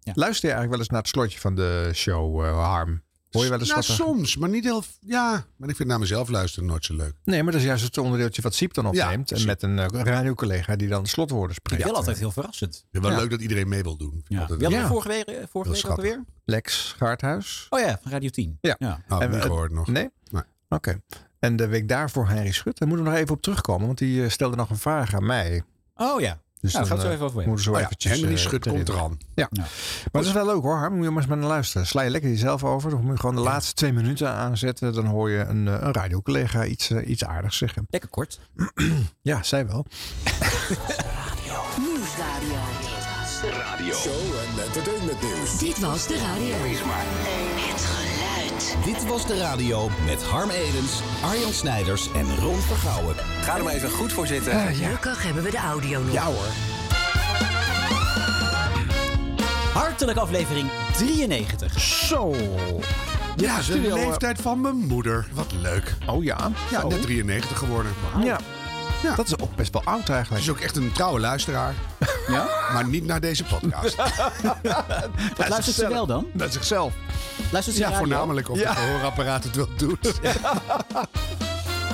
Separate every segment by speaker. Speaker 1: Ja.
Speaker 2: Luister je eigenlijk wel eens naar het slotje van de show, eh, Harm? Hoor je wel eens
Speaker 3: nou,
Speaker 2: wat er- Ah,
Speaker 3: soms, maar niet heel... Ja, maar ik vind naar mezelf luisteren nooit zo leuk.
Speaker 2: Nee, maar dat is juist het onderdeeltje wat Siep dan opneemt. en
Speaker 3: Siep.
Speaker 2: met een eh, radiocollega die dan de slotwoorden spreekt.
Speaker 1: Wel altijd heel verrassend.
Speaker 3: Ja, wel
Speaker 2: Ja.
Speaker 3: leuk dat iedereen mee wil doen.
Speaker 1: Ja.
Speaker 3: Altijd
Speaker 1: Wie hadden
Speaker 3: leuk.
Speaker 1: we vorige week, eh, vorige
Speaker 3: Heel
Speaker 1: week ook alweer?
Speaker 2: Lex Gaardhuis.
Speaker 1: Oh ja, van Radio 10.
Speaker 2: Ja.
Speaker 3: Oh,
Speaker 2: En we-
Speaker 3: niet gehoord nog.
Speaker 2: Nee?
Speaker 3: Nee.
Speaker 2: Oké. En de week daarvoor Henry Schut. Daar moeten we nog even op terugkomen, want die eh, stelde nog een vraag aan mij.
Speaker 1: Oh ja.
Speaker 2: Dus
Speaker 1: Nou,
Speaker 2: dan,
Speaker 1: daar gaan we het zo
Speaker 2: eh,
Speaker 1: even over hebben.
Speaker 2: Moeten we zo
Speaker 3: Oh ja,
Speaker 2: eventjes...
Speaker 3: Henry
Speaker 2: eh,
Speaker 3: Schut
Speaker 2: erin.
Speaker 3: komt eraan.
Speaker 2: Maar dat is wel leuk hoor, Harm. Moet je maar eens maar naar luisteren. Sla je lekker jezelf over. Dan moet je gewoon de laatste twee minuten aanzetten. Dan hoor je een, eh, een radiocollega iets, eh, iets aardigs zeggen.
Speaker 1: Lekker kort.
Speaker 2: Ja, zij wel.
Speaker 4: Nieuwsradio.
Speaker 5: Radio.
Speaker 6: Show en entertainment nieuws.
Speaker 4: Dit was de radio.
Speaker 5: Is maar
Speaker 4: Het geluid.
Speaker 7: Dit was de radio met Harm Edens, Arjan Snijders en Ron Vergouwen.
Speaker 5: Ga er maar even goed voor zitten.
Speaker 4: Gelukkig hebben we de audio nog.
Speaker 2: Ja hoor.
Speaker 1: Hartelijk aflevering 93.
Speaker 2: Zo.
Speaker 3: Ja, dat is de
Speaker 2: studio, eh,
Speaker 3: leeftijd van mijn moeder. Wat leuk.
Speaker 2: Oh ja.
Speaker 3: Ja,
Speaker 2: Oh.
Speaker 3: net 93 geworden.
Speaker 2: Ja.
Speaker 3: Ja.
Speaker 2: Dat is ook best wel oud
Speaker 3: Ze
Speaker 2: eigenlijk.
Speaker 3: is ook echt een trouwe luisteraar.
Speaker 1: Ja?
Speaker 3: Maar niet naar deze podcast.
Speaker 1: Wat luistert ze wel dan?
Speaker 2: Naar zichzelf.
Speaker 1: Luistert ze
Speaker 3: ja,
Speaker 1: radio?
Speaker 3: voornamelijk op
Speaker 2: Ja.
Speaker 3: het gehoorapparaat het wel doet.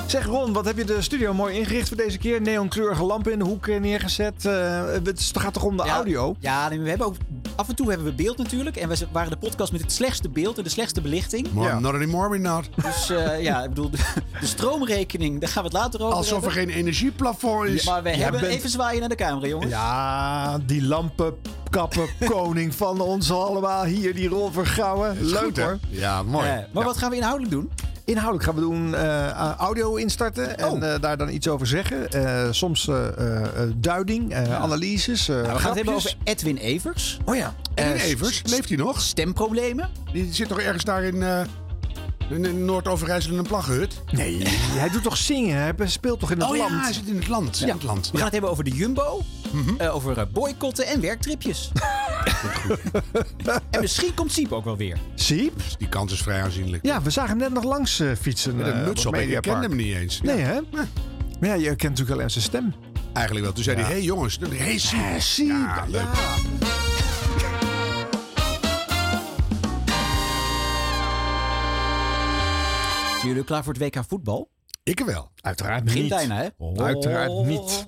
Speaker 2: Zeg Ron, wat heb je de studio mooi ingericht voor deze keer? Neonkleurige lampen in de hoek eh, neergezet. Eh, het is- het gaat toch om de
Speaker 1: Ja,
Speaker 2: audio?
Speaker 1: Ja, nee, we hebben ook, af en toe hebben we beeld natuurlijk. En we z- waren de podcast met het slechtste beeld en de slechtste belichting.
Speaker 3: More,
Speaker 2: Ja.
Speaker 3: Not anymore, we not.
Speaker 1: Dus eh, ja, ik bedoel, de, de stroomrekening, daar gaan we het later over
Speaker 3: Alsof er
Speaker 1: hebben.
Speaker 3: geen energieplafond is.
Speaker 1: Maar we
Speaker 2: Jij
Speaker 1: hebben
Speaker 2: bent-
Speaker 1: even zwaaien naar de camera, jongens.
Speaker 2: Ja, die lampenkappen koning van ons allemaal hier, die Ron Vergouwen. Leuk
Speaker 3: Goed, hè?
Speaker 2: hoor.
Speaker 3: Ja, mooi.
Speaker 1: Eh, maar
Speaker 3: Ja.
Speaker 1: wat gaan we inhoudelijk doen?
Speaker 2: Inhoudelijk gaan we doen eh, audio instarten en
Speaker 1: Oh.
Speaker 2: eh, daar dan iets over zeggen. Eh, soms eh, eh, eh, duiding, eh, analyses, eh
Speaker 1: Nou, we gaan het hebben over
Speaker 2: grapjes.
Speaker 1: Edwin Evers.
Speaker 2: Oh ja.
Speaker 3: Edwin
Speaker 1: eh,
Speaker 3: Evers, leeft hij nog?
Speaker 1: Stemproblemen.
Speaker 3: Die zit toch ergens daar in, eh, in, in Noord-Overijssel in een plaggenhut?
Speaker 2: Nee, hij doet toch zingen? Hij speelt toch in het
Speaker 3: Oh
Speaker 2: land?
Speaker 3: ja, hij zit in het land. In het land. Mhm.
Speaker 1: We gaan het hebben over de Jumbo, eh, over eh, boycotten en werktripjes. en misschien komt Siep ook wel weer.
Speaker 2: Siep?
Speaker 3: Die kans is vrij aanzienlijk.
Speaker 2: Ja, we zagen hem net nog langs eh, fietsen.
Speaker 3: Met een
Speaker 2: eh,
Speaker 3: muts
Speaker 2: het
Speaker 3: op. Ik
Speaker 2: Mediapark.
Speaker 3: kende hem niet eens.
Speaker 2: Nee, hè? Maar ja, je kent natuurlijk alleen zijn stem.
Speaker 3: Eigenlijk wel. Toen zei hij, hé hey, jongens. Toen- Hey, Siep.
Speaker 2: Siep.
Speaker 3: Ja, leuk.
Speaker 1: Zijn jullie klaar voor het WK voetbal?
Speaker 3: Ik wel. Oh.
Speaker 2: Uiteraard
Speaker 1: Begint
Speaker 2: niet.
Speaker 1: bijna, hè?
Speaker 2: Uiteraard niet.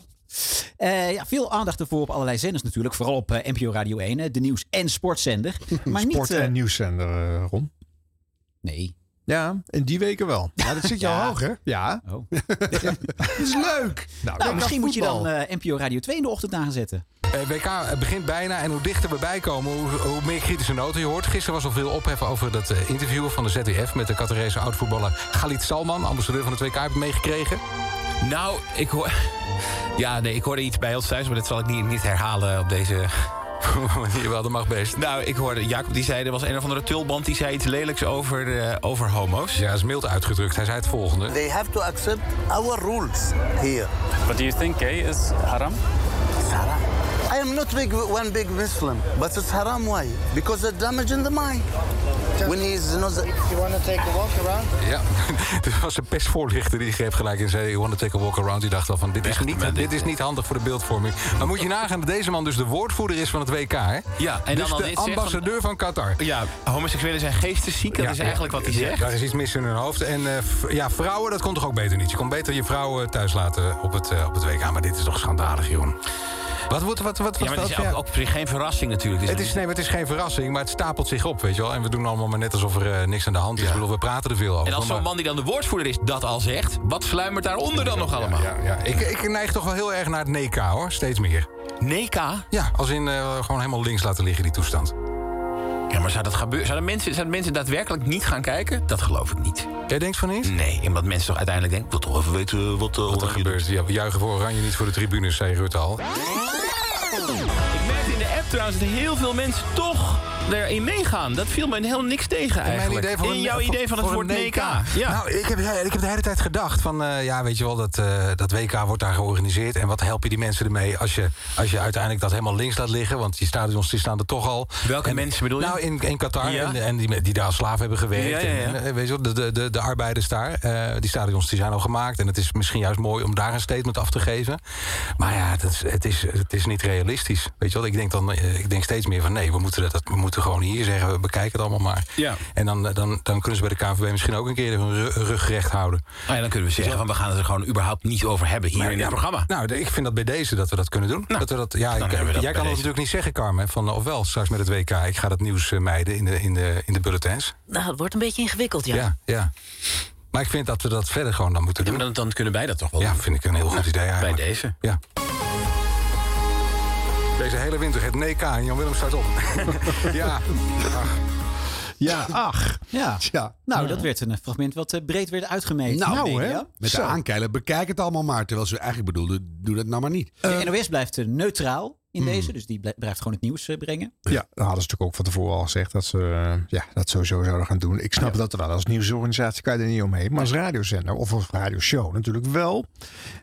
Speaker 1: Eh, ja, veel aandacht ervoor op allerlei zenders natuurlijk. Vooral op eh, NPO Radio 1, hè, de nieuws- en sportzender. Maar
Speaker 2: Sport-
Speaker 1: niet... eh,
Speaker 2: en nieuwszender, eh, Ron.
Speaker 1: nee.
Speaker 2: Ja, in die weken wel.
Speaker 3: Ja, dat zit jou hoog, hè?
Speaker 2: Ja.
Speaker 1: Oh.
Speaker 3: Dat is leuk.
Speaker 2: Nou,
Speaker 1: Nou, misschien moet je
Speaker 3: voetbal.
Speaker 1: dan eh, NPO Radio 2 in de ochtend aanzetten.
Speaker 8: Eh, WK begint bijna en hoe dichter we bijkomen, hoe, hoe meer kritische noten je hoort. Gisteren was al veel ophef over dat eh, interview van de ZDF... met de Qatarese oud-voetballer Galit Salman, ambassadeur van het WK, heb ik meegekregen.
Speaker 9: Nou, ik hoor. Ja, nee, ik hoorde iets bij ons thuis, maar dat zal ik niet, niet herhalen op deze.
Speaker 8: Manier wel, dat mag best.
Speaker 9: Nou, ik hoorde Jacob die zei, er was een of andere tulband die zei iets lelijks over, eh, over homo's.
Speaker 8: Ja, dat is mild uitgedrukt. Hij zei het volgende.
Speaker 10: They have to accept our rules here.
Speaker 11: But do you think gay is haram?
Speaker 10: I am not big, one big Muslim, but it's haram why? Because it damaging the mind. when he's not. You want to take a walk around?
Speaker 8: Ja, dit was een pestvoorlichter die greep gelijk en zei... you want to take a walk around. Die dacht al van, dit is, niet, dit
Speaker 11: eh."
Speaker 8: is niet handig voor de beeldvorming. Maar moet je nagaan dat deze man dus de woordvoerder is van het WK, hè?
Speaker 9: Ja, en
Speaker 8: dus
Speaker 9: dan al
Speaker 8: de
Speaker 9: dit zegt van-
Speaker 8: ambassadeur van Qatar.
Speaker 9: Ja, homoseksuelen zijn geestesziek, dat
Speaker 8: Ja,
Speaker 9: is eigenlijk
Speaker 8: ja,
Speaker 9: wat hij
Speaker 8: ja,
Speaker 9: zegt.
Speaker 8: Daar is iets mis in hun hoofd. En eh, v- ja, vrouwen, dat kon toch ook beter niet? Je kon beter je vrouwen thuis laten op het, eh, op het WK. Maar dit is toch schandalig, joh. Wat wordt wat, wat, wat,
Speaker 9: Ja, maar het
Speaker 8: wat-
Speaker 9: is
Speaker 8: ja.
Speaker 9: ook, ook op zich geen verrassing natuurlijk.
Speaker 8: Het is, nee, maar het is geen verrassing, maar het stapelt zich op, weet je wel. En we doen allemaal maar net alsof er eh, niks aan de hand is. Ik bedoel, we praten er veel over.
Speaker 9: en als zo'n
Speaker 8: maar-
Speaker 9: man die dan de woordvoerder is dat al zegt, wat sluimert daaronder dan nog allemaal?
Speaker 8: Ja, ja. Ik, ik neig toch wel heel erg naar het NECA, hoor. Steeds meer.
Speaker 9: Neka?
Speaker 8: Ja, als in eh, gewoon helemaal links laten liggen, die toestand.
Speaker 9: Ja, maar zou dat gebeuren? Zouden mensen, zouden mensen daadwerkelijk niet gaan kijken? Dat geloof ik niet.
Speaker 8: Jij denkt van niet?
Speaker 9: Nee, omdat mensen toch uiteindelijk denken, ik wil toch even weten wat, eh,
Speaker 8: Wat er gebeurt. Ja, we juichen voor Oranje niet voor de tribunes, zei Rutte al.
Speaker 9: Ik merkte in de app trouwens dat heel veel mensen toch erin meegaan. Dat viel me heel niks tegen
Speaker 8: mijn
Speaker 9: eigenlijk.
Speaker 8: idee voor
Speaker 9: in
Speaker 8: een-
Speaker 9: jouw
Speaker 8: voor-
Speaker 9: idee van het
Speaker 8: voor
Speaker 9: woord
Speaker 8: een
Speaker 9: NK. Ja.
Speaker 8: Nou, ik heb, ik heb de hele tijd gedacht van, eh, ja, weet je wel, dat, eh, dat WK wordt daar georganiseerd. En wat help je die mensen ermee als je, als je uiteindelijk dat helemaal links laat liggen? Want die stadions die staan er toch al.
Speaker 9: Welke
Speaker 8: En-
Speaker 9: mensen bedoel je?
Speaker 8: Nou, in, in Qatar.
Speaker 9: Ja.
Speaker 8: En, en die, me- die daar als slaaf hebben gewerkt.
Speaker 9: Ja, ja, ja.
Speaker 8: En, eh, weet je wel, de, de, de, de arbeiders daar. eh, die stadions die zijn al gemaakt. En het is misschien juist mooi om daar een statement af te geven. Maar ja, dat is, het, is, het is niet realistisch. Weet je wel, ik denk, dan, eh, ik denk steeds meer van nee, we moeten, dat, dat- we moeten gewoon hier zeggen. We bekijken het allemaal maar.
Speaker 9: Ja.
Speaker 8: En dan, eh, dan, dan kunnen ze bij de KNVB misschien ook een keer hun ru- rug recht houden.
Speaker 9: Ah ja, dan kunnen we zeggen van we gaan het er gewoon überhaupt niet over hebben hier
Speaker 8: Maar
Speaker 9: in
Speaker 8: ja,
Speaker 9: het programma.
Speaker 8: Nou, de- ik vind dat bij deze dat we dat kunnen doen. dat we dat, ja, ik-
Speaker 9: dan hebben we dat bij
Speaker 8: jij kan dat
Speaker 9: deze.
Speaker 8: natuurlijk niet zeggen, Carmen. Van, eh, ofwel, straks met het WK. Ik ga dat nieuws eh, mijden in de, in de, in de bulletins.
Speaker 4: Nou, het wordt een beetje ingewikkeld, ja.
Speaker 8: Ja, ja. Maar ik vind dat we dat verder gewoon dan moeten
Speaker 9: Ja,
Speaker 8: doen.
Speaker 9: maar dan, dan kunnen wij dat toch wel
Speaker 8: Ja,
Speaker 9: doen.
Speaker 8: vind ik een heel goed idee
Speaker 9: Bij
Speaker 8: eigenlijk.
Speaker 9: deze.
Speaker 8: Ja. Deze hele winter, het NK en Jan Willem staat op. ja,
Speaker 3: Ja, ach.
Speaker 1: Ja.
Speaker 3: Tja.
Speaker 1: Nou, dat werd een eh, fragment wat eh, breed werd uitgemeten.
Speaker 3: Nou,
Speaker 1: Denk ik,
Speaker 3: hè?
Speaker 1: ja.
Speaker 3: Met de aankeilen, bekijk het allemaal maar. Terwijl ze eigenlijk bedoelden, doe dat nou maar niet.
Speaker 1: De NOS blijft eh, neutraal in deze, dus die blij- blijft gewoon het nieuws eh, brengen.
Speaker 2: Ja, dat hadden ze natuurlijk ook van tevoren al gezegd dat ze eh, ja, dat sowieso zouden gaan doen. Ik snap dat wel. Als nieuwsorganisatie kan je er niet omheen. Maar als radiozender of als radioshow natuurlijk wel.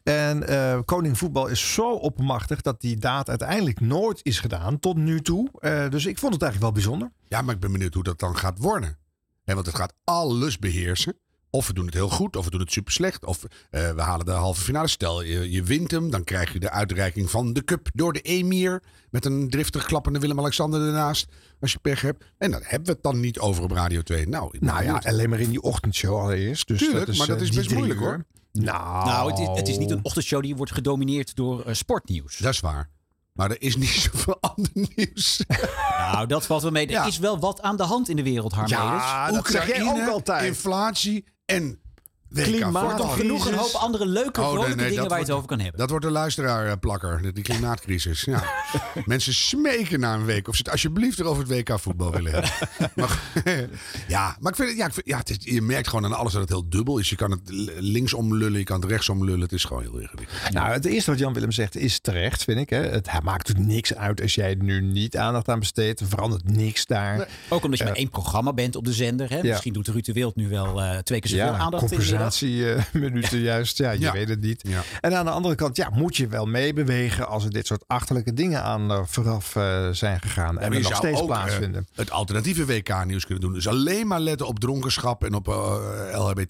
Speaker 2: En eh, Koning Voetbal is zo opmachtig dat die daad uiteindelijk nooit is gedaan tot nu toe. Eh, dus ik vond het eigenlijk wel bijzonder.
Speaker 3: Ja, maar ik ben benieuwd hoe dat dan gaat worden. Hè, want het gaat alles beheersen. Of we doen het heel goed, of we doen het super slecht. Of eh, we halen de halve finale. Stel, je, je wint hem, dan krijg je de uitreiking van de cup door de emir. Met een driftig klappende Willem-Alexander ernaast. Als je pech hebt. En dan hebben we het dan niet over op Radio 2. Nou, ik ben
Speaker 2: Nou ja,
Speaker 3: benieuwd.
Speaker 2: alleen maar in die ochtendshow allereerst. Dus
Speaker 3: Tuurlijk,
Speaker 2: dat is,
Speaker 3: maar dat
Speaker 2: eh,
Speaker 3: is
Speaker 2: die
Speaker 3: best
Speaker 2: drie
Speaker 3: moeilijk,
Speaker 2: uur.
Speaker 3: hoor.
Speaker 2: Nou,
Speaker 1: Nou, het is, het is niet een ochtendshow die wordt gedomineerd door eh, sportnieuws.
Speaker 3: dat is waar. Maar er is niet zoveel ander nieuws.
Speaker 1: Nou, dat valt wel mee. Er
Speaker 3: Ja.
Speaker 1: is wel wat aan de hand in de wereld, Harm Edens.
Speaker 2: Ja, dat zeg jij ook altijd.
Speaker 3: inflatie en WK
Speaker 2: Klimaat.
Speaker 3: voetbal.
Speaker 2: Toch
Speaker 1: Genoeg een hoop andere leuke,
Speaker 3: Oh, nee,
Speaker 1: vrolijke
Speaker 3: nee,
Speaker 1: dingen
Speaker 3: dat
Speaker 1: waar je het
Speaker 3: wordt-
Speaker 1: over kan hebben.
Speaker 3: Dat wordt de luisteraar eh, plakker, de- die klimaatcrisis. Ja. Mensen smeken na een week of ze het alsjeblieft erover het WK voetbal willen hebben. Maar, ja, maar ik vind het, ja, ik vind, ja, het is, je merkt gewoon aan alles dat het heel dubbel is. Je kan het l- linksom lullen, je kan het rechtsom lullen. Het is gewoon heel ingewikkeld.
Speaker 2: Nou, het eerste wat Jan Willem zegt is terecht, vind ik. Hè. Het hij maakt natuurlijk niks uit als jij er nu niet aandacht aan besteedt. Er verandert niks daar. Eh,
Speaker 1: Ook omdat je maar één programma bent op de zender. Hè?
Speaker 2: Ja.
Speaker 1: Misschien doet Ruud de Wild nu wel eh, twee keer zoveel
Speaker 2: Ja,
Speaker 1: aandacht in de middag.
Speaker 2: compensatieminuten juist. Ja, je
Speaker 3: Ja.
Speaker 2: weet het niet.
Speaker 3: Ja.
Speaker 2: En aan de andere kant, ja, moet je wel meebewegen als er dit soort achterlijke dingen aan eh, vooraf eh, zijn gegaan. en
Speaker 3: je
Speaker 2: er nog
Speaker 3: zou
Speaker 2: steeds
Speaker 3: ook, eh,
Speaker 2: plaatsvinden.
Speaker 3: het alternatieve WK-nieuws kunnen doen. Dus alleen maar letten op dronkenschap en op eh,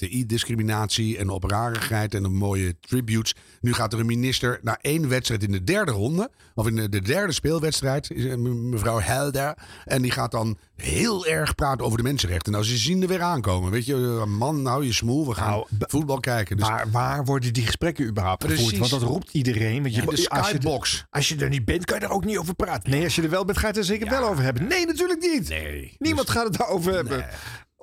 Speaker 3: LHBTI-discriminatie en op rarigheid en op mooie tributes. Nu gaat er een minister na één wedstrijd in de derde ronde, of in de de derde speelwedstrijd, is, eh, me- mevrouw Helder. En die gaat dan heel erg praten over de mensenrechten. Nou, ze zien er weer aankomen. Weet je, eh, man, hou je smoel, we gaan
Speaker 2: Nou, b-
Speaker 3: voetbal kijken. Dus
Speaker 2: maar waar worden die gesprekken überhaupt gevoerd?
Speaker 3: Precies.
Speaker 2: Want dat roept iedereen. Want je,
Speaker 3: in de
Speaker 2: als, je er,
Speaker 3: skybox.
Speaker 2: als je er niet bent, kan je er ook niet over praten. Nee, als je er wel bent, ga je het er zeker wel over hebben. Nee, natuurlijk niet.
Speaker 3: Nee.
Speaker 2: Niemand gaat het daarover hebben.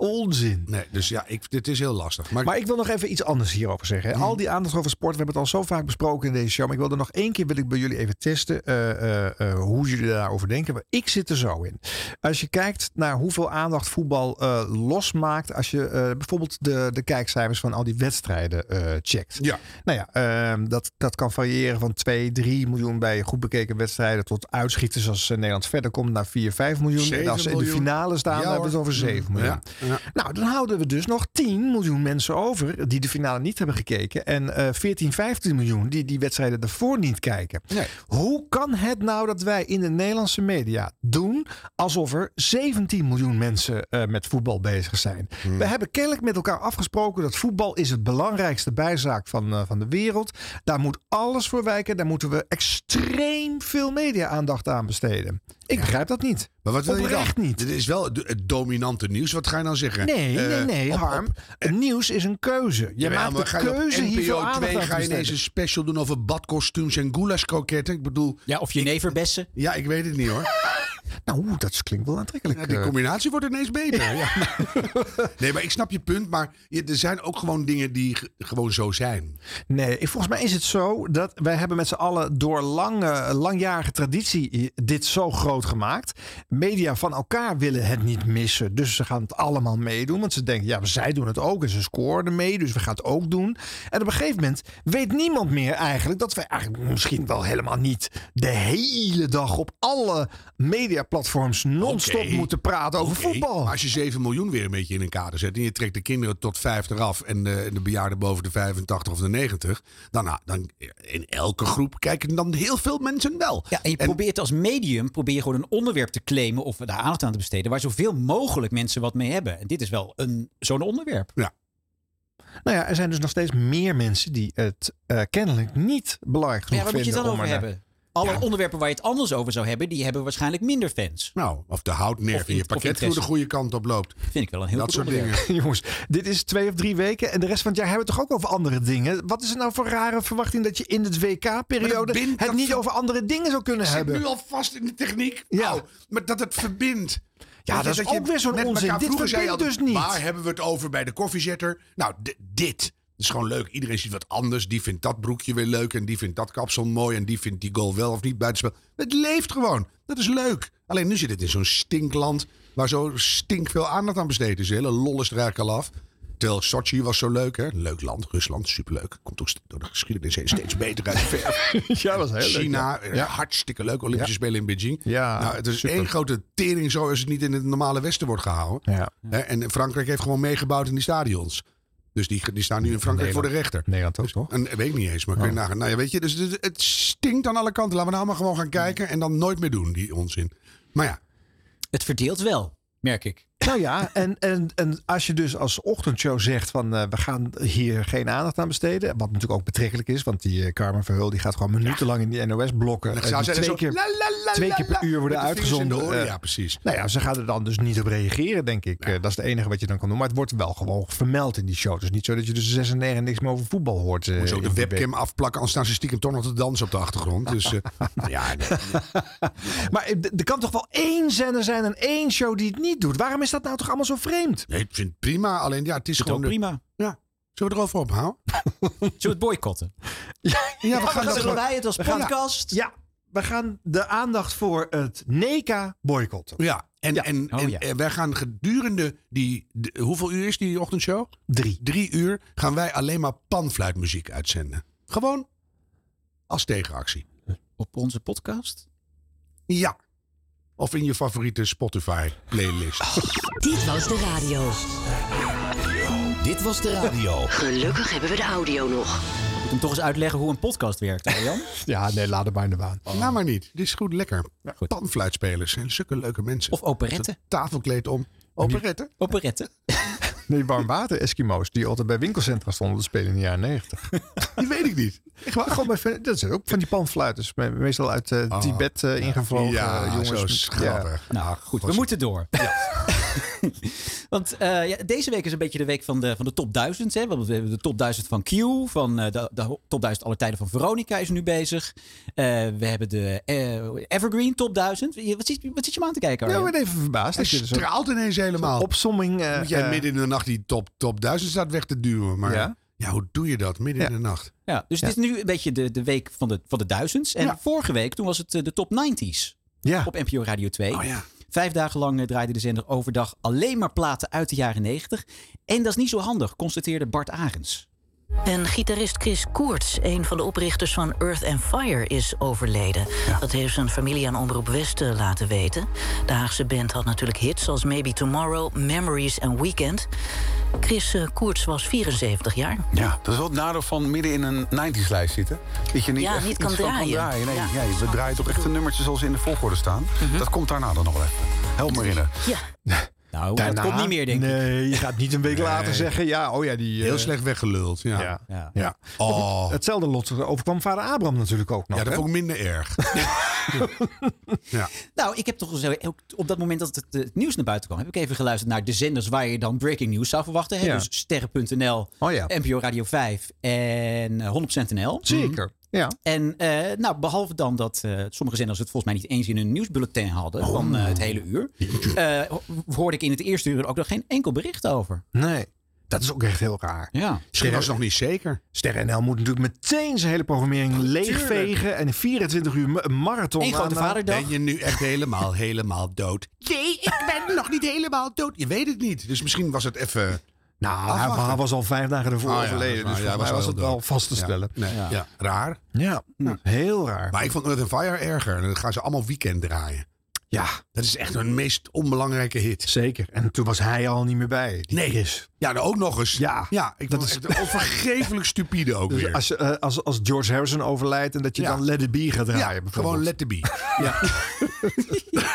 Speaker 2: Onzin.
Speaker 3: Nee, dus ja, ik, dit is heel lastig. Maar, Mhm.
Speaker 2: Maar ik wil nog even iets anders hierover zeggen. hè. Al die aandacht over sport, we hebben het al zo vaak besproken in deze show. Maar ik wil er nog één keer wil ik bij jullie even testen eh, eh, eh, hoe jullie daarover denken. Maar ik zit er zo in. Als je kijkt naar hoeveel aandacht voetbal eh, losmaakt. Als je eh, bijvoorbeeld de, de kijkcijfers van al die wedstrijden eh, checkt.
Speaker 3: ja,
Speaker 2: Nou ja, ehm, dat, dat kan variëren van 2, 3 miljoen bij goed bekeken wedstrijden. Tot uitschieters als eh, Nederland verder komt naar 4, 5 miljoen. En
Speaker 3: Zeven
Speaker 2: als ze in de
Speaker 3: miljoen.
Speaker 2: finale staan,
Speaker 3: Ja,
Speaker 2: dan hebben we het
Speaker 3: hoor. Mm. Mm-hmm.
Speaker 2: over 7 miljoen.
Speaker 3: Ja, ja.
Speaker 2: Nou, dan houden we dus nog 10 miljoen mensen over die de finale niet hebben gekeken. En eh, 14, 15 miljoen die die wedstrijden daarvoor niet kijken.
Speaker 3: Nee.
Speaker 2: Hoe kan het nou dat wij in de Nederlandse media doen alsof er 17 miljoen mensen eh, met voetbal bezig zijn?
Speaker 3: Hmm.
Speaker 2: We hebben kennelijk met elkaar afgesproken dat voetbal is het belangrijkste bijzaak van, eh, van de wereld. Daar moet alles voor wijken. Daar moeten we extreem veel media-aandacht aan besteden. Ik begrijp dat niet.
Speaker 3: Maar wat wil je
Speaker 2: Oprecht
Speaker 3: dan?
Speaker 2: niet.
Speaker 3: Dit is wel do- het dominante nieuws. Wat ga je nou zeggen?
Speaker 2: Nee,
Speaker 3: Eh,
Speaker 2: nee, nee,
Speaker 3: op- op- eh,
Speaker 2: Harm. het nieuws is een keuze. Je
Speaker 3: Jawel, maar
Speaker 2: maakt
Speaker 3: ga
Speaker 2: de
Speaker 3: je op
Speaker 2: keuze
Speaker 3: NPO
Speaker 2: hiervoor aandacht
Speaker 3: 2
Speaker 2: aan
Speaker 3: ga je
Speaker 2: te
Speaker 3: ineens een
Speaker 2: besteden.
Speaker 3: special doen over badkostuums en goulashkroketten. Ik bedoel,
Speaker 1: Ja, of jeneverbessen.
Speaker 3: ja, ik weet het niet hoor.
Speaker 2: Nou, oeh, dat klinkt wel aantrekkelijk.
Speaker 3: Ja, die
Speaker 2: eh.
Speaker 3: combinatie wordt ineens beter. Ja. nee, maar ik snap je punt. Maar je- er zijn ook gewoon dingen die ge- gewoon zo zijn.
Speaker 2: Nee, ik- volgens mij is het zo dat wij hebben met z'n allen door lange, langjarige traditie dit zo groot gemaakt. Media van elkaar willen het niet missen. Dus ze gaan het allemaal meedoen. Want ze denken, ja, maar zij doen het ook. En ze scoren mee, dus we gaan het ook doen. En op een gegeven moment weet niemand meer eigenlijk dat wij eigenlijk misschien wel helemaal niet de hele dag op alle mediaplatforms platforms non-stop
Speaker 3: Oké.
Speaker 2: moeten praten over
Speaker 3: Oké,
Speaker 2: voetbal.
Speaker 3: maar als je 7 miljoen weer een beetje in een kader zet. en je trekt de kinderen tot 50 af. en de, de bejaarden boven de 85 of de 90. dan, nou, dan in elke groep kijken dan heel veel mensen wel.
Speaker 1: Ja, en je probeert als medium probeer je gewoon een onderwerp te claimen of daar aandacht aan te besteden waar zoveel mogelijk mensen wat mee hebben. En dit is wel een, zo'n onderwerp.
Speaker 3: Ja.
Speaker 2: Nou ja, er zijn dus nog steeds meer mensen die het eh, kennelijk niet belangrijk genoeg
Speaker 1: Ja, waar moet je
Speaker 2: vinden.
Speaker 1: het dan
Speaker 2: om
Speaker 1: over
Speaker 2: er naar-
Speaker 1: hebben? Alle onderwerpen waar je het anders over zou hebben, die hebben waarschijnlijk minder fans.
Speaker 3: Nou, of de
Speaker 1: houtnerf
Speaker 3: in je pakket voor de goede kant op loopt.
Speaker 1: Vind ik wel een heel
Speaker 3: Dat
Speaker 1: goed
Speaker 3: soort
Speaker 1: onderwerp.
Speaker 3: dingen.
Speaker 2: Jongens, dit is twee of drie weken en de rest van het jaar hebben we het toch ook over andere dingen. Wat is het nou voor rare verwachting dat je in het
Speaker 3: Maar dat
Speaker 2: WK-periode
Speaker 3: bindt
Speaker 2: het
Speaker 3: dat
Speaker 2: niet
Speaker 3: ver-
Speaker 2: over andere dingen zou kunnen
Speaker 3: Ik zit
Speaker 2: hebben?
Speaker 3: nu al vast in de techniek.
Speaker 2: Ja.
Speaker 3: Oh, maar dat het verbindt.
Speaker 2: Ja,
Speaker 3: Weet je,
Speaker 2: dat is ook
Speaker 3: je
Speaker 2: weer zo'n
Speaker 3: met
Speaker 2: onzin.
Speaker 3: elkaar-
Speaker 2: Dit
Speaker 3: vroeger zei je
Speaker 2: verbindt
Speaker 3: altijd,
Speaker 2: dus niet.
Speaker 3: Waar hebben we het over bij de koffiezetter? Nou, d- dit. Het is gewoon leuk. Iedereen ziet wat anders. Die vindt dat broekje weer leuk. En die vindt dat kapsel mooi. En die vindt die goal wel of niet buitenspel. Het leeft gewoon. Dat is leuk. Alleen nu zit het in zo'n stinkland. Waar zo stink veel aandacht aan besteed is. De hele lol is er eigenlijk al af. Terwijl Sochi was zo leuk, hè? Leuk land, Rusland, superleuk. Komt ook st- door de geschiedenis heen steeds beter uit de verf.
Speaker 2: Ja, dat is heel leuk,
Speaker 3: China,
Speaker 2: ja.
Speaker 3: eh,
Speaker 2: Ja.
Speaker 3: hartstikke leuk. Olympische
Speaker 2: Ja.
Speaker 3: Spelen in Beijing.
Speaker 2: Ja,
Speaker 3: nou, het is
Speaker 2: super.
Speaker 3: één grote tering zo als het niet in het normale Westen wordt gehouden.
Speaker 2: Ja.
Speaker 3: Hè, En Frankrijk heeft gewoon meegebouwd in die stadions. Dus die, die staan nu in Frankrijk voor de rechter.
Speaker 2: Nederland ook, toch? Oh.
Speaker 3: En, weet ik niet eens, maar kun je nagaan. Nou ja, weet je, dus het, het stinkt aan alle kanten. Laten we nou maar gewoon gaan kijken en dan nooit meer doen, die onzin. Maar ja.
Speaker 1: Het verdeelt wel, merk ik.
Speaker 2: Nou ja, en, en, en als je dus als ochtendshow zegt van eh, we gaan hier geen aandacht aan besteden. Wat natuurlijk ook betrekkelijk is, want die eh, Carmen Verheul die gaat gewoon minutenlang in die NOS blokken. eh,
Speaker 3: En dan zou zij
Speaker 2: twee
Speaker 3: dan zo,
Speaker 2: keer,
Speaker 3: la, la, la,
Speaker 2: twee
Speaker 3: la,
Speaker 2: keer per
Speaker 3: la,
Speaker 2: uur worden
Speaker 3: met de vingers in de
Speaker 2: uitgezonden.
Speaker 3: oren,
Speaker 2: eh,
Speaker 3: ja, precies.
Speaker 2: Nou ja, ze gaan er dan dus niet op reageren, denk ik. Eh, dat is het enige wat je dan kan doen. Maar het wordt wel gewoon vermeld in die show. Dus niet zo dat je tussen 6 en 9 niks meer over voetbal hoort. eh,
Speaker 3: Moet je ook de
Speaker 2: in die week.
Speaker 3: webcam afplakken, anders staan ze stiekem toch nog te dansen op de achtergrond. Dus eh, ja, nee.
Speaker 2: Maar eh, d- er kan toch wel één zender zijn en één show die het niet doet? Waarom is dat nou toch allemaal zo vreemd?
Speaker 3: Nee, ik vind het prima. Alleen ja, het is
Speaker 1: Het
Speaker 3: gewoon...
Speaker 1: ook
Speaker 3: de-
Speaker 1: prima.
Speaker 3: Ja. Zullen we erover ophouden?
Speaker 1: Zullen we het boycotten?
Speaker 3: Ja, we
Speaker 1: Dan
Speaker 3: gaan dat
Speaker 1: zullen
Speaker 3: gewoon...
Speaker 1: wij het als
Speaker 2: we gaan-
Speaker 1: podcast.
Speaker 2: Ja, we gaan de aandacht voor het NECA boycotten.
Speaker 3: Ja, en, En,
Speaker 1: Oh,
Speaker 3: en,
Speaker 1: ja.
Speaker 3: en wij gaan gedurende die... de- hoeveel uur is die ochtendshow?
Speaker 2: Drie.
Speaker 3: Drie uur gaan wij alleen maar panfluitmuziek uitzenden. Gewoon als tegenactie.
Speaker 1: Op onze podcast.
Speaker 3: Ja. Of in je favoriete Spotify playlist.
Speaker 4: Dit was de radio.
Speaker 7: Dit was de radio.
Speaker 4: Gelukkig hebben we de audio nog.
Speaker 1: Moet hem toch eens uitleggen hoe een podcast werkt, hè, Jan?
Speaker 2: Ja, nee, laat het maar in de baan.
Speaker 3: Nou maar niet. Dit is goed lekker.
Speaker 1: goed.
Speaker 3: Panfluitspelers zijn zulke leuke mensen.
Speaker 1: Of operetten.
Speaker 3: Tafelkleed om. Operetten.
Speaker 1: Operetten.
Speaker 2: Nee, warm water Eskimo's die altijd bij winkelcentra stonden te spelen in de jaren 90.
Speaker 3: Die weet ik niet.
Speaker 2: Echt waar? Gewoon bij, fan- dat zijn ook van die panfluiters. me- Meestal uit eh, Tibet eh, ingevlogen.
Speaker 3: Ah, ja,
Speaker 2: eh,
Speaker 3: jongens. Zo
Speaker 2: jongens. Ja.
Speaker 3: schattig.
Speaker 1: Nou, goed, we
Speaker 3: was-
Speaker 1: moeten door. Want eh, ja, deze week is een beetje de week van de, van de top 1000. Hè? Want we hebben de top 1000 van Q, van eh, de, de top 1000 aller tijden van Veronica is nu bezig. Eh, we hebben de eh, Evergreen top 1000. Je- Wat zit, wat zit je me aan te kijken?
Speaker 2: Ja, ik
Speaker 1: Arjen?
Speaker 2: ben even verbaasd
Speaker 3: Hij
Speaker 2: dat je er zo'n
Speaker 3: straalt ineens helemaal.
Speaker 2: opsomming...
Speaker 1: Oh,
Speaker 2: eh,
Speaker 3: Moet jij
Speaker 2: eh,
Speaker 3: midden in de nacht die top, top 1000 staat weg te duwen. Maar ja,
Speaker 2: Ja.
Speaker 3: hoe doe je dat midden in de nacht?
Speaker 1: Ja, dus het is nu een beetje de, de week van de, van de duizends. En
Speaker 3: Ja.
Speaker 1: vorige week, toen was het eh, de top 90s
Speaker 2: ja.
Speaker 1: op NPO Radio 2.
Speaker 3: Oh ja.
Speaker 1: Vijf dagen lang eh, draaide de zender overdag alleen maar platen uit de jaren 90. En dat is niet zo handig, constateerde Bart Arends.
Speaker 4: En gitarist Chris Koerts, een van de oprichters van Earth and Fire, is overleden. Dat heeft zijn familie aan Omroep Westen laten weten. De Haagse band had natuurlijk hits als Maybe Tomorrow, Memories en Weekend. Chris eh, Koerts was 74 jaar.
Speaker 8: Ja, dat is wel het nadeel van midden in een 90s lijst zitten. Dat je niet,
Speaker 4: Ja,
Speaker 8: echt
Speaker 4: niet
Speaker 8: iets
Speaker 4: kan
Speaker 8: van
Speaker 4: draaien.
Speaker 8: Nee,
Speaker 4: Ja.
Speaker 8: nee, we draaien toch echt de nummertjes zoals ze in de volgorde staan.
Speaker 4: Mhm.
Speaker 8: Dat komt daarna dan nog wel even. Help me in.
Speaker 4: Ja,
Speaker 1: Nou,
Speaker 2: Daarna-
Speaker 1: dat komt niet meer, denk ik.
Speaker 2: Nee, je gaat niet een week later zeggen... Ja, oh ja, die... eh,
Speaker 3: Heel slecht weggeluld. Ja.
Speaker 2: Ja.
Speaker 1: Ja.
Speaker 2: ja.
Speaker 3: Oh.
Speaker 2: Hetzelfde lot overkwam vader Abraham natuurlijk ook nog.
Speaker 3: Ja, dat
Speaker 2: hè?
Speaker 3: vond ik minder erg. ja.
Speaker 1: Nou, ik heb toch zo, ook op dat moment dat het, eh, het nieuws naar buiten kwam, heb ik even geluisterd naar de zenders waar je dan breaking news zou verwachten. Hè?
Speaker 2: Ja.
Speaker 1: Dus sterren.nl,
Speaker 2: Oh ja.
Speaker 1: NPO Radio 5 en eh, 100% NL.
Speaker 2: Zeker. Ja.
Speaker 1: Mm. En eh, nou, behalve dan dat eh, sommige zenders het volgens mij niet eens in hun nieuwsbulletin hadden
Speaker 3: Oh.
Speaker 1: van eh, het hele uur, eh, ho- hoorde ik in het eerste uur ook nog geen enkel bericht over.
Speaker 2: Nee. Dat is ook echt heel raar.
Speaker 1: Ja.
Speaker 3: Misschien was het nog niet zeker.
Speaker 2: Ster NL moet natuurlijk meteen zijn hele programmering leegvegen. En in 24 uur ma- een marathon.
Speaker 1: Eén grote
Speaker 2: aan-
Speaker 1: vaderdag.
Speaker 3: Ben je nu echt helemaal, helemaal dood? Nee, ik ben nog niet helemaal dood. Je weet het niet. Dus misschien was het even...
Speaker 2: Nou, hij,
Speaker 3: Afwachten.
Speaker 2: hij was al vijf dagen ervoor
Speaker 3: Ah, ja, dat is
Speaker 2: overleden.
Speaker 3: waar.
Speaker 2: dus
Speaker 3: Ja,
Speaker 2: volgens
Speaker 3: hij
Speaker 2: mij
Speaker 3: was al
Speaker 2: was het
Speaker 3: dood.
Speaker 2: wel vast te stellen.
Speaker 3: Nee, ja. Raar. Hm.
Speaker 2: Ja. Heel raar.
Speaker 3: Maar ik vond Earth and Fire erger. Dan gaan ze allemaal weekend draaien.
Speaker 2: Ja.
Speaker 3: Dat is echt een meest onbelangrijke hit.
Speaker 2: Zeker. En toen was hij al niet meer bij.
Speaker 3: Nee. Ja, nou ook nog eens.
Speaker 2: Ja.
Speaker 3: Ja, ik
Speaker 2: Dat
Speaker 3: vond
Speaker 2: is-
Speaker 3: het echt onvergeeflijk stupide ook
Speaker 2: Dus
Speaker 3: weer.
Speaker 2: als, je, eh, als, als George Harrison overlijdt en dat je
Speaker 3: Ja.
Speaker 2: dan Let It Be gaat draaien.
Speaker 3: ja,
Speaker 2: bijvoorbeeld.
Speaker 3: gewoon let the be.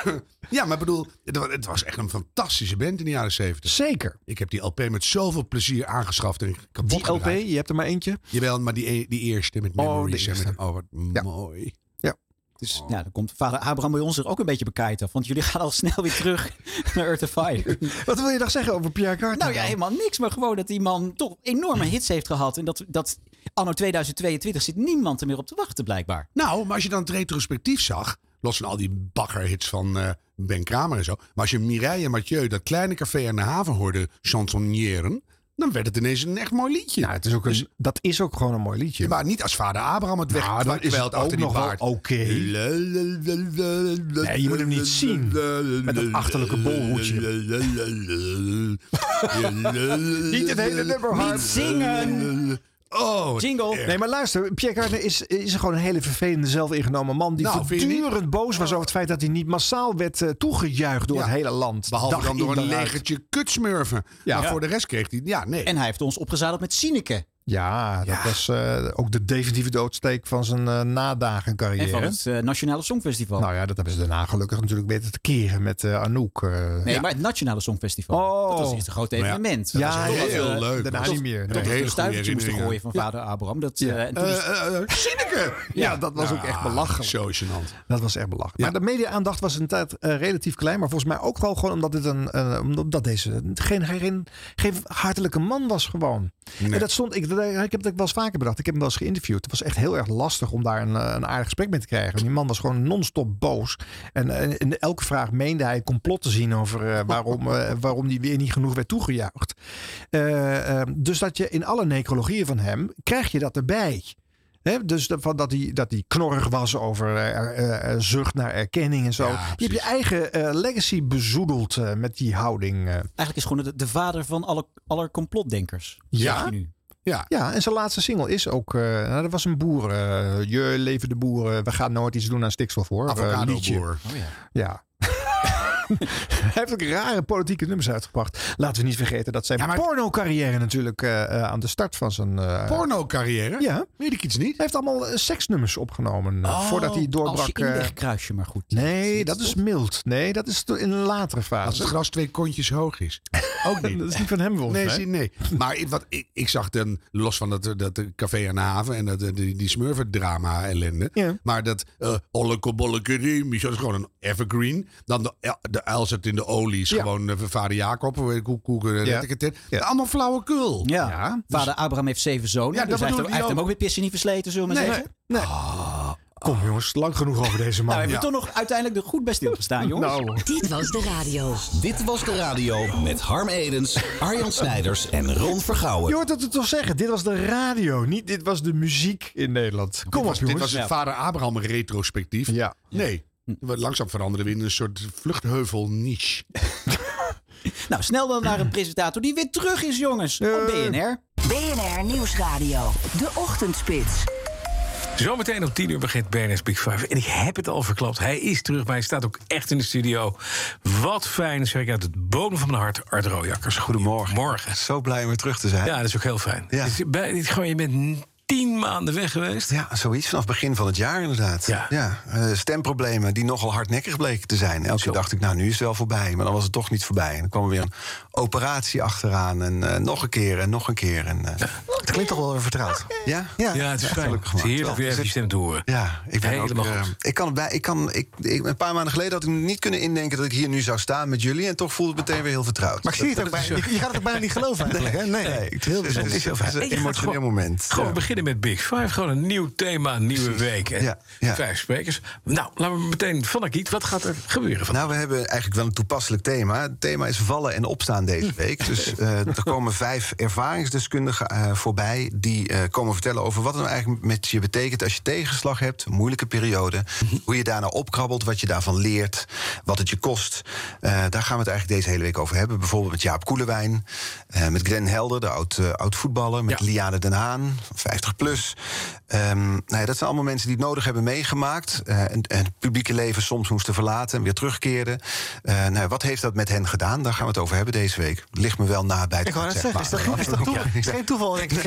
Speaker 3: Ja. ja, maar ik bedoel, het wa- het was echt een fantastische band in de jaren zeventig.
Speaker 2: Zeker.
Speaker 3: Ik heb die LP met zoveel plezier aangeschaft. En ik heb hem
Speaker 2: Die LP,
Speaker 3: opgedraaid.
Speaker 2: je hebt er maar eentje.
Speaker 3: Jawel, maar die, e- die eerste met
Speaker 2: Oh, de
Speaker 3: Memories. en met-
Speaker 2: eerste.
Speaker 3: Oh, wat mooi. Oh.
Speaker 1: Dus nou, dan komt vader Abraham bij ons er ook een beetje bekijkt af. Want jullie gaan al snel weer terug naar Earth of Fire.
Speaker 2: Wat wil je nog zeggen over Pierre Carter?
Speaker 1: nou ja,
Speaker 2: dan?
Speaker 1: helemaal niks. Maar gewoon dat die man toch enorme hits heeft gehad. En dat, dat anno 2022 zit niemand er meer op te wachten blijkbaar.
Speaker 3: Nou, maar als je dan het retrospectief zag, los van al die baggerhits van eh, Ben Kramer en zo. Maar als je Mireille en Mathieu dat kleine café aan de haven hoorde chansonnieren, dan werd het ineens een echt mooi liedje.
Speaker 2: Nou, het is ook een- dat is ook gewoon een mooi liedje.
Speaker 3: maar niet als vader Abraham het
Speaker 2: Nou,
Speaker 3: weg
Speaker 2: dan is het ook nog wel oké.
Speaker 3: Nee,
Speaker 2: Nee, je moet hem niet zien. Met dat achterlijke bolhoedje. Niet het hele nummer hard.
Speaker 1: Niet zingen!
Speaker 3: Oh, wat
Speaker 1: Jingle!
Speaker 2: Nee, maar luister, Pierre Carter is, is gewoon een hele vervelende, zelfingenomen man. Die
Speaker 3: Nou, vind je niet?
Speaker 2: voortdurend boos was over het feit dat hij niet massaal werd eh, toegejuicht door
Speaker 3: Ja.
Speaker 2: het hele land.
Speaker 3: Behalve
Speaker 2: Dag
Speaker 3: dan
Speaker 2: in,
Speaker 3: door een
Speaker 2: dag uit.
Speaker 3: legertje kutsmurven.
Speaker 2: Ja.
Speaker 3: Maar voor de rest kreeg hij... Ja, nee.
Speaker 1: En hij heeft ons opgezadeld met Sineke.
Speaker 2: Ja, dat was eh, ook de definitieve doodsteek van zijn eh,
Speaker 1: En
Speaker 2: nadagencarrière.
Speaker 1: van het eh, Nationale Songfestival.
Speaker 2: Nou ja, dat hebben ze daarna gelukkig natuurlijk weten te keren met eh, Anouk. eh.
Speaker 1: nee, maar het Nationale Songfestival.
Speaker 2: Oh.
Speaker 1: Dat was eerst een groot
Speaker 3: ja,
Speaker 1: evenement. Dat was
Speaker 2: ja,
Speaker 1: heel
Speaker 3: heel
Speaker 1: veel, eh,
Speaker 3: leuk.
Speaker 2: Daarna
Speaker 3: hoor.
Speaker 2: niet meer.
Speaker 1: Dat
Speaker 3: Hele
Speaker 2: nee.
Speaker 1: ik
Speaker 3: goede
Speaker 1: een stuivertje moest
Speaker 3: herinneringen.
Speaker 1: gooien van vader Abraham. Dat, eh, en toen Ah, is-
Speaker 3: Eh, eh, eh, Sineke!
Speaker 2: Ja, dat was ook echt belachelijk.
Speaker 3: Zo gênant.
Speaker 2: Dat was echt belachelijk.
Speaker 3: Ja.
Speaker 2: Maar de media-aandacht was een tijd eh, relatief klein. Maar volgens mij ook wel gewoon omdat, dit een, eh, omdat deze geen, geen, geen hartelijke man was gewoon. En dat stond, ik, ik heb het ook wel eens vaker bedacht. Ik heb hem wel eens geïnterviewd. Het was echt heel erg lastig om daar een, eh, een aardig gesprek mee te krijgen. Die man was gewoon non-stop boos. En eh, in elke vraag meende hij een complot te zien over eh, waarom, eh, waarom die weer niet genoeg werd toegejuicht. Eh, eh, dus dat je in alle necrologieën van hem, krijg je dat erbij. Hè, dus dat, van dat, hij, dat hij knorrig was over eh, eh, eh, zucht naar erkenning en zo. je hebt je eigen eh, legacy bezoedeld eh, met die houding. eh.
Speaker 1: Eigenlijk is gewoon de, de vader van alle, aller complotdenkers.
Speaker 2: Ja?
Speaker 1: Zeg je nu.
Speaker 2: Ja, en zijn laatste single is ook. eh nou, dat was een boer. eh, je leven de boeren. We gaan nooit iets doen aan stikstof hoor. Eh, liedje.
Speaker 3: Avocado-boer.
Speaker 1: Oh ja.
Speaker 2: Ja. Hij heeft ook rare politieke nummers uitgebracht. Laten we niet vergeten dat zijn
Speaker 3: Ja, maar-
Speaker 2: porno-carrière natuurlijk eh, eh, aan de start van zijn. eh,
Speaker 3: Porno-carrière?
Speaker 2: Ja.
Speaker 3: Weet ik iets niet.
Speaker 2: Hij heeft allemaal eh, seksnummers opgenomen eh,
Speaker 3: Oh,
Speaker 2: voordat
Speaker 1: Als
Speaker 2: hij
Speaker 1: je
Speaker 2: doorbrak. eh,
Speaker 1: inlegkruisje maar goed.
Speaker 2: nee, dat is mild. Nee, dat is in een latere
Speaker 3: Als
Speaker 2: fase.
Speaker 3: het gras twee kontjes hoog is. Ook niet.
Speaker 2: Dat is niet van hem volgens
Speaker 3: Nee,
Speaker 2: mij.
Speaker 3: zie- nee. Maar ik- wat, ik, ik zag dan, los van dat, dat café aan de haven en dat, die, die smurfen-drama ellende.
Speaker 2: Ja.
Speaker 3: Maar dat eh ollekebollekerimis, dat is gewoon een evergreen. Dan de, el- de uil zit in de olie, is
Speaker 2: Ja.
Speaker 3: gewoon eh, vader Jacob, hoe hoe- hoe- hoe-
Speaker 2: Ja.
Speaker 3: red ik het in.
Speaker 2: Ja.
Speaker 3: Allemaal flauwekul.
Speaker 1: Ja.
Speaker 2: Ja,
Speaker 1: Vader Abraham heeft zeven zonen.
Speaker 3: Ja, dat
Speaker 1: dus hij heeft,
Speaker 3: bedoel
Speaker 1: hem,
Speaker 3: ik
Speaker 1: hij heeft hem
Speaker 3: ook.
Speaker 1: ook met pissen niet versleten, zullen we maar
Speaker 3: Nee, Ah.
Speaker 1: zeggen.
Speaker 2: Kom jongens, lang genoeg over deze man.
Speaker 1: nou, we
Speaker 2: Ja.
Speaker 1: hebben we toch nog uiteindelijk er goed bij stilgestaan, jongens.
Speaker 2: Nou,
Speaker 7: Dit was de radio. Dit was de radio met Harm Edens, Arjan Snijders en Ron
Speaker 2: je
Speaker 7: Vergouwen.
Speaker 2: hoort het er toch zeggen. Dit was de radio, niet dit was de muziek in Nederland. Kom op
Speaker 3: Dit
Speaker 2: jongens.
Speaker 3: was het
Speaker 1: Ja.
Speaker 3: vader Abraham retrospectief.
Speaker 2: Ja.
Speaker 3: Nee, we- langzaam veranderen we in een soort vluchtheuvel-niche.
Speaker 1: Nou, snel dan naar een presentator die weer terug is, jongens.
Speaker 3: Eh.
Speaker 1: Op BNR.
Speaker 12: BNR Nieuwsradio. De Ochtendspits.
Speaker 9: Zometeen om 10 uur begint BNS Big Five. En ik heb het al verklapt. Hij is terug bij. Hij staat ook echt in de studio. Wat fijn, zeg ik uit het bodem van mijn hart, Art Rooijakkers. Goedemorgen. Morgen.
Speaker 13: Zo blij om weer terug te zijn.
Speaker 9: Ja, dat is ook heel fijn.
Speaker 13: Ja.
Speaker 9: Dus je bent- gewoon, je bent tien maanden weg geweest.
Speaker 13: Ja, zoiets vanaf begin van het jaar inderdaad.
Speaker 9: Ja.
Speaker 13: eh, stemproblemen die nogal hardnekkig bleken te zijn. Elke keer dacht ik, nou nu is het wel voorbij. Maar dan was het toch niet voorbij. En dan kwam er weer een operatie achteraan. En eh, nog een keer en nog een keer. En, eh, het klinkt toch wel weer vertrouwd. Ja,
Speaker 9: Ja, het is
Speaker 13: echt
Speaker 9: fijn.
Speaker 13: gelukkig
Speaker 9: Het is
Speaker 13: gemaakt.
Speaker 9: heerlijk weer
Speaker 13: Wel,
Speaker 9: even je
Speaker 13: dus
Speaker 9: stem te horen.
Speaker 13: het- Ja, ik ben ook,
Speaker 9: Helemaal
Speaker 13: eh,
Speaker 9: goed.
Speaker 13: ik kan, het bij, ik kan, ik, ik, een paar maanden geleden had ik niet kunnen indenken dat ik hier nu zou staan met jullie. En toch voelde het meteen weer heel vertrouwd.
Speaker 9: Maar ik zie het ook bij-
Speaker 13: je gaat het bijna niet geloven eigenlijk. Nee, nee, het is heel bijzonder. Het is,
Speaker 9: En
Speaker 13: een
Speaker 9: je gaat
Speaker 13: emotioneel
Speaker 9: gewoon-
Speaker 13: moment.
Speaker 9: Gewoon
Speaker 13: Ja.
Speaker 9: beginnen met Big Five. Gewoon een nieuw thema, een nieuwe week. En
Speaker 13: Ja, ja.
Speaker 9: Vijf sprekers. Nou, laten we meteen van Akiet. Wat gaat er gebeuren vandaag?
Speaker 13: Nou, we hebben eigenlijk wel een toepasselijk thema. Het thema is vallen en opstaan deze week. Dus eh, er komen vijf ervaringsdeskundigen eh, voorbij... die eh, komen vertellen over wat het nou eigenlijk met je betekent... als je tegenslag hebt, moeilijke periode... hoe je daarna opkrabbelt, wat je daarvan leert, wat het je kost. Eh, daar gaan we het eigenlijk deze hele week over hebben. Bijvoorbeeld met Jaap Koelewijn, eh, met Glenn Helder, de oud, eh, oud-voetballer... met
Speaker 9: Ja.
Speaker 13: Liane Den Haan, 50 50 plus. Ehm, nou ja, dat zijn allemaal mensen die het nodig hebben meegemaakt. eh, en, en het publieke leven soms moesten verlaten en weer terugkeerden. Eh, nou, ja, wat heeft dat met hen gedaan? Daar gaan we het over hebben deze week. Ligt me wel na bij het
Speaker 14: Ik wou
Speaker 13: hart,
Speaker 14: net
Speaker 13: zeg
Speaker 14: zeggen, is
Speaker 13: maar.
Speaker 14: dat, is dat toeval? Is geen toeval. denk ik.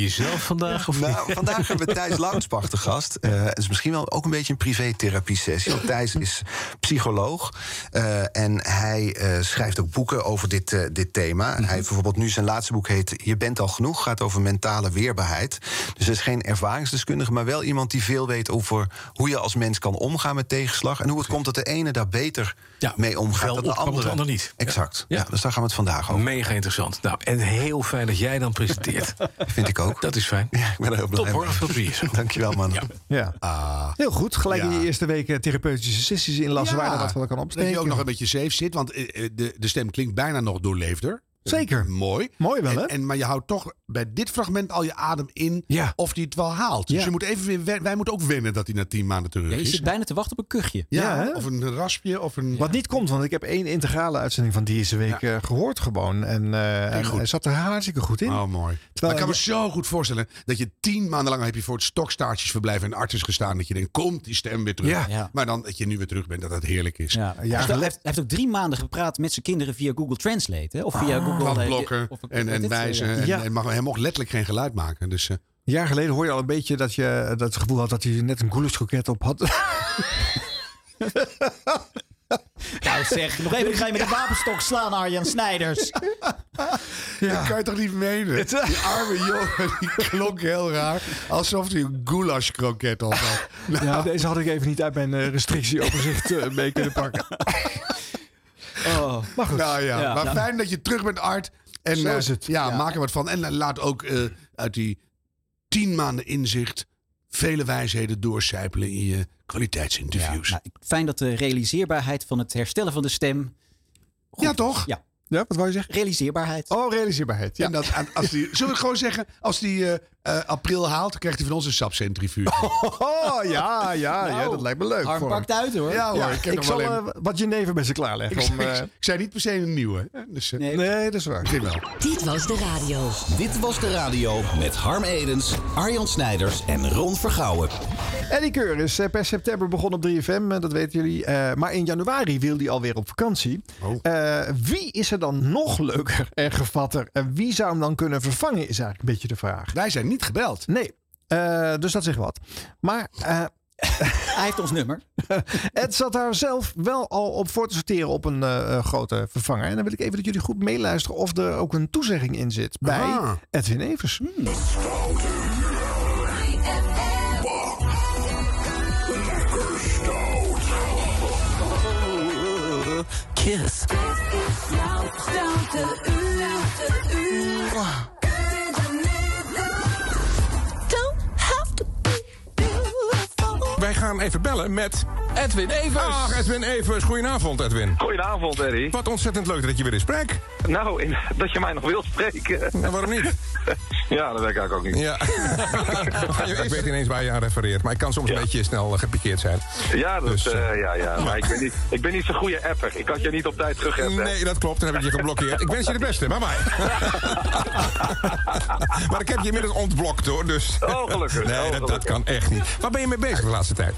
Speaker 9: jezelf vandaag? Of
Speaker 13: nou, vandaag hebben we Thijs Launsbach te gast. Eh, Het is misschien wel ook een beetje een privé-therapie-sessie. Want Thijs is psycholoog. eh, en hij eh, schrijft ook boeken over dit, eh, dit thema.
Speaker 3: Mhm.
Speaker 13: Hij heeft bijvoorbeeld nu zijn laatste boek heet Je bent al genoeg. Gaat over mentale weerbaarheid. Dus hij is geen ervaringsdeskundige, maar wel iemand die veel weet over hoe je als mens kan omgaan met tegenslag. En hoe het komt dat de ene daar beter mee omgaat
Speaker 9: wel
Speaker 13: dan de
Speaker 9: opkwam,
Speaker 13: andere.
Speaker 9: het ander niet.
Speaker 13: Exact. Ja. dus daar gaan we het vandaag over.
Speaker 9: Mega interessant. Nou, en heel fijn dat jij dan presenteert.
Speaker 13: Vind ik ook.
Speaker 9: Dat is fijn.
Speaker 13: Ja, ik ben er heel blij
Speaker 9: Top hoor,
Speaker 13: mee.
Speaker 9: veel plezier.
Speaker 13: Dankjewel, man.
Speaker 2: Ja.
Speaker 3: Ah.
Speaker 2: Heel goed. Gelijk in je eerste weken therapeutische sessies inlassen waar je wat van
Speaker 3: Dat
Speaker 2: kan
Speaker 3: je
Speaker 2: opsteken.
Speaker 3: ook nog een beetje safe zit, want eh, eh, de, de stem klinkt bijna nog doorleefder. Eh,
Speaker 2: Zeker.
Speaker 3: Mooi.
Speaker 2: Mooi wel,
Speaker 3: en,
Speaker 2: hè?
Speaker 3: En, maar je houdt toch bij dit fragment al je adem in of die het wel haalt. Dus
Speaker 2: Ja.
Speaker 3: je moet even weer, wen- wij moeten ook wennen dat hij na tien maanden terug
Speaker 2: Ja, je
Speaker 3: is.
Speaker 2: zit
Speaker 1: bijna te wachten op een kuchje.
Speaker 3: Ja,
Speaker 2: Ja, hè?
Speaker 3: of een raspje. Of een...
Speaker 2: Wat niet komt, want ik heb één integrale uitzending van deze week eh, gehoord gewoon. En, eh, en
Speaker 3: goed.
Speaker 2: hij zat er hartstikke goed in.
Speaker 3: Oh, mooi. Maar ik kan me zo goed voorstellen dat je tien maanden lang heb je voor het stokstaartjesverblijf en artis gestaan. Dat je denkt, komt die stem weer terug.
Speaker 2: Ja.
Speaker 3: Maar dan dat je nu weer terug bent, dat dat heerlijk is.
Speaker 1: Ja, Dus hij, heeft, hij heeft ook drie maanden gepraat met zijn kinderen via Google Translate. Hè? Of via
Speaker 2: Ah.
Speaker 1: Google... eh,
Speaker 3: Handblokken
Speaker 1: of- eh, of-
Speaker 3: Ah. en, en
Speaker 1: dit-
Speaker 3: wijzen. En,
Speaker 1: Ja.
Speaker 3: en mag, hij mocht letterlijk geen geluid maken. Dus, eh,
Speaker 2: Een jaar geleden hoor je al een beetje dat je dat het gevoel had dat hij net een koeleskroket op had.
Speaker 1: Nou zeg, nog even ga je met een wapenstok slaan, Arjan Snijders.
Speaker 3: Dat kan je toch niet menen? Die arme jongen, die klonk heel raar. Alsof hij een goulash kroket al had. Nou.
Speaker 2: Ja, deze had ik even niet uit mijn eh, restrictieoverzicht eh, mee kunnen pakken.
Speaker 1: Maar
Speaker 2: goed.
Speaker 3: Nou ja,
Speaker 2: Ja.
Speaker 3: maar
Speaker 2: Nou.
Speaker 3: fijn dat je terug bent, Art. En
Speaker 2: Zo
Speaker 3: eh,
Speaker 2: is het.
Speaker 3: Ja,
Speaker 2: Ja.
Speaker 3: maak er wat van. En eh, laat ook eh, uit die tien maanden inzicht vele wijsheden doorcijpelen in je kwaliteitsinterviews. Ja,
Speaker 1: nou, Fijn dat de realiseerbaarheid van het herstellen van de stem...
Speaker 3: toch?
Speaker 1: Ja.
Speaker 2: ja, wat wou je zeggen?
Speaker 1: Realiseerbaarheid.
Speaker 2: Oh, realiseerbaarheid.
Speaker 3: En dat, aan- als die, zullen we gewoon zeggen, als die eh, eh, april haalt, krijgt hij van ons een sapcentrifuge.
Speaker 2: Oh, ja, ja, ja, dat lijkt me leuk.
Speaker 3: Nou, Harm
Speaker 2: voor hem.
Speaker 3: pakt uit, hoor. Ja, hoor, ik heb nog
Speaker 2: zal
Speaker 3: wel een-
Speaker 2: eh, wat jenever bij ze klaarleggen.
Speaker 3: Ik,
Speaker 2: om,
Speaker 3: zei-
Speaker 2: eh,
Speaker 3: ik zei niet per se een nieuwe. hè, Dus, eh,
Speaker 2: nee. dat is waar.
Speaker 3: Begin wel.
Speaker 7: Dit was de radio. Dit was de radio met Harm Edens, Arjan Snijders en Ron Vergouwen.
Speaker 2: Eddie Keur is eh, per september begonnen op 3FM, eh, dat weten jullie. Eh, maar in januari wil hij alweer op vakantie.
Speaker 3: Oh.
Speaker 2: Eh, wie is er dan nog leuker en gevatter? En wie zou hem dan kunnen vervangen, is eigenlijk een beetje de vraag.
Speaker 3: Wij zijn niet gebeld.
Speaker 2: Nee, Eh, dus dat zegt wat. Maar...
Speaker 1: Hij heeft ons nummer.
Speaker 2: Het zat daar zelf wel al op voor te sorteren op een eh, eh, grote vervanger. En dan wil ik even dat jullie goed meeluisteren of er ook een toezegging in zit bij
Speaker 6: Ah.
Speaker 2: Edwin Evers.
Speaker 1: Hmm.
Speaker 4: Kiss.
Speaker 15: Wij gaan even bellen met Edwin Evers. Ach, Edwin Evers. Goedenavond, Edwin.
Speaker 16: Goedenavond, Eddie.
Speaker 15: Wat ontzettend leuk dat je weer in spreekt.
Speaker 16: Nou, in- dat je mij nog wilt spreken.
Speaker 15: Nou, waarom niet?
Speaker 16: ja, dat werkt eigenlijk ook niet.
Speaker 15: Ja. ik weet ineens waar je aan refereert, maar ik kan soms een beetje snel eh, gepikeerd zijn.
Speaker 16: Ja, dat,
Speaker 15: Dus,
Speaker 16: eh,
Speaker 15: eh,
Speaker 16: ja, ja. Maar ik ben, niet, ik ben niet zo'n goede apper. Ik had je niet op tijd terug hebben.
Speaker 15: Nee, dat klopt. Dan heb ik je geblokkeerd. Ik wens je de beste. Bye bye. maar ik heb je inmiddels ontblokt hoor. Dus.
Speaker 16: Oh, gelukkig.
Speaker 15: Nee,
Speaker 16: Oh,
Speaker 15: dat, dat kan echt niet. Waar ben je mee bezig de laatste tijd?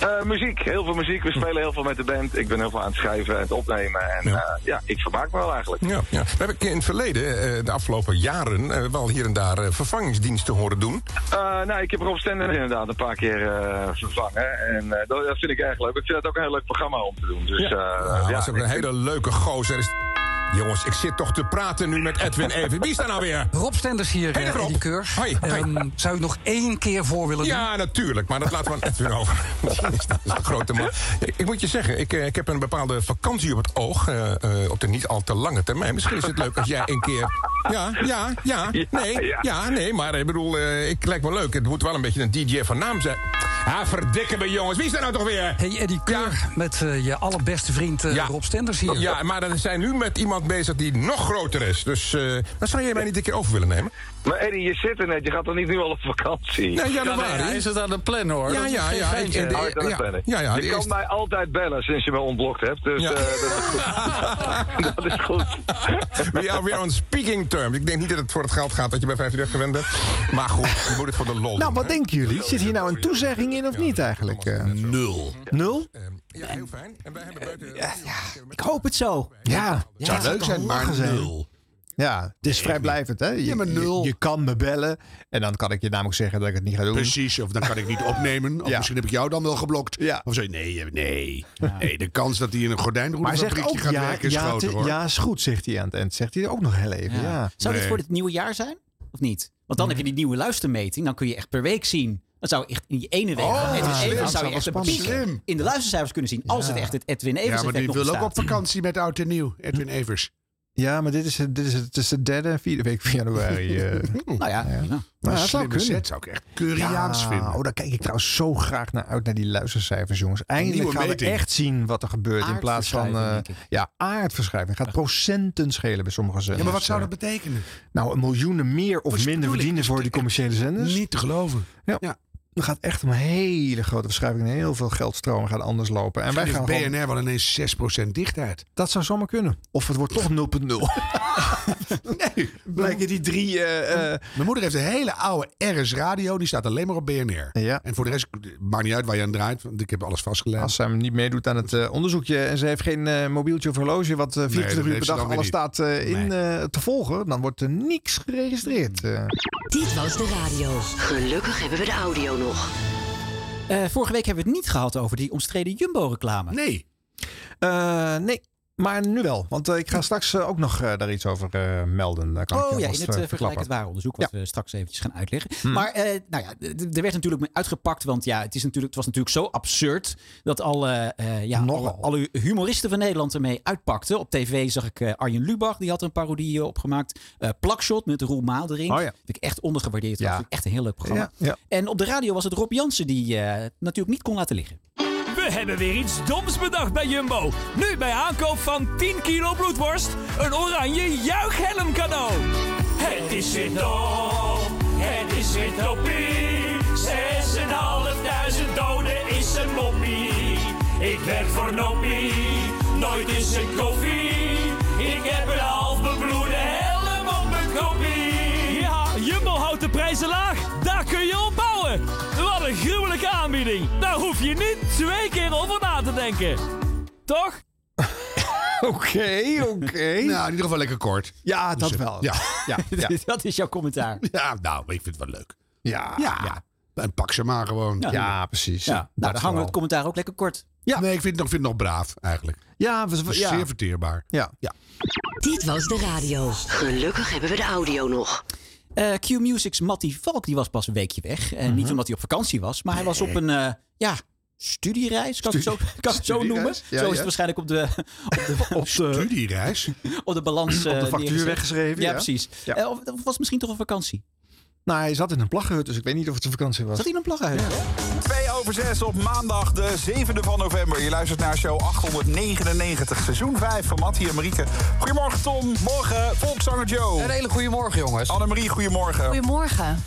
Speaker 16: Eh, muziek, heel veel muziek. We spelen heel veel met de band. Ik ben heel veel aan het schrijven en het opnemen. En eh, ja, ik vermaak me wel eigenlijk.
Speaker 15: Ja, ja. We hebben in het verleden, eh, de afgelopen jaren, eh, wel hier en daar eh, vervangingsdiensten horen doen.
Speaker 16: Eh, nou, ik heb Rob Stender inderdaad een paar keer eh, vervangen. En eh, dat, dat vind ik erg leuk. Ik vind het ook een heel leuk programma om te doen. Dus, eh,
Speaker 15: Ja,
Speaker 16: ja,
Speaker 15: was ook een hele leuke gozer. Is- Jongens, ik zit toch te praten nu met Edwin Evers. Wie is daar nou weer?
Speaker 17: Rob Stenders hier,
Speaker 15: Hey,
Speaker 17: eh,
Speaker 15: Rob.
Speaker 17: Eddie Keur.
Speaker 15: Hoi, hoi.
Speaker 17: Ehm, zou u nog één keer voor willen doen?
Speaker 15: Ja, natuurlijk. Maar dat laten we aan Edwin over. Dat is een grote man. Ik, ik moet je zeggen, ik, eh, ik heb een bepaalde vakantie op het oog. eh, eh, op de niet al te lange termijn. Misschien is het leuk als jij een keer... Ja, ja, ja.
Speaker 18: Ja,
Speaker 15: Nee,
Speaker 18: ja.
Speaker 15: ja, nee. Maar ik bedoel, eh, ik lijkt me leuk. Het moet wel een beetje een DJ van naam zijn. Ah, verdikken me jongens. Wie is daar nou toch weer?
Speaker 17: Hey Eddie Keur, met eh, je allerbeste vriend eh, Rob Stenders hier.
Speaker 15: Ja, maar dan zijn we nu met iemand bezig die nog groter is. Dus eh dat zou jij mij niet een keer over willen nemen.
Speaker 16: Maar Eddie, je zit er net. Je gaat toch niet nu al op vakantie?
Speaker 15: Nee, januari.
Speaker 16: Ja, nee,
Speaker 15: is het
Speaker 16: aan de plan hoor.
Speaker 15: Ja, Dat is ja, geen ja. geintje. En de-
Speaker 16: Oh, het aan de
Speaker 15: ja,
Speaker 16: plannen.
Speaker 15: ja, ja,
Speaker 16: je
Speaker 15: de
Speaker 16: kan
Speaker 15: eerste-
Speaker 16: mij altijd bellen sinds je me ontblokt hebt. Dus
Speaker 15: Ja.
Speaker 16: eh, dat, dat is goed.
Speaker 15: We are weer on speaking terms. Ik denk niet dat het voor het geld gaat dat je bij 35 gewend bent. Maar goed, je moet het voor de lol
Speaker 2: Nou, wat denken jullie? Zit hier nou een toezegging in of niet eigenlijk? eh?
Speaker 15: Nul.
Speaker 2: Nul?
Speaker 3: Ehm,
Speaker 15: Ja, heel fijn. En wij hebben buiten...
Speaker 2: Ik hoop het zo. Ja.
Speaker 15: Het zou leuk zijn, maar nul.
Speaker 2: Ja, het is vrijblijvend, hè? Je,
Speaker 15: Ja, maar
Speaker 2: je-
Speaker 15: nul.
Speaker 2: Je, kan me bellen en dan kan ik je namelijk zeggen dat ik het niet ga doen.
Speaker 3: Precies, of dan kan ik niet opnemen. Of
Speaker 2: Ja.
Speaker 3: misschien heb ik jou dan wel geblokt. Of zo, nee, eh, nee. nee. De kans dat hij in een
Speaker 2: Maar hij zegt
Speaker 3: gordijnroederfabriekje
Speaker 2: ook
Speaker 3: gaat
Speaker 2: ja,
Speaker 3: werken is
Speaker 2: ja,
Speaker 3: groter,
Speaker 2: het-
Speaker 3: hoor.
Speaker 2: ja, is goed, zegt hij aan het eind. Zegt hij ook nog heel even, ja.
Speaker 1: Zou dit voor het nieuwe jaar zijn? Of niet? Want dan heb je die nieuwe luistermeting. Dan kun je echt per week zien. Dan zou je echt in die ene week
Speaker 3: Oh,
Speaker 1: van Edwin
Speaker 3: slim.
Speaker 1: Evers zou
Speaker 3: Dat zou
Speaker 1: je echt een
Speaker 3: wel
Speaker 1: piek
Speaker 3: spannend zijn.
Speaker 1: in de luistercijfers kunnen zien. Als het echt het Edwin Evers
Speaker 3: Ja, maar
Speaker 1: effect
Speaker 3: die
Speaker 1: nog
Speaker 3: wil ook
Speaker 1: bestaat.
Speaker 3: op vakantie met Oud en Nieuw. Edwin Evers.
Speaker 2: Ja, maar dit is, het- dit is, het- het is de derde en vierde week van januari. eh.
Speaker 1: nou ja,
Speaker 2: Maar
Speaker 3: een
Speaker 2: dat zou
Speaker 3: slimme
Speaker 2: kunnen.
Speaker 3: set zou ik echt Curiaans
Speaker 2: Ja,
Speaker 3: vinden.
Speaker 2: Oh, daar kijk ik trouwens zo graag naar uit, naar die luistercijfers, jongens. Eindelijk
Speaker 3: Nieuwe
Speaker 2: gaan
Speaker 3: meting.
Speaker 2: we echt zien wat er gebeurt. In plaats van eh,
Speaker 3: Aardverschuiving, denk
Speaker 2: ja, aardverschuiving. Gaat procenten schelen bij sommige zenders.
Speaker 3: Ja, maar wat zou dat
Speaker 2: Eh,
Speaker 3: betekenen?
Speaker 2: Nou, een miljoenen meer of minder verdienen voor die commerciële zenders.
Speaker 3: Niet te geloven.
Speaker 2: Ja. Er gaat echt om hele grote verschuiving en heel veel geldstromen gaan anders lopen. En wij gaan
Speaker 3: BNR
Speaker 2: gewoon-
Speaker 3: wel ineens 6% dichtheid.
Speaker 2: Dat zou zomaar kunnen. Of het wordt toch 0.0. Blijken die drie...
Speaker 1: eh,
Speaker 3: Mijn moeder heeft een hele oude RS radio. Die staat alleen maar op BNR. En voor de rest maakt niet uit waar je aan draait. Want ik heb alles vastgelegd.
Speaker 2: Als zij hem niet meedoet aan het eh, onderzoekje en ze heeft geen eh, mobieltje of horloge wat eh,
Speaker 3: Nee,
Speaker 2: 24
Speaker 3: dat
Speaker 2: uur per
Speaker 3: heeft ze
Speaker 2: dag
Speaker 3: dan weer
Speaker 2: alles
Speaker 3: niet.
Speaker 2: staat eh, in eh, te volgen, dan wordt er niks geregistreerd.
Speaker 3: Mm.
Speaker 2: eh.
Speaker 12: Dit was de radio. Gelukkig hebben we de audio nog.
Speaker 1: Eh, vorige week hebben we het niet gehad over die omstreden Jumbo-reclame.
Speaker 3: Nee.
Speaker 2: Eh, nee, maar nu wel, want eh, ik ga straks eh, ook nog eh, daar iets over eh, melden. Daar kan ik je
Speaker 1: oh ja, in
Speaker 2: alvast,
Speaker 1: het
Speaker 2: eh,
Speaker 1: eh, vergelijkend
Speaker 2: verklappen.
Speaker 1: ware onderzoek, wat we straks eventjes gaan uitleggen.
Speaker 2: Hmm.
Speaker 1: Maar eh, nou ja, d- d- er werd natuurlijk mee uitgepakt, want ja, het, is natuurlijk, het was natuurlijk zo absurd dat alle, eh, ja, alle, alle humoristen van Nederland ermee uitpakten. Op tv zag ik eh, Arjen Lubach, die had een parodie eh, opgemaakt. Eh Plakshot met Roel Maal erin.
Speaker 2: Oh ja.
Speaker 1: Vind ik echt ondergewaardeerd. Dat vind ik echt een heel leuk programma.
Speaker 2: Ja, ja.
Speaker 1: En op de radio was het Rob Jansen die eh, het natuurlijk niet kon laten liggen.
Speaker 18: We hebben weer iets doms bedacht bij Jumbo. Nu bij aankoop van 10 kilo bloedworst een oranje juichhelm cadeau. Het is weer dom, het is weer topie. 6.500 doden is een moppie. Ik werk voor Noppie, nooit is een koffie. Ik heb een half bebloede helm op mijn koppie. Ja, Jumbo houdt de prijzen laag. Daar kun je op bouwen. Wat een gruwelijke aanbieding. Daar hoef je niet twee keer over na te denken. Toch?
Speaker 2: Oké, oké.
Speaker 3: Nou, in ieder geval lekker kort.
Speaker 2: Ja, dat
Speaker 3: eh,
Speaker 2: wel.
Speaker 3: Ja.
Speaker 2: Ja,
Speaker 1: Dus, dat is jouw commentaar.
Speaker 3: Ja, nou, ik vind het wel leuk.
Speaker 2: Ja.
Speaker 3: ja. En pak ze maar gewoon.
Speaker 1: Ja. Ja,
Speaker 2: precies.
Speaker 1: Ja, nou, dan hangen we het commentaar ook lekker kort.
Speaker 3: Ja. Nee, ik vind het nog, vind het nog braaf eigenlijk.
Speaker 2: Ja,
Speaker 3: Dat is zeer verteerbaar.
Speaker 2: Ja.
Speaker 12: Dit was de radio. Gelukkig hebben we de audio nog.
Speaker 1: Eh, Q Music's Matty Valk die was pas een weekje weg. En Niet omdat hij op vakantie was, maar hij was op een eh, ja, studiereis. Kan ik het zo, kan ik het zo
Speaker 3: Studiereis?
Speaker 1: noemen?
Speaker 3: Ja,
Speaker 1: zo is
Speaker 3: ja.
Speaker 1: het waarschijnlijk op de, op de, op de
Speaker 3: studiereis.
Speaker 1: Op de balans.
Speaker 2: Op de
Speaker 1: eh,
Speaker 2: factuur
Speaker 1: neergezet.
Speaker 2: weggeschreven,
Speaker 1: Ja,
Speaker 2: ja.
Speaker 1: precies.
Speaker 2: Ja.
Speaker 1: Eh, of, of was het misschien toch een vakantie?
Speaker 2: Nou, hij zat in een plaggenhut, dus ik weet niet of het een vakantie was.
Speaker 1: Zat hij in een plaggenhut?
Speaker 19: 2 over 6 op maandag de 7e van november. Je luistert naar show 899, seizoen 5 van Mattie en Marieke. Goedemorgen Tom. Morgen Volkszanger Joe. Een hele goedemorgen jongens. Annemarie, goedemorgen.
Speaker 20: Goedemorgen.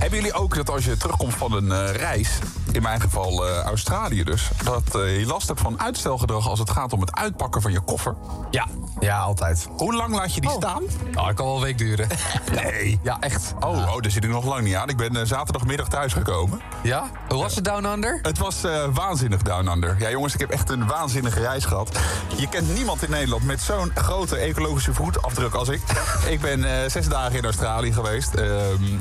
Speaker 19: Hebben jullie ook dat als je terugkomt van een eh, reis, in mijn geval eh, Australië dus, dat eh, je last hebt van uitstelgedrag als het gaat om het uitpakken van je koffer? Ja, ja, altijd. Hoe lang laat je die staan? Nou, dat kan wel een week duren. Nee. Ja, echt. Oh, oh, daar zit ik nog lang niet aan. Ik ben eh, zaterdagmiddag thuisgekomen. Ja? Hoe was het Down Under? Het was eh, waanzinnig Down Under. Ja, jongens, ik heb echt een waanzinnige reis gehad. Je kent niemand in Nederland met zo'n grote ecologische voetafdruk als ik. ik ben eh, zes dagen in Australië geweest. Ehm,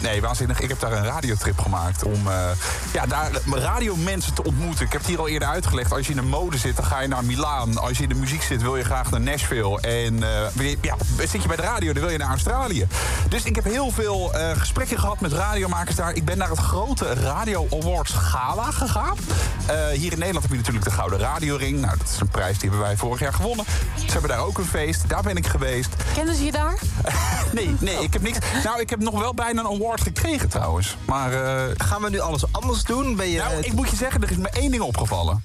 Speaker 19: nee, waanzinnig. Ik heb daar een radiotrip gemaakt om eh, ja, daar radiomensen te ontmoeten. Ik heb het hier al eerder uitgelegd. Als je in de mode zit, dan ga je naar Milaan. Als je in de muziek zit, wil je graag naar Nashville. En eh, wil je- ja, zit je bij de radio, dan wil je naar Australië. Dus ik heb heel veel eh, gesprekken gehad met radiomakers daar. Ik ben naar het grote Radio Awards Gala gegaan. Eh, hier in Nederland heb je natuurlijk de Gouden Radioring. Nou, dat is een prijs die hebben wij vorig jaar gewonnen. Ze hebben daar ook een feest. Daar ben ik geweest.
Speaker 20: Kenden ze je daar?
Speaker 19: Nee, nee, ik heb niks. Nou, ik heb nog wel bijna een award gekregen trouwens. Maar gaan we nu alles anders doen? Ben je, nou, ik moet je zeggen, er is me één ding opgevallen.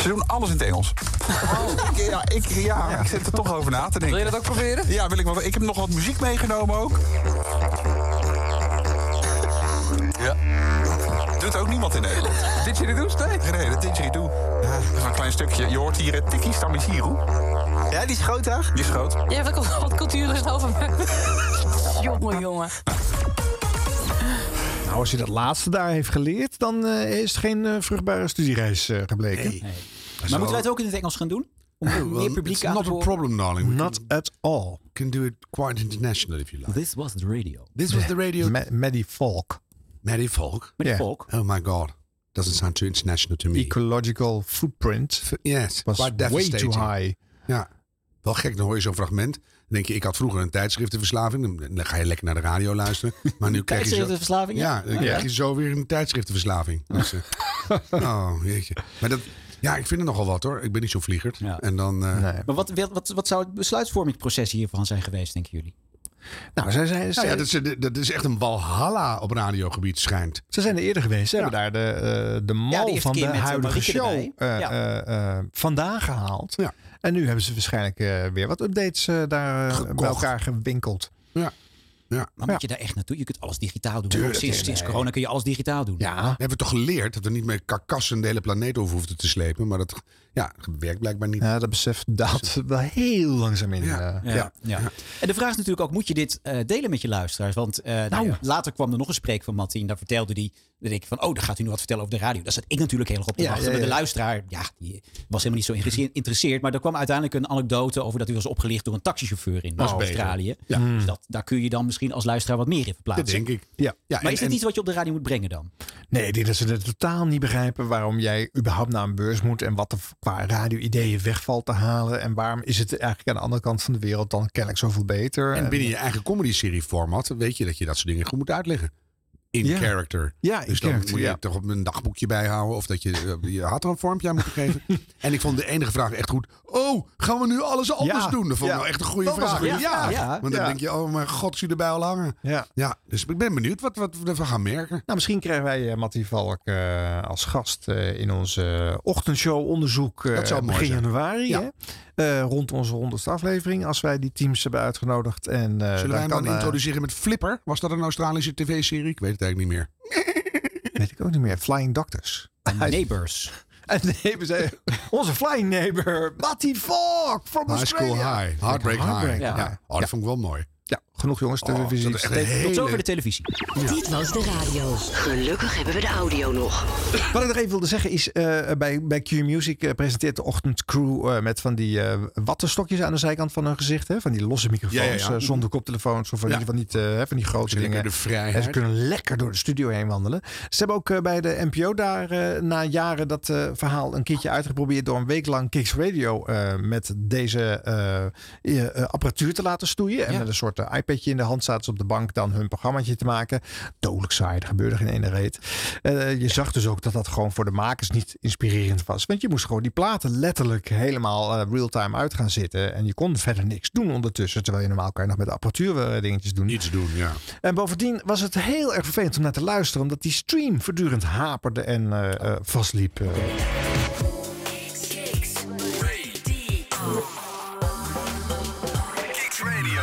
Speaker 19: Ze doen alles in het Engels. Oh, ik, ja, ik, ja, ik zit er toch over na te denken. Wil je dat ook proberen? Ja, wil ik wel. Ik heb nog wat muziek meegenomen ook. Ja. Doet ook niemand in Nederland. Didgeridoo, nee? Nee, dat didgeridoo. Ja, dat is maar een klein stukje. Je hoort hier het tikkie stamisiru. Ja, die is groot, hè? Die is groot.
Speaker 20: Je hebt ook wat cultuur dus over me. jongen, jongen.
Speaker 2: Nou, als je dat laatste daar heeft geleerd, dan eh, is het geen eh, vruchtbare studiereis eh, gebleken.
Speaker 1: Maar moeten wij het ook in het Engels gaan doen? Om meer publiek
Speaker 3: It's
Speaker 1: aan
Speaker 3: not
Speaker 1: te
Speaker 3: a
Speaker 1: horen?
Speaker 3: problem, darling.
Speaker 2: Not at all.
Speaker 3: We can do it quite international if you like.
Speaker 1: This was the radio.
Speaker 3: This was the radio.
Speaker 2: Ma- Maddie Falk.
Speaker 3: Maddie Falk?
Speaker 2: Maddie Yeah. Falk.
Speaker 3: Oh my god. Doesn't sound too international to me.
Speaker 2: Ecological footprint.
Speaker 3: yes,
Speaker 2: was
Speaker 3: quite
Speaker 2: way
Speaker 3: devastating.
Speaker 2: too high.
Speaker 3: Ja, wel gek. Dan hoor je zo'n fragment. Dan denk je, ik had vroeger een tijdschriftenverslaving. Dan- Dan ga je lekker naar de radio luisteren. Maar nu krijg je zo...
Speaker 1: Tijdschriftenverslaving, ja.
Speaker 3: Ja, dan
Speaker 1: Ja.
Speaker 3: krijg je zo weer een tijdschriftenverslaving. Dus, eh, oh, jeetje. Maar dat... Ja, ik vind het nogal wat hoor. Ik ben niet zo vliegerd. En dan... eh,
Speaker 1: Maar wat, wat- wat, wat zou het besluitvormingsproces hiervan zijn geweest, denken jullie?
Speaker 2: Nou, zij zijn...
Speaker 3: Nou ja, dat is, dat is echt een walhalla op radiogebied schijnt.
Speaker 2: Ze zijn er eerder geweest. Ze hebben daar de, eh, de mal
Speaker 3: eerste
Speaker 2: van
Speaker 3: keer
Speaker 2: de
Speaker 3: met, eh,
Speaker 2: huidige
Speaker 3: Marieke
Speaker 2: show
Speaker 3: erbij.
Speaker 2: eh,
Speaker 3: Ja.
Speaker 2: eh, eh, vandaan gehaald. En nu hebben ze waarschijnlijk eh, weer wat updates eh, daar eh, bij elkaar gewinkeld.
Speaker 3: Ja. Ja.
Speaker 1: Maar moet je daar echt naartoe? Je kunt alles digitaal doen.
Speaker 3: Tuurlijk,
Speaker 1: Oh, sinds,
Speaker 3: nee,
Speaker 1: sinds
Speaker 3: nee.
Speaker 1: corona kun je alles digitaal doen.
Speaker 3: Ja. We hebben toch geleerd dat we niet meer karkassen de hele planeet over hoefden te slepen. Maar dat ja, werkt blijkbaar niet.
Speaker 2: Ja, dat besef daalt wel heel langzaam in. eh.
Speaker 3: Ja.
Speaker 1: Ja, ja. En de vraag is natuurlijk ook, moet je dit eh, delen met je luisteraars? Want eh, nou
Speaker 2: Nou.
Speaker 1: ja, later kwam er nog een spreek van Matti en daar vertelde hij, dan denk ik van, oh, dan gaat hij nu wat vertellen over de radio. Daar zat ik natuurlijk heel erg op te
Speaker 2: Ja,
Speaker 1: wachten.
Speaker 2: ja,
Speaker 1: Maar de
Speaker 2: ja.
Speaker 1: luisteraar, ja, die was helemaal niet zo interesse- geïnteresseerd. Maar er kwam uiteindelijk een anekdote over dat hij was opgelicht door een taxichauffeur in
Speaker 3: Dat is beter.
Speaker 1: Australië.
Speaker 3: Ja.
Speaker 1: Dus dat, daar kun je dan misschien als luisteraar wat meer in verplaatsen.
Speaker 3: Dat denk ik.
Speaker 2: Ja.
Speaker 1: maar is dit iets wat je op de radio moet brengen dan?
Speaker 2: Nee, ik denk dat ze het totaal niet begrijpen waarom jij überhaupt naar een beurs moet en wat er qua radio-ideeën wegvalt te halen. En waarom is het eigenlijk aan de andere kant van de wereld dan kennelijk zoveel beter.
Speaker 3: En binnen je eigen comedy-serie format weet je dat je dat soort dingen goed moet uitleggen. In
Speaker 2: Ja.
Speaker 3: character.
Speaker 2: Ja, in
Speaker 3: dus dan
Speaker 2: character,
Speaker 3: moet je
Speaker 2: ja.
Speaker 3: toch op een dagboekje bijhouden. Of dat je, eh, je had er een vormpje aan moeten geven. en ik vond de enige vraag echt goed. Oh, gaan we nu alles anders
Speaker 2: Ja.
Speaker 3: doen? Dat vond ik
Speaker 2: Ja.
Speaker 3: nou echt een goede
Speaker 2: Dat was
Speaker 3: vraag.
Speaker 2: een goede vraag. Ja.
Speaker 3: Want dan
Speaker 2: Ja.
Speaker 3: denk je, oh mijn god, zie je erbij al hangen.
Speaker 2: Ja.
Speaker 3: ja. Dus ik ben benieuwd wat, wat we ervan gaan merken.
Speaker 2: Nou, misschien krijgen wij eh Mattie Valk eh, als gast eh, in onze ochtendshow onderzoek eh,
Speaker 3: Dat zou mooi
Speaker 2: begin
Speaker 3: zijn.
Speaker 2: januari.
Speaker 3: Ja.
Speaker 2: Hè? Eh, rond onze honderdste aflevering. Als wij die teams hebben uitgenodigd. En, eh,
Speaker 3: Zullen wij hem
Speaker 2: kan,
Speaker 3: dan
Speaker 2: eh,
Speaker 3: introduceren met Flipper? Was dat een Australische tv-serie? Ik weet het eigenlijk niet meer.
Speaker 2: Weet ik ook niet meer. Flying Doctors.
Speaker 1: Neighbors.
Speaker 2: En neighbors, eh, onze flying neighbor, Mattie Valk from
Speaker 3: High School
Speaker 2: Australia.
Speaker 3: High. Heartbreak, High.
Speaker 2: High.
Speaker 3: Ja. Oh, dat vond ik wel mooi. Oh,
Speaker 2: Ja, genoeg jongens, televisie.
Speaker 3: dat is echt een hele- Tot zover de
Speaker 1: televisie.
Speaker 12: Dit was de radio. Gelukkig hebben we de audio nog.
Speaker 2: Wat ik nog even wilde zeggen is, eh, bij, bij Q Music eh, presenteert de ochtendcrew eh, met van die eh wattenstokjes aan de zijkant van hun gezicht. Hè? Van die losse microfoons,
Speaker 3: Ja, ja, ja.
Speaker 2: eh, zonder koptelefoons of van,
Speaker 3: Ja.
Speaker 2: die, van, niet, eh, hè, van die grote
Speaker 3: Ze hebben
Speaker 2: dingen.
Speaker 3: de vrijheid.
Speaker 2: En ze kunnen lekker door de studio heen wandelen. Ze hebben ook eh, bij de NPO daar eh, na jaren dat eh, verhaal een keertje uitgeprobeerd door een week lang Kicks Radio eh, met deze eh, eh, apparatuur te laten stoeien. En met een soort eh, iPadje in de hand zaten ze op de bank dan hun programmaatje te maken. Dodelijk saai, er gebeurde geen ene reet. Eh, je zag dus ook dat dat gewoon voor de makers niet inspirerend was. Want je moest gewoon die platen letterlijk helemaal eh, real-time uit gaan zitten. En je kon verder niks doen ondertussen. Terwijl je normaal kan je nog met de apparatuur eh, dingetjes doen.
Speaker 3: Iets doen, ja.
Speaker 2: En bovendien was het heel erg vervelend om naar te luisteren, omdat die stream voortdurend haperde en eh, eh, vastliep. eh.
Speaker 21: Kicks Radio.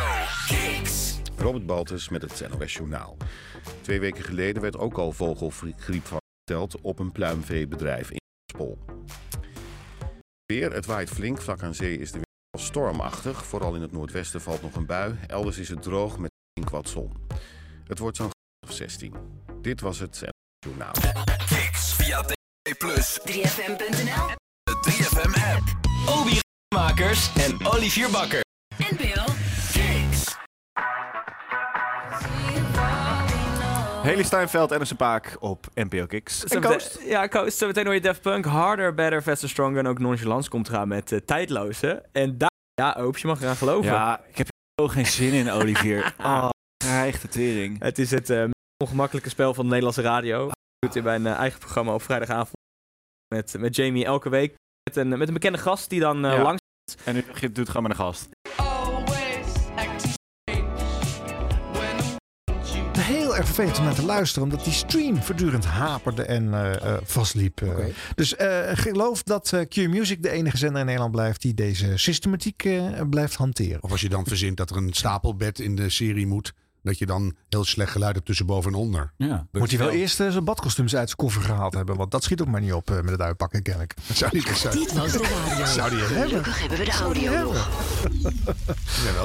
Speaker 21: Kicks. Robert Baltus met het NOS Journaal. Twee weken geleden werd ook al vogelgriep vastgesteld op een pluimveebedrijf in Spol. Weer, het waait flink. Vlak aan zee is de wind wel stormachtig. Vooral in het noordwesten valt nog een bui. Elders is het droog met flink wat zon. Het wordt zo'n graad of 16. Dit was het NOS Journaal.
Speaker 5: Kicks via DB+.
Speaker 12: 3fm.nl
Speaker 5: De 3FM app. Obi Makers en Olivier Bakker.
Speaker 12: NPO.
Speaker 22: Haley Steinfeld en zijn paak op NPO Kicks. En
Speaker 23: Zometeen-
Speaker 22: Koos?
Speaker 23: Ja, Coast. Zometeen hoor je Daft Punk harder, better, faster, stronger en ook nonchalance komt eraan met eh, tijdloze. En daar
Speaker 10: Ja, Oops, je mag eraan geloven. Ah.
Speaker 22: Ja, ik heb er zo geen zin in, Olivier. Oh, krijg de tering.
Speaker 10: Het is het eh, meest ongemakkelijke spel van de Nederlandse radio. Ik doe het bij een eh, eigen programma op vrijdagavond met, met Jamie elke week. Met een, met een bekende gast die dan eh,
Speaker 22: Ja.
Speaker 10: langs...
Speaker 22: En nu doet het gewoon met een gast.
Speaker 2: Heel erg vervelend om naar te luisteren, omdat die stream voortdurend haperde en eh, eh, vastliep. eh. Dus eh, ik geloof dat eh, Q Music de enige zender in Nederland blijft die deze systematiek eh, blijft hanteren.
Speaker 3: Of als je dan verzint dat er een stapelbed in de serie moet. Dat je dan heel slecht geluid hebt tussen boven en onder.
Speaker 1: Ja.
Speaker 2: Moet hij wel eerst eh, zijn badkostuums uit zijn koffer gehaald hebben, want dat schiet ook maar niet op eh, met het uitpakken, kennelijk.
Speaker 3: Dat zou niet zou-
Speaker 12: Dit was de radio.
Speaker 3: Zou die hebben?
Speaker 12: Gelukkig hebben we de audio nog.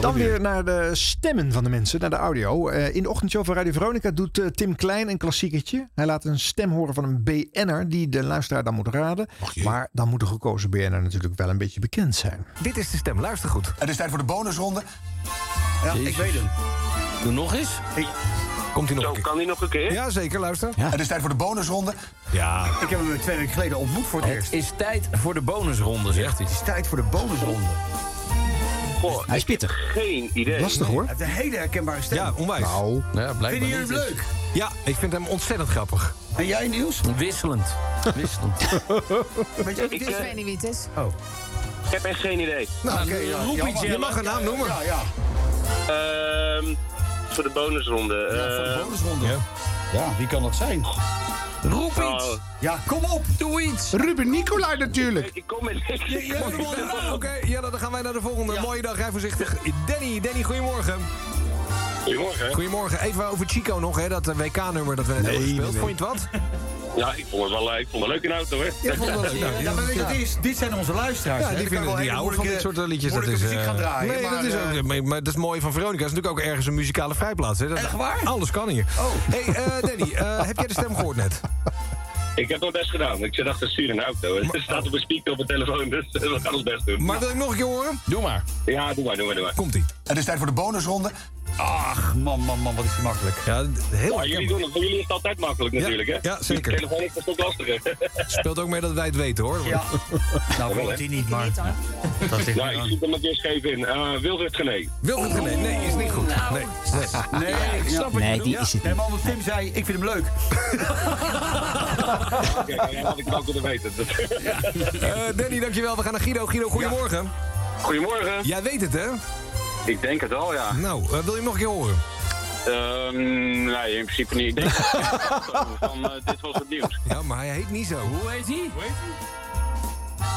Speaker 2: Dan weer naar de stemmen van de mensen, naar de audio. Eh, in de ochtendshow van Radio Veronica doet eh, Tim Klein een klassieketje. Hij laat een stem horen van een BN'er die de luisteraar dan moet raden. maar dan moet de gekozen BN'er natuurlijk wel een beetje bekend zijn.
Speaker 7: Dit is de stem, luister goed. Het is tijd voor de bonusronde.
Speaker 2: Ja,
Speaker 7: ik weet hem. Doe nog eens. Komt hij nog een keer? Kan hij nog een keer? Ja, zeker, luister. Het is tijd voor de bonusronde. Ja. Ik heb hem twee weken geleden ontmoet voor het, eerst.
Speaker 11: is tijd voor de bonusronde, zegt hij.
Speaker 7: Het is tijd voor de bonusronde.
Speaker 11: Goh,
Speaker 7: Hij is pittig.
Speaker 11: geen idee.
Speaker 7: Hij heeft een hele herkenbare stem.
Speaker 11: Ja,
Speaker 7: onwijs.
Speaker 8: Nou, ja, blijkbaar
Speaker 7: Vinden jullie hem
Speaker 16: dus.
Speaker 8: niet.
Speaker 7: leuk?
Speaker 8: Ja, ik vind hem ontzettend grappig.
Speaker 7: En jij, Niels?
Speaker 11: Wisselend. Wisselend.
Speaker 7: Weet je ook
Speaker 20: Ik
Speaker 7: niet
Speaker 16: eh,
Speaker 20: weet niet wie het is.
Speaker 7: Oh.
Speaker 11: Ik heb echt geen idee.
Speaker 7: Nou, oké, ja.
Speaker 11: roep
Speaker 7: Ja,
Speaker 11: iets,
Speaker 7: je
Speaker 11: Jelle.
Speaker 7: mag een naam noemen.
Speaker 11: Ja, ja. Ehm, voor de bonusronde. eh, Ja, voor de bonusronde.
Speaker 7: Ja, wie kan dat zijn?
Speaker 11: Roep iets.
Speaker 7: Ja, kom op, doe iets. Ruben Nicolai natuurlijk.
Speaker 11: Ik kom met niks.
Speaker 7: Jelle gewonnen. Oké, Jelle, dan gaan wij naar de volgende. Mooie dag, rij voorzichtig. Danny, Danny, goedemorgen.
Speaker 11: Goedemorgen.
Speaker 7: Goedemorgen. Even over Chico nog, hè, dat eh, WK-nummer dat we net hebben gespeeld. Vond je het wat?
Speaker 11: Ja, ik vond het wel, eh, ik vond het leuk in de auto, hè?
Speaker 7: Ja, ik vond het wel leuk. Nou, ja, maar weet je wat het is?
Speaker 11: dit zijn onze luisteraars.
Speaker 7: Ja, die vinden die oude van dit soort eh, liedjes. Dat is,
Speaker 11: moeilijke muziek
Speaker 7: eh,
Speaker 11: gaan draaien,
Speaker 7: Nee, dat
Speaker 11: maar,
Speaker 7: is ook.
Speaker 11: eh,
Speaker 7: maar, maar dat is mooi van Veronica. Dat is natuurlijk ook ergens een muzikale vrijplaats. Hè? Dat, Echt waar? Alles kan hier. Oh. Hey, eh, Danny, eh, heb jij de stem gehoord net?
Speaker 11: Ik heb mijn best gedaan. Ik zit achter het stuur in de auto. Het staat op een speaker op mijn telefoon, dus eh, we gaan ons best doen.
Speaker 7: Maar wil ik nog een keer horen? Doe maar.
Speaker 11: Ja, doe maar, doe maar, doe maar.
Speaker 7: Komt-ie. Het is tijd voor de bonusronde. Ach, man, man, man, wat is die makkelijk. Ja, heel
Speaker 11: Ja, jullie doen het. Voor jullie is het altijd makkelijk
Speaker 7: Ja,
Speaker 11: natuurlijk, hè?
Speaker 7: ja, zeker.
Speaker 11: De telefoon is toch lastiger.
Speaker 7: Speelt ook mee dat wij het weten, hoor. Ja. Nou, wil het niet, maar... Dat is
Speaker 11: Ja, Nou, ik zit er maar eens scheef in. Eh Wilfred Gené.
Speaker 7: Wilfred Gené, nee, is niet goed. Nee,
Speaker 11: Nee,
Speaker 7: ik snap wat je
Speaker 11: Nee,
Speaker 7: bedoelt.
Speaker 11: die is het
Speaker 7: Nee, maar omdat Tim zei, ik vind hem leuk.
Speaker 11: Oké, dat had ik wel kunnen weten.
Speaker 7: Eh, Danny, dankjewel. We gaan naar Guido. Guido, goedemorgen.
Speaker 11: Goedemorgen.
Speaker 7: Jij weet het, hè?
Speaker 11: Ik denk het al, ja.
Speaker 7: Nou, eh, wil je hem nog een keer horen?
Speaker 11: Ehm, nee, in principe niet. Ik denk dat ik het heb gekomen van, eh, dit was het nieuws.
Speaker 7: Ja, maar hij heet niet zo. Hoe heet hij?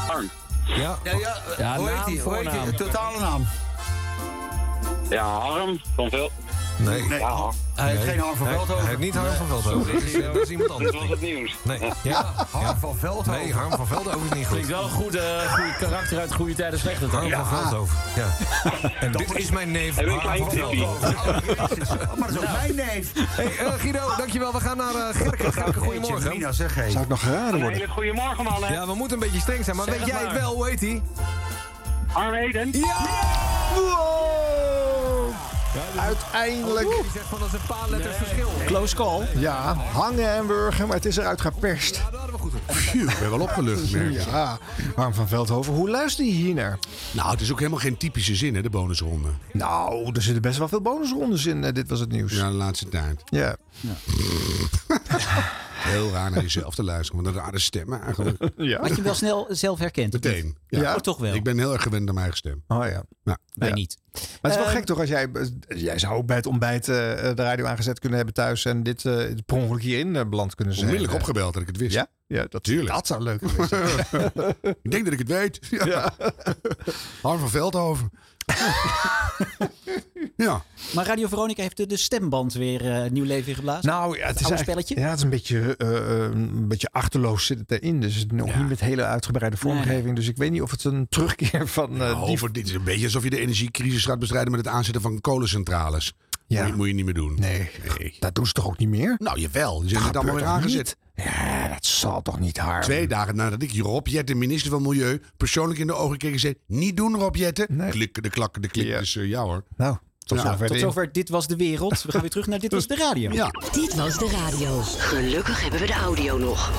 Speaker 11: Arm.
Speaker 7: Ja,
Speaker 11: Ja, ja,
Speaker 7: ja
Speaker 11: hoe heet hij? Hoe heet hij?
Speaker 7: Totale naam.
Speaker 11: Ja, Harm van Vel.
Speaker 7: Nee.
Speaker 11: Ja, Harm.
Speaker 7: Hij heeft geen Harm van Veldhoven. Hij heeft niet Harm van Veldhoven. Dat is, eh, dat is iemand
Speaker 11: Dit
Speaker 7: anders.
Speaker 11: was het nieuws.
Speaker 7: Nee. Ja, Harm van Veldhoven. Nee, Harm van Veldhoven is niet goed.
Speaker 11: Klinkt wel
Speaker 7: goed, goed karakter uit goede tijden, slechte
Speaker 11: tijden.
Speaker 7: Harm van
Speaker 11: Ja.
Speaker 7: Veldhoven, ja. En dit is mijn neef,
Speaker 11: Heb ik
Speaker 7: Harm
Speaker 11: klein
Speaker 7: van
Speaker 11: tipje?
Speaker 7: Veldhoven. Oh, Maar dat is ook mijn neef. Hey, eh, Guido, dankjewel. We gaan naar eh Gerke. Gerke, goedemorgen.
Speaker 2: Mina, zeg, hey. Zou ik nog geraden worden?
Speaker 11: goedemorgen, mannen.
Speaker 7: Ja, we moeten een beetje streng zijn, maar
Speaker 11: Zeg
Speaker 7: weet
Speaker 11: het
Speaker 7: jij het
Speaker 11: maar.
Speaker 7: wel? Hoe heet hij?
Speaker 11: Harm Eden.
Speaker 7: Ja!
Speaker 2: Uiteindelijk.
Speaker 7: Die zegt van dat is een paar letters verschil.
Speaker 2: Close call. Ja, hangen en wurgen, maar het is eruit geperst.
Speaker 3: Phew, ik ben wel opgelucht, merk je.
Speaker 2: Ja, Harm van Veldhoven, hoe luister je hier naar?
Speaker 3: Nou, het is ook helemaal geen typische zin, hè, de bonusronde.
Speaker 2: Nou, er zitten best wel veel bonusrondes in. eh, dit was het nieuws.
Speaker 3: Ja, de laatste tijd.
Speaker 2: Ja.
Speaker 3: Heel raar naar jezelf te luisteren, want een rare stem eigenlijk.
Speaker 1: Had je hem wel snel zelf herkend? of
Speaker 3: Meteen.
Speaker 1: niet? Oh, toch wel.
Speaker 3: Ik ben heel erg gewend aan mijn eigen stem.
Speaker 2: Oh ja.
Speaker 3: Nou,
Speaker 1: Wij niet.
Speaker 2: Maar het is wel
Speaker 1: Ehm,
Speaker 2: gek toch als jij... eh, Jij zou ook bij het ontbijt eh, de radio aangezet kunnen hebben thuis... en dit eh, per ongeluk hierin eh, beland kunnen zijn.
Speaker 3: Onmiddellijk opgebeld dat ik het wist.
Speaker 2: Ja? Ja, dat, dat zou leuk
Speaker 3: ik denk dat ik het weet. Ja. Harm van Veldhoven. ja.
Speaker 1: Maar Radio Veronica heeft de, de stemband weer eh, nieuw leven ingeblazen.
Speaker 2: Nou, ja, het is
Speaker 1: oude
Speaker 2: eigenlijk-
Speaker 1: spelletje.
Speaker 2: Ja, het is een beetje, eh, eh, een beetje achterloos zit het erin. Dus het is nog niet met hele uitgebreide vormgeving. Dus ik weet niet of het een terugkeer van eh, die...
Speaker 3: Over, dit is een beetje alsof je de energiecrisis gaat bestrijden met het aanzetten van kolencentrales.
Speaker 2: Ja.
Speaker 3: Moet, je, moet je niet meer doen.
Speaker 2: Nee, dat doen ze toch ook niet meer?
Speaker 3: Nou, jawel. Ze hebben
Speaker 2: Dat
Speaker 3: het allemaal weer
Speaker 2: gebeurt toch
Speaker 3: aangezet.
Speaker 2: Ja, dat zal toch niet haar.
Speaker 3: Twee dagen nadat ik Rob Jetten, minister van Milieu, persoonlijk in de ogen keek en zei... Niet doen, Rob Jetten. Klikken, de klakken, de klikken. Dus eh, ja hoor.
Speaker 2: Nou,
Speaker 1: Tot, zover, tot zover Dit Was De Wereld. We gaan
Speaker 2: dus
Speaker 1: weer terug naar Dit Was De Radio.
Speaker 3: Ja.
Speaker 12: Dit was de radio. Gelukkig hebben we de audio nog.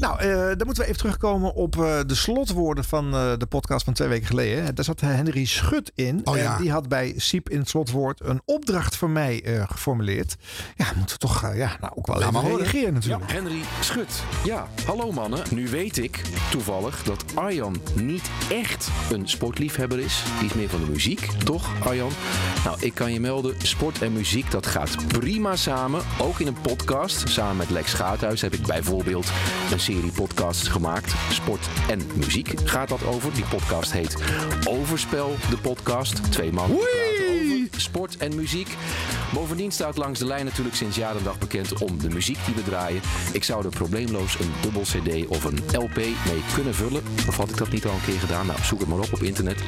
Speaker 2: Nou, eh, dan moeten we even terugkomen op eh, de slotwoorden van eh, de podcast van twee weken geleden. hè. Daar zat Henry Schut in.
Speaker 3: Oh,
Speaker 2: en
Speaker 3: ja.
Speaker 2: die had bij Siep in het slotwoord een opdracht van mij eh, geformuleerd. Ja, moeten we toch eh, ja, nou, ook wel even reageren natuurlijk.
Speaker 24: Ja, Henry Schut. Ja, hallo mannen. Nu weet ik toevallig dat Arjan niet echt een sportliefhebber is. Die is meer van de muziek, toch Arjan? Nou, ik kan je melden, sport en muziek dat gaat prima samen. Ook in een podcast. Samen met Lex Gaathuis heb ik bijvoorbeeld een serie podcasts gemaakt. Sport en muziek gaat dat over. Die podcast heet Overspel, de podcast. Twee mannen praten over sport en muziek. Bovendien staat langs de lijn natuurlijk sinds jaar en dag bekend om de muziek die we draaien. Ik zou er probleemloos een dubbel CD of een LP mee kunnen vullen. Of had ik dat niet al een keer gedaan? Nou, zoek het maar op op internet.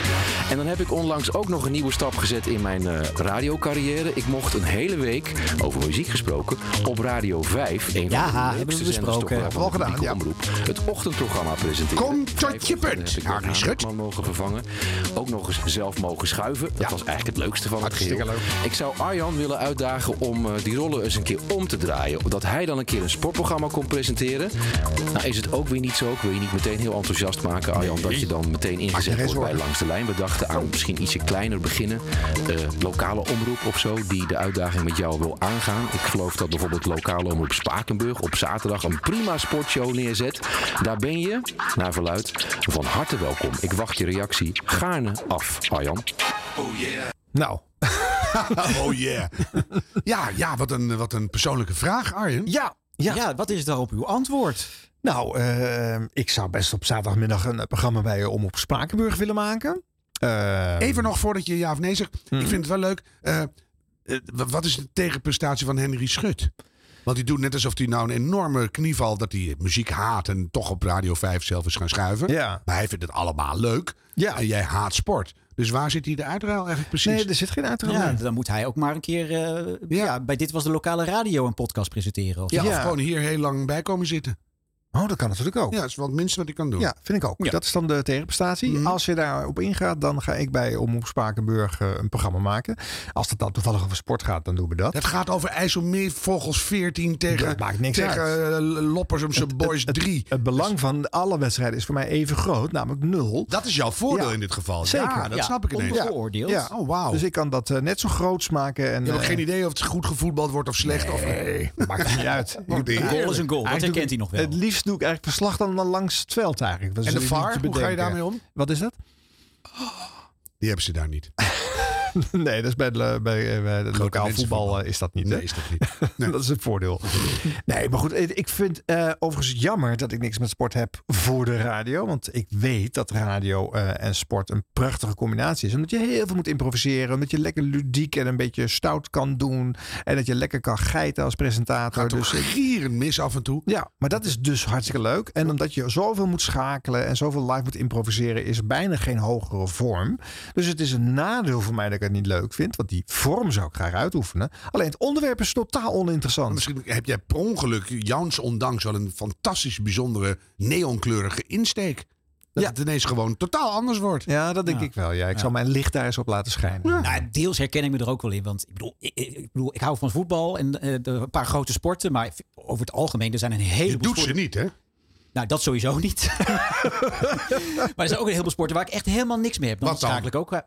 Speaker 24: En dan heb ik onlangs ook nog een nieuwe stap gezet in mijn eh, radiocarrière. Ik mocht een hele week, over muziek gesproken, op Radio 5, een
Speaker 1: Ja,
Speaker 24: van de
Speaker 1: hebben we
Speaker 24: leukste zenders toch
Speaker 1: besproken.
Speaker 24: wel van de
Speaker 1: Hebben we al
Speaker 24: publieke omroep, het ochtendprogramma presenteren.
Speaker 3: Kom
Speaker 24: tot je punt, Harry Schut. mogen vervangen. Ook nog eens zelf mogen schuiven. Dat was eigenlijk het leukste van het geheel. Ik zou Arjan willen uitdagen om eh, die rollen eens een keer om te draaien. Dat hij dan een keer een sportprogramma kon presenteren. Nou is het ook weer niet zo. Ik wil je niet meteen heel enthousiast maken, Arjan. Dat je dan meteen ingezet wordt bij Langs de Lijn. We dachten aan misschien ietsje kleiner beginnen. Eh, lokale omroep of zo, die de uitdaging met jou wil aangaan. Ik geloof dat bijvoorbeeld lokale omroep Spakenburg op zaterdag een prima sportshow neerzet. Daar ben je, naar verluid, van harte welkom. Ik wacht je reactie gaarne af, Arjan.
Speaker 3: Oh yeah.
Speaker 2: Nou.
Speaker 3: oh yeah. Ja, ja wat, een, wat een persoonlijke vraag, Arjen.
Speaker 2: Ja, ja.
Speaker 1: wat is daarop uw antwoord?
Speaker 2: Nou, eh, ik zou best op zaterdagmiddag een eh, programma bij je om op Spakenburg willen maken. Eh, Mm.
Speaker 3: Even nog voordat je ja of nee zegt. Ik vind het wel leuk. Eh, eh, wa- wat is de tegenprestatie van Henry Schut? Want die doet net alsof hij nou een enorme knieval... dat hij muziek haat en toch op Radio 5 zelf is gaan schuiven. Maar hij vindt het allemaal leuk. En jij haat sport. Dus waar zit hij de uitruil eigenlijk precies?
Speaker 1: Nee,
Speaker 2: er zit geen uitruil
Speaker 1: Ja,
Speaker 3: in.
Speaker 1: dan moet hij ook maar een keer eh, ja. bij Dit Was de Lokale Radio een podcast presenteren. Of
Speaker 3: Ja,
Speaker 1: zo.
Speaker 3: of gewoon hier heel lang bij komen zitten.
Speaker 2: Oh, dat kan natuurlijk ook.
Speaker 3: Ja, dat is wel het minste wat ik kan doen.
Speaker 2: Ja, Mhm. vind ik ook.
Speaker 3: Ja.
Speaker 2: Dat is dan de tegenprestatie. Als je daarop ingaat, dan ga ik bij Omroep Spakenburg eh, een programma maken. Als het dan toevallig over sport gaat, dan doen we dat.
Speaker 3: Het gaat over IJsselmeervogels 14 tegen,
Speaker 2: Dat maakt niks
Speaker 3: tegen
Speaker 2: uit.
Speaker 3: eh, Loppersumse Boys 3.
Speaker 2: Het belang van alle wedstrijden is voor mij even groot, namelijk nul.
Speaker 3: Dat is jouw voordeel in dit geval.
Speaker 2: Zeker.
Speaker 3: Ja, dat snap ik ineens. Onbevooroordeeld.
Speaker 2: Ja.
Speaker 3: Oh, wauw.
Speaker 2: Dus ik kan dat eh, net zo groots maken. En,
Speaker 3: Je hebt ook
Speaker 2: eh,
Speaker 3: geen idee of het goed gevoetbald wordt of slecht. of,
Speaker 2: nee, maakt niet uit.
Speaker 3: Een goal is een goal. Dat
Speaker 2: Eigenlijk
Speaker 3: herkent
Speaker 2: doe ik-
Speaker 3: hij nog wel.
Speaker 2: Het liefst doe ik eigenlijk verslag dan dan langs het veld eigenlijk. Dat
Speaker 3: En
Speaker 2: is dus
Speaker 3: de
Speaker 2: niet te
Speaker 3: VAR, hoe ga je
Speaker 2: bedenken.
Speaker 3: daarmee om?
Speaker 2: Wat is dat?
Speaker 3: Die hebben ze daar niet.
Speaker 2: nee, dat is bij, de- bij, eh, bij het lokaal voetbal eh, is dat niet. hè?
Speaker 3: Nee, is dat niet.
Speaker 2: dat is het voordeel. Nee, maar goed, eh, ik vind eh, overigens jammer dat ik niks met sport heb voor de radio. Want ik weet dat radio eh, en sport een prachtige combinatie is. Omdat je heel veel moet improviseren. Omdat je lekker ludiek en een beetje stout kan doen. En dat je lekker kan geiten als presentator.
Speaker 3: Gaat dus
Speaker 2: dus ik-
Speaker 3: gieren mis af en toe.
Speaker 2: ja, maar dat is dus hartstikke leuk. En omdat je zoveel moet schakelen en zoveel live moet improviseren, is er bijna geen hogere vorm. Dus het is een nadeel voor mij dat ik het niet leuk vind, want die vorm zou ik graag uitoefenen. Alleen het onderwerp is totaal oninteressant.
Speaker 3: Misschien heb jij per ongeluk, Jans ondanks, wel een fantastisch bijzondere neonkleurige insteek. Dat het ineens gewoon totaal anders wordt.
Speaker 2: Ja, dat denk ik wel. Ja, ik zal mijn licht daar eens op laten schijnen.
Speaker 1: Nou, deels herken ik me er ook wel in. Want ik bedoel, ik, ik- ik bedoel, ik hou van voetbal en eh, de- een paar grote sporten. Maar ik vind- over het algemeen, er zijn een heleboel
Speaker 3: Je doet ze
Speaker 1: sporten-
Speaker 3: niet, hè?
Speaker 1: Nou, dat sowieso niet. maar er zijn ook een heleboel sporten waar ik echt helemaal niks mee heb. Dan
Speaker 3: Wat dan?
Speaker 1: schakel ik ook... eh,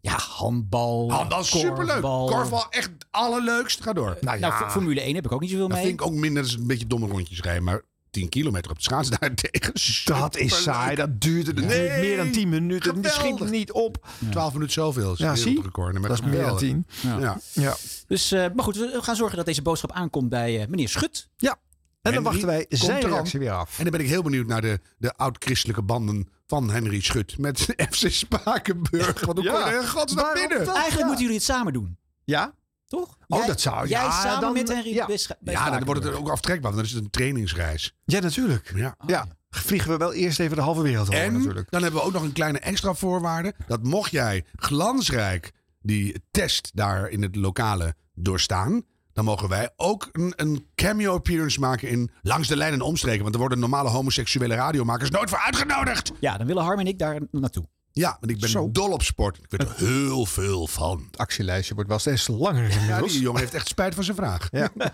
Speaker 1: Ja, handbal.
Speaker 3: Handbal Ah, is superleuk. Korfbal echt allerleukst. Ga door.
Speaker 1: Nou, F- Formule 1 heb ik ook niet zoveel
Speaker 3: Dat
Speaker 1: mee.
Speaker 3: vind ik ook minder. Dat is een beetje domme rondjes rijden. Maar 10 kilometer op de schaats daartegen.
Speaker 2: Dat is saai. Dat duurde er
Speaker 3: Nee.
Speaker 2: niet meer dan 10 minuten. Het schiet
Speaker 3: Geweldig.
Speaker 2: niet op.
Speaker 3: 12 minuten zoveel. is
Speaker 2: Ja,
Speaker 3: een
Speaker 2: zie?
Speaker 3: wereldrecord. Nee, maar
Speaker 2: Dat is meer dan
Speaker 3: geweldig.
Speaker 2: 10.
Speaker 3: Ja.
Speaker 2: Ja. Ja.
Speaker 1: Dus, eh, maar goed, we gaan zorgen dat deze boodschap aankomt bij eh, meneer Schut.
Speaker 2: Ja. En dan wachten wij
Speaker 3: Komt
Speaker 2: zijn
Speaker 3: eraan.
Speaker 2: reactie weer af.
Speaker 3: En dan ben ik heel benieuwd naar de, de oud-christelijke banden van Henry Schut met FC Spakenburg. Want hoe
Speaker 1: Ja.
Speaker 3: kon je er in godsnaam
Speaker 1: Waarom
Speaker 3: binnen?
Speaker 1: dat? Eigenlijk moeten jullie het samen doen.
Speaker 2: Ja?
Speaker 1: Toch?
Speaker 3: Oh,
Speaker 1: Jij-
Speaker 3: dat zou-
Speaker 1: Jij
Speaker 3: ja,
Speaker 1: samen
Speaker 3: dan-
Speaker 1: met Henry
Speaker 3: ja.
Speaker 1: Bissch- bij
Speaker 3: Ja, dan
Speaker 1: Spakenburg.
Speaker 3: wordt het ook aftrekbaar, want dan is het een trainingsreis.
Speaker 2: Ja, natuurlijk.
Speaker 3: Ja.
Speaker 2: ja. Vliegen we wel eerst even de halve wereld over
Speaker 3: En
Speaker 2: natuurlijk.
Speaker 3: dan hebben we ook nog een kleine extra voorwaarde. Dat mocht jij glansrijk die test daar in het lokale doorstaan... dan mogen wij ook een, een cameo appearance maken in Langs de Lijn en Omstreken. Want er worden normale homoseksuele radiomakers nooit voor uitgenodigd.
Speaker 1: Ja, dan willen Harm en ik daar naartoe.
Speaker 3: Ja, want ik ben dol op sport. Ik weet er heel veel van. Het
Speaker 2: actielijstje wordt wel steeds langer
Speaker 3: Ja,
Speaker 2: inmiddels.
Speaker 3: die jongen heeft echt spijt van zijn vraag.
Speaker 2: Ja.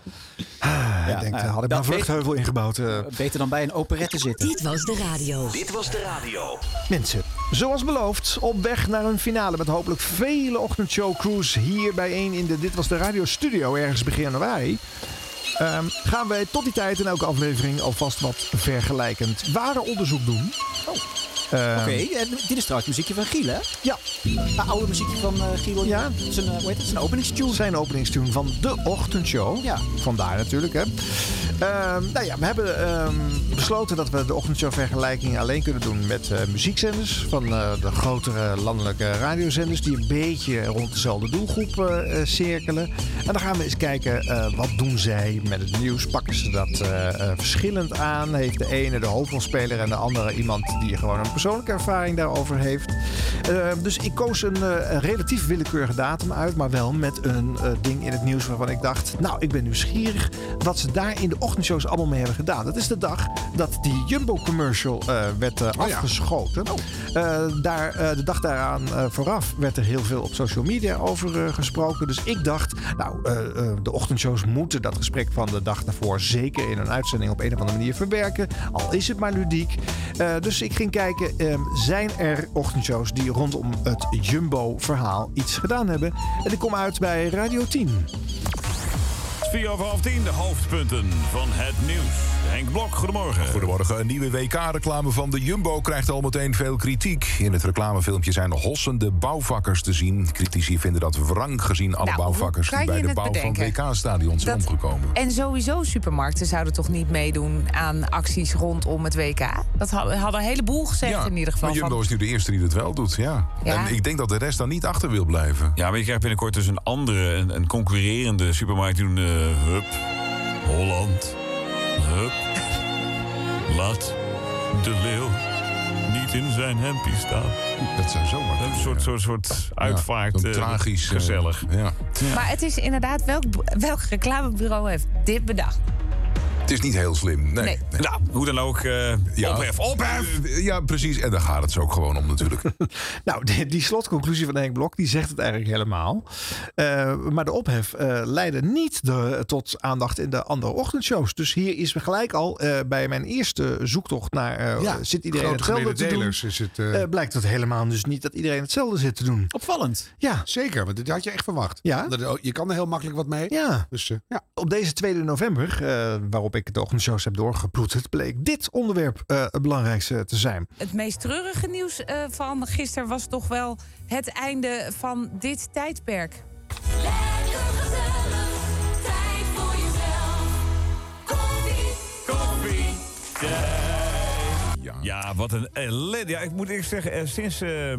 Speaker 2: Ah, ik denk,
Speaker 25: nou
Speaker 2: daar
Speaker 25: ja,
Speaker 2: had ik
Speaker 25: dat
Speaker 2: maar een vluchtheuvel ingebouwd. eh.
Speaker 25: Beter dan bij een operette zitten.
Speaker 26: Dit was de radio.
Speaker 25: Dit was de radio.
Speaker 2: Mensen, zoals beloofd, op weg naar een finale met hopelijk vele ochtendshow-crews hier bijeen in de Dit Was De Radio studio ergens begin januari. Ehm, gaan wij tot die tijd in elke aflevering alvast wat vergelijkend ware onderzoek doen. Ehm,
Speaker 25: Oh. Oké, en dit is trouwens muziekje van Giel, hè?
Speaker 2: Ja.
Speaker 25: Het oude muziekje van eh Giel. Ja. Zijn, eh, hoe heet het? Zijn openingstune.
Speaker 2: Zijn openingstune van de ochtendshow. Ja. Vandaar natuurlijk, hè. Ehm, nou ja, we hebben ehm, besloten dat we de ochtendshow-vergelijking alleen kunnen doen met eh, muziekzenders. Van eh, de grotere landelijke radiozenders die een beetje rond dezelfde doelgroep eh, eh, cirkelen. En dan gaan we eens kijken, eh, wat doen zij met het nieuws? Pakken ze dat eh, eh, verschillend aan? Heeft de ene de hoofdrolspeler en de andere iemand die gewoon een persoonlijke ervaring daarover heeft? Eh, dus ik koos een eh, relatief willekeurige datum uit, maar wel met een eh, ding in het nieuws waarvan ik dacht, nou, ik ben nieuwsgierig wat ze daar in de ochtendshows allemaal mee hebben gedaan. Dat is de dag dat die Jumbo-commercial eh, werd eh, afgeschoten. Eh, daar, eh, de dag daaraan eh, vooraf werd er heel veel op social media over eh, gesproken. Dus ik dacht, nou, eh, eh, de ochtendshows moeten dat gesprek van de dag daarvoor zeker in een uitzending op een of andere manier verwerken. Al is het maar ludiek. Eh, dus ik ging kijken, eh, zijn er ochtendshows die rondom het Jumbo-verhaal iets gedaan hebben? En ik kom uit bij Radio 10.
Speaker 14: 4 over half 10, de hoofdpunten van het nieuws. Henk Blok, goedemorgen.
Speaker 19: Goedemorgen. Een nieuwe WK-reclame van de Jumbo krijgt al meteen veel kritiek. In het reclamefilmpje zijn hossende bouwvakkers te zien. Critici vinden dat wrang gezien alle bouwvakkers
Speaker 20: Nou, kan
Speaker 19: die
Speaker 20: je
Speaker 19: bij de
Speaker 20: het
Speaker 19: bouw
Speaker 20: bedenken?
Speaker 19: van WK-stadions zijn
Speaker 20: Dat-
Speaker 19: omgekomen.
Speaker 20: En sowieso supermarkten zouden toch niet meedoen aan acties rondom het WK? Dat ha- hadden een heleboel gezegd in ieder geval.
Speaker 19: Maar Jumbo
Speaker 20: van-
Speaker 19: is nu de eerste die dat wel doet, ja.
Speaker 20: Ja.
Speaker 19: En ik denk dat de rest daar niet achter wil blijven.
Speaker 14: Ja, maar je krijgt binnenkort dus een andere, een, een concurrerende supermarkt die doen. eh, hup, Holland. Hup. Laat de leeuw niet in zijn hempie staan.
Speaker 19: Dat zijn zomaar.
Speaker 14: Een soort, soort, soort uitvaart.
Speaker 19: zo'n
Speaker 14: eh,
Speaker 19: tragisch, eh,
Speaker 14: Gezellig.
Speaker 19: ja.
Speaker 20: Maar het is inderdaad, welk, welk reclamebureau heeft dit bedacht?
Speaker 19: Het is niet heel slim, nee.
Speaker 20: Nee.
Speaker 14: Nou, hoe dan ook, eh ophef, ophef!
Speaker 19: Ja, precies. En daar gaat het ze ook gewoon om natuurlijk.
Speaker 2: Nou, die, die slotconclusie van Henk Blok, die zegt het eigenlijk helemaal. Eh, maar de ophef eh, leidde niet de, tot aandacht in de andere ochtendshows. Dus hier is gelijk al eh, bij mijn eerste zoektocht naar... eh,
Speaker 3: Ja,
Speaker 2: zit iedereen
Speaker 3: grote
Speaker 2: hetzelfde te doen?
Speaker 3: mededelers is het, eh.
Speaker 2: Eh, blijkt dat helemaal dus niet dat iedereen hetzelfde zit te doen.
Speaker 25: Opvallend.
Speaker 2: Ja.
Speaker 3: Zeker, want dit had je echt verwacht.
Speaker 2: Ja.
Speaker 3: Dat- oh, Je kan er heel makkelijk wat mee.
Speaker 2: Ja.
Speaker 3: Dus, eh, ja.
Speaker 2: Op deze 2 november, eh, waarop ik de ochtendshows heb doorgeploeterd... bleek dit onderwerp eh, het belangrijkste te zijn.
Speaker 20: Het meest treurige nieuws eh, van gisteren was toch wel het einde van dit tijdperk.
Speaker 14: Ja. wat een ellende. Ja, ik moet eerlijk zeggen, eh, sinds, eh,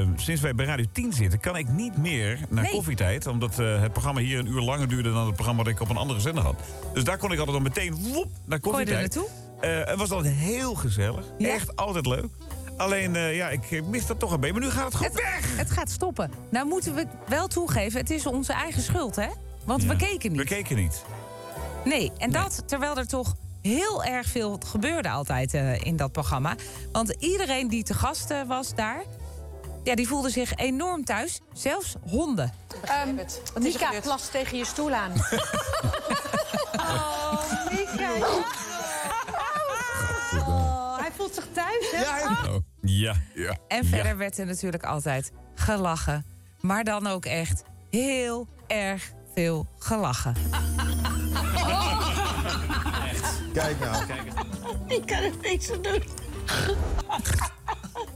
Speaker 14: eh, sinds wij bij Radio 10 zitten... kan ik niet meer naar
Speaker 20: Nee.
Speaker 14: koffietijd. Omdat eh, het programma hier een uur langer duurde... dan het programma dat ik op een andere zender had. Dus daar kon ik altijd dan meteen woep, naar
Speaker 20: Kon je er
Speaker 14: koffietijd.
Speaker 20: naartoe?
Speaker 14: Eh, het was altijd heel gezellig. Echt altijd leuk. Alleen, eh, ja, ik eh, mis dat toch een beetje. Maar nu gaat het goed
Speaker 20: Het, het gaat stoppen. Nou moeten we wel toegeven, het is onze eigen schuld, hè? Want we keken niet.
Speaker 14: We keken niet.
Speaker 20: Nee, en dat terwijl er toch heel erg veel gebeurde altijd eh, in dat programma. Want iedereen die te gast eh, was daar, ja, die voelde zich enorm thuis. Zelfs honden.
Speaker 16: Mika plast Ehm, tegen je stoel aan. oh, Mika. Oh, hij voelt zich thuis, hè? Oh.
Speaker 14: Ja.
Speaker 20: En verder werd er natuurlijk altijd gelachen. Maar dan ook echt heel erg veel gelachen.
Speaker 2: Kijk
Speaker 10: Oh,
Speaker 2: nou.
Speaker 16: Ik kan er niks aan doen.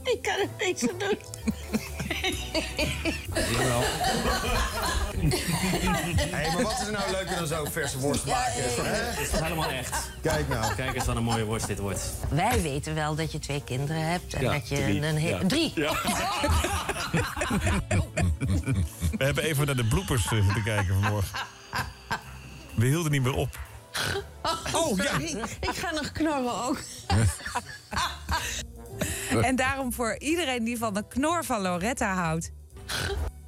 Speaker 16: Ik kan er niks aan doen.
Speaker 27: hey, maar wat is er nou leuker dan zo verse worst maken?
Speaker 10: Het is toch helemaal echt. Kijk nou. Kijk eens wat een mooie worst dit wordt.
Speaker 16: Wij weten wel dat je twee kinderen hebt en
Speaker 10: Ja,
Speaker 16: dat je
Speaker 10: drie.
Speaker 16: een heel...
Speaker 10: Ja.
Speaker 16: Drie!
Speaker 14: We hebben even naar de bloepers
Speaker 7: eh,
Speaker 14: te kijken vanmorgen. We hielden niet meer op.
Speaker 16: Oh, ja. Ik ga nog knorren ook.
Speaker 20: En daarom voor iedereen die van de knor van Loretta houdt.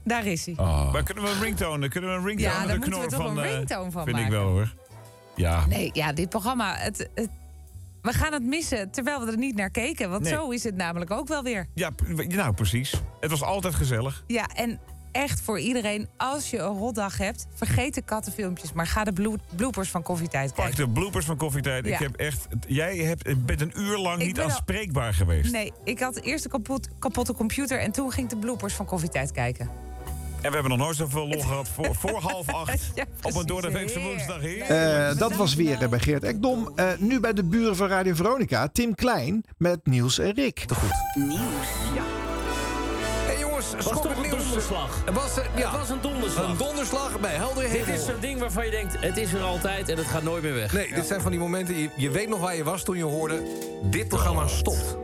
Speaker 20: Daar is hij.
Speaker 14: Maar kunnen we een ringtone? Kunnen we een ringtone?
Speaker 20: Oh. Ja,
Speaker 14: met
Speaker 20: daar
Speaker 14: een
Speaker 20: moeten we toch
Speaker 14: knor van,
Speaker 20: een
Speaker 14: eh,
Speaker 20: ringtone van
Speaker 14: Vind ik
Speaker 20: maken.
Speaker 14: wel hoor. Ja.
Speaker 20: Nee, ja, dit programma. Het, het, We gaan het missen terwijl we er niet naar keken. Want
Speaker 7: Nee.
Speaker 20: zo is het namelijk ook wel weer.
Speaker 7: Ja, p- nou precies. Het was altijd gezellig.
Speaker 20: Ja, en echt voor iedereen, als je een rotdag hebt, vergeet de kattenfilmpjes, maar ga de blo- bloopers van koffietijd
Speaker 7: Pak
Speaker 20: kijken.
Speaker 7: de bloopers van koffietijd.
Speaker 20: Ja.
Speaker 7: Ik heb echt, jij hebt, eh, bent een uur lang
Speaker 20: Ik
Speaker 7: niet
Speaker 20: ben al-
Speaker 7: aanspreekbaar geweest.
Speaker 20: Nee, ik had eerst de kapot, kapotte computer en toen ging ik de bloopers van koffietijd kijken.
Speaker 7: En we hebben nog nooit zoveel lol gehad voor, voor half acht. op een door de weekse woensdag. Heer.
Speaker 2: Eh, dat was weer eh, bij Geert Ekdom. Eh, nu bij de buren van Radio Veronica, Tim Klein met Niels en Rick. Te goed.
Speaker 9: Hey jongens, schop
Speaker 6: toch
Speaker 9: het
Speaker 6: een
Speaker 9: nieuws.
Speaker 6: donderslag?
Speaker 9: Het was, eh,
Speaker 6: Ja.
Speaker 9: het was een donderslag.
Speaker 6: Een donderslag bij helder Dit
Speaker 9: hemel.
Speaker 6: is zo'n ding waarvan je denkt, het is er altijd en het gaat nooit meer weg.
Speaker 9: Nee,
Speaker 6: Ja.
Speaker 9: dit zijn van die momenten. Je, je weet nog waar je was toen je hoorde. Dit
Speaker 6: Oh,
Speaker 9: programma stopt.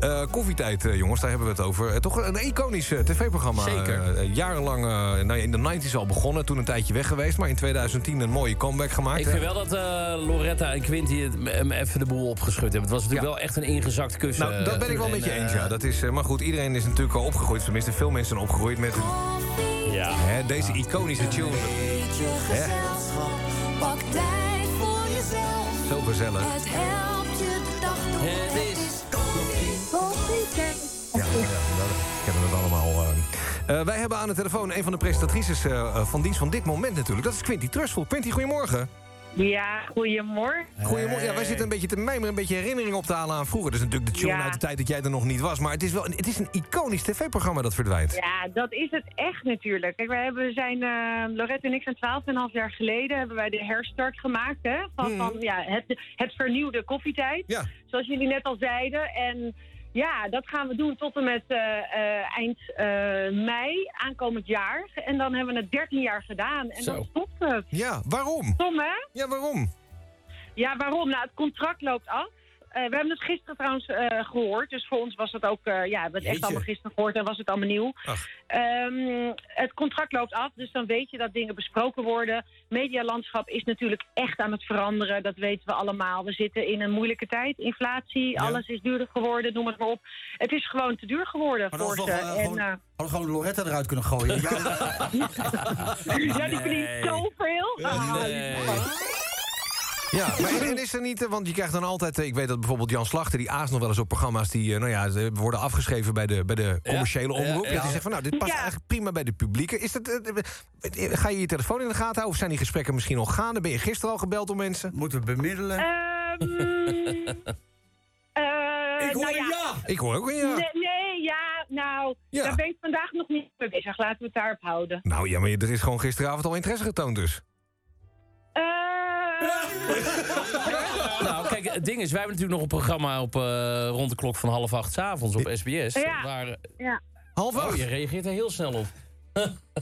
Speaker 7: Eh, koffietijd, eh, jongens, daar hebben we het over. Eh, toch een iconisch eh, tv-programma.
Speaker 9: Zeker.
Speaker 7: Eh, eh,
Speaker 9: Jarenlang eh, nou ja, in de 90s al begonnen. Toen een tijdje weg geweest. Maar in 2010 een mooie comeback gemaakt.
Speaker 6: Ik vind wel dat eh, Loretta en Quinty het- hem even de boel opgeschud hebben. Het was natuurlijk
Speaker 9: Ja.
Speaker 6: wel echt een ingezakt kussen. eh,
Speaker 7: Nou, dat ben ik wel met je eens, ja.
Speaker 6: Dat...
Speaker 7: Dat is, eh, maar goed, iedereen is natuurlijk al opgegroeid. Tenminste, veel mensen zijn opgegroeid met
Speaker 6: ja.
Speaker 7: hè, deze iconische tune. Hè,
Speaker 10: Pak tijd voor jezelf.
Speaker 7: zo gezellig.
Speaker 10: Het helpt je de dag door. Het is koffietijd.
Speaker 7: Ja, ja, we kennen het allemaal. eh. Eh, wij hebben aan de telefoon een van de presentatrices eh, eh, van dienst van dit moment natuurlijk. Dat is Quinty Trustful. Quinty, goedemorgen.
Speaker 17: Ja, goedemorgen.
Speaker 7: Goedemorgen. Ja, wij zitten een beetje te mijmeren, een beetje herinneringen op te halen aan vroeger. Dat is natuurlijk de tune
Speaker 17: Ja.
Speaker 7: uit de tijd dat jij er nog niet was. Maar het is wel een- het is een iconisch tv-programma dat verdwijnt.
Speaker 17: Ja, dat is het echt natuurlijk. Kijk, wij hebben, we zijn, eh Lorette en ik zijn 12,5 jaar geleden hebben wij de herstart gemaakt. Hè,
Speaker 7: Hmm.
Speaker 17: van van ja, het, het vernieuwde koffietijd. Zoals jullie net al zeiden. En ja, dat gaan we doen tot en met eh, eh, eind eh, mei aankomend jaar. En dan hebben we het 13 jaar gedaan. En
Speaker 7: Zo.
Speaker 17: dan stopt het.
Speaker 7: Ja, waarom?
Speaker 17: Tom, hè?
Speaker 7: Ja, waarom?
Speaker 17: Ja, waarom? Nou, het contract loopt af. Eh, we hebben het gisteren trouwens eh, gehoord. Dus voor ons was dat ook... eh, ja, we hebben het echt
Speaker 28: Jeetje.
Speaker 17: allemaal gisteren gehoord en was het allemaal nieuw.
Speaker 28: Ach.
Speaker 17: Ehm, het contract loopt af, dus dan weet je dat dingen besproken worden. Medialandschap is natuurlijk echt aan het veranderen. Dat weten we allemaal. We zitten in een moeilijke tijd. Inflatie, alles is duurder geworden, noem het maar op. Het is gewoon te duur geworden
Speaker 8: Maar
Speaker 17: voor
Speaker 8: dan
Speaker 17: ze.
Speaker 8: hadden we
Speaker 17: En,
Speaker 8: wel, eh, gewoon,
Speaker 17: eh,
Speaker 8: hadden we gewoon Loretta eruit kunnen gooien. Ja,
Speaker 17: ja, die verdient zoveel.
Speaker 8: Eh,
Speaker 17: Ah,
Speaker 7: Ja, maar en- en is er niet, eh, want je krijgt dan altijd, eh, ik weet dat bijvoorbeeld Jan Slachter, die aast nog wel eens op programma's die, eh, nou ja, ze worden afgeschreven bij de, bij de commerciële
Speaker 8: ja,
Speaker 7: omroep.
Speaker 8: ja.
Speaker 7: Dat die zegt van, nou, dit past eigenlijk prima bij de publieke. Is dat, eh, eh, eh, ga je je telefoon in de gaten houden of zijn die gesprekken misschien al gaande? Ben je gisteren al gebeld door mensen?
Speaker 8: Moeten we bemiddelen?
Speaker 17: Ehm. eh,
Speaker 8: Ik hoor
Speaker 17: nou
Speaker 8: een ja.
Speaker 7: Ik hoor ook een ja.
Speaker 17: Nee, nee, ja, nou, daar ben ik vandaag nog niet mee bezig. Laten we het daarop houden.
Speaker 7: Nou ja, maar je- er is gewoon gisteravond al interesse getoond dus.
Speaker 17: Eh,
Speaker 6: Nou, kijk, het ding is, wij hebben natuurlijk nog een programma op, eh, rond de klok van half acht 's avonds op SBS.
Speaker 17: Ja.
Speaker 6: Waar,
Speaker 17: ja.
Speaker 7: half
Speaker 6: acht? je reageert er heel snel op.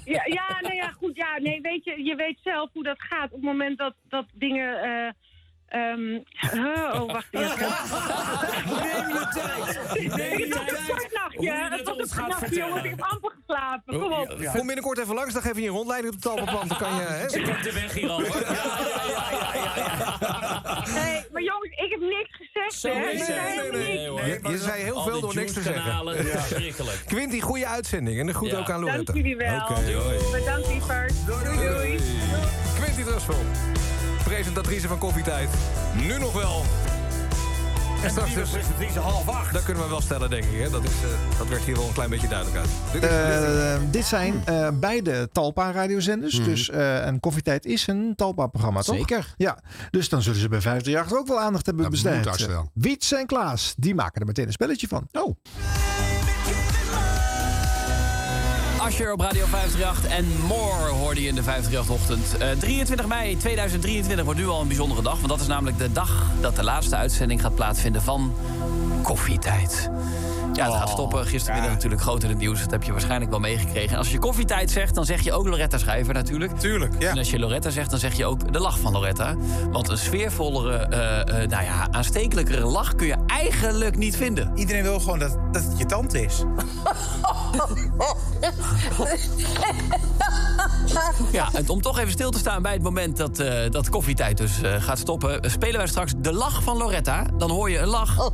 Speaker 17: Ja, ja, nou ja, goed. Ja, nee, weet je, je weet zelf hoe dat gaat op het moment dat, dat dingen. eh ehm, huh, oh, wacht even. Neem je tijd.
Speaker 6: Neem je
Speaker 17: Het was
Speaker 6: tijd.
Speaker 17: een kort
Speaker 6: Hoe
Speaker 17: nachtje.
Speaker 6: je
Speaker 17: Het
Speaker 6: het
Speaker 17: was
Speaker 6: ons
Speaker 17: een
Speaker 6: gaat
Speaker 17: kort nachtje,
Speaker 6: vertellen.
Speaker 17: jongen. Ik heb amper geslapen. Kom op.
Speaker 6: Oh,
Speaker 7: Kom binnenkort even langs, dan geef je een rondleiding op het Alpenplan. Dan kan
Speaker 17: Ah,
Speaker 7: je... Hè,
Speaker 6: Je komt er weg hier al. hoor.
Speaker 17: Nee, maar jongens, ik heb niks gezegd.
Speaker 6: Zo
Speaker 17: hè.
Speaker 6: is
Speaker 17: Ik
Speaker 6: het.
Speaker 17: zei
Speaker 6: Nee,
Speaker 17: helemaal
Speaker 6: nee,
Speaker 17: niks.
Speaker 6: nee, hoor.
Speaker 7: Je, je zei heel
Speaker 6: Al
Speaker 7: veel
Speaker 6: die
Speaker 7: door niks te
Speaker 6: Juice-kanalen,
Speaker 7: zeggen.
Speaker 6: ja, verschrikkelijk.
Speaker 7: Quinty, goede uitzending. En een goed
Speaker 6: Ja.
Speaker 7: ook aan Loretta.
Speaker 17: Dank jullie wel.
Speaker 7: Oké, hoi.
Speaker 17: Bedankt, lieverd. Doei, doei.
Speaker 7: Quinty Trustful, presentatrice van Koffietijd. Nu nog wel. En straks dus... Presentatrice half acht. Dat kunnen we wel stellen, denk ik. Hè? Dat, is, eh, dat werd hier wel een klein beetje duidelijk uit. Dit is,
Speaker 2: Eh, dit zijn eh, beide Talpa-radiozenders. Dus eh een koffietijd is een Talpa-programma, toch?
Speaker 29: Zeker.
Speaker 2: Ja, dus dan zullen ze bij 538 ook wel aandacht hebben
Speaker 3: moet
Speaker 2: besteed.
Speaker 3: haast wel.
Speaker 2: Wiets en Klaas, die maken er meteen een spelletje van. Oh.
Speaker 6: Asher op Radio 538 en more hoorde je in de 538-ochtend. 23 mei 2023 wordt nu al een bijzondere dag. Want dat is namelijk de dag dat de laatste uitzending gaat plaatsvinden van Koffietijd. Ja, het gaat stoppen. Gistermiddag natuurlijk groot in het nieuws. Dat heb je waarschijnlijk wel meegekregen. En als je koffietijd zegt, dan zeg je ook Loretta Schrijver natuurlijk.
Speaker 7: Tuurlijk,
Speaker 6: En als je Loretta zegt, dan zeg je ook de lach van Loretta. Want een sfeervollere, eh, eh, nou ja, aanstekelijkere lach kun je eigenlijk niet vinden.
Speaker 8: Iedereen wil gewoon dat, dat het je tante is.
Speaker 6: Ja, en om toch even stil te staan bij het moment dat, eh, dat koffietijd dus eh, gaat stoppen... spelen wij straks de lach van Loretta. Dan hoor je een lach,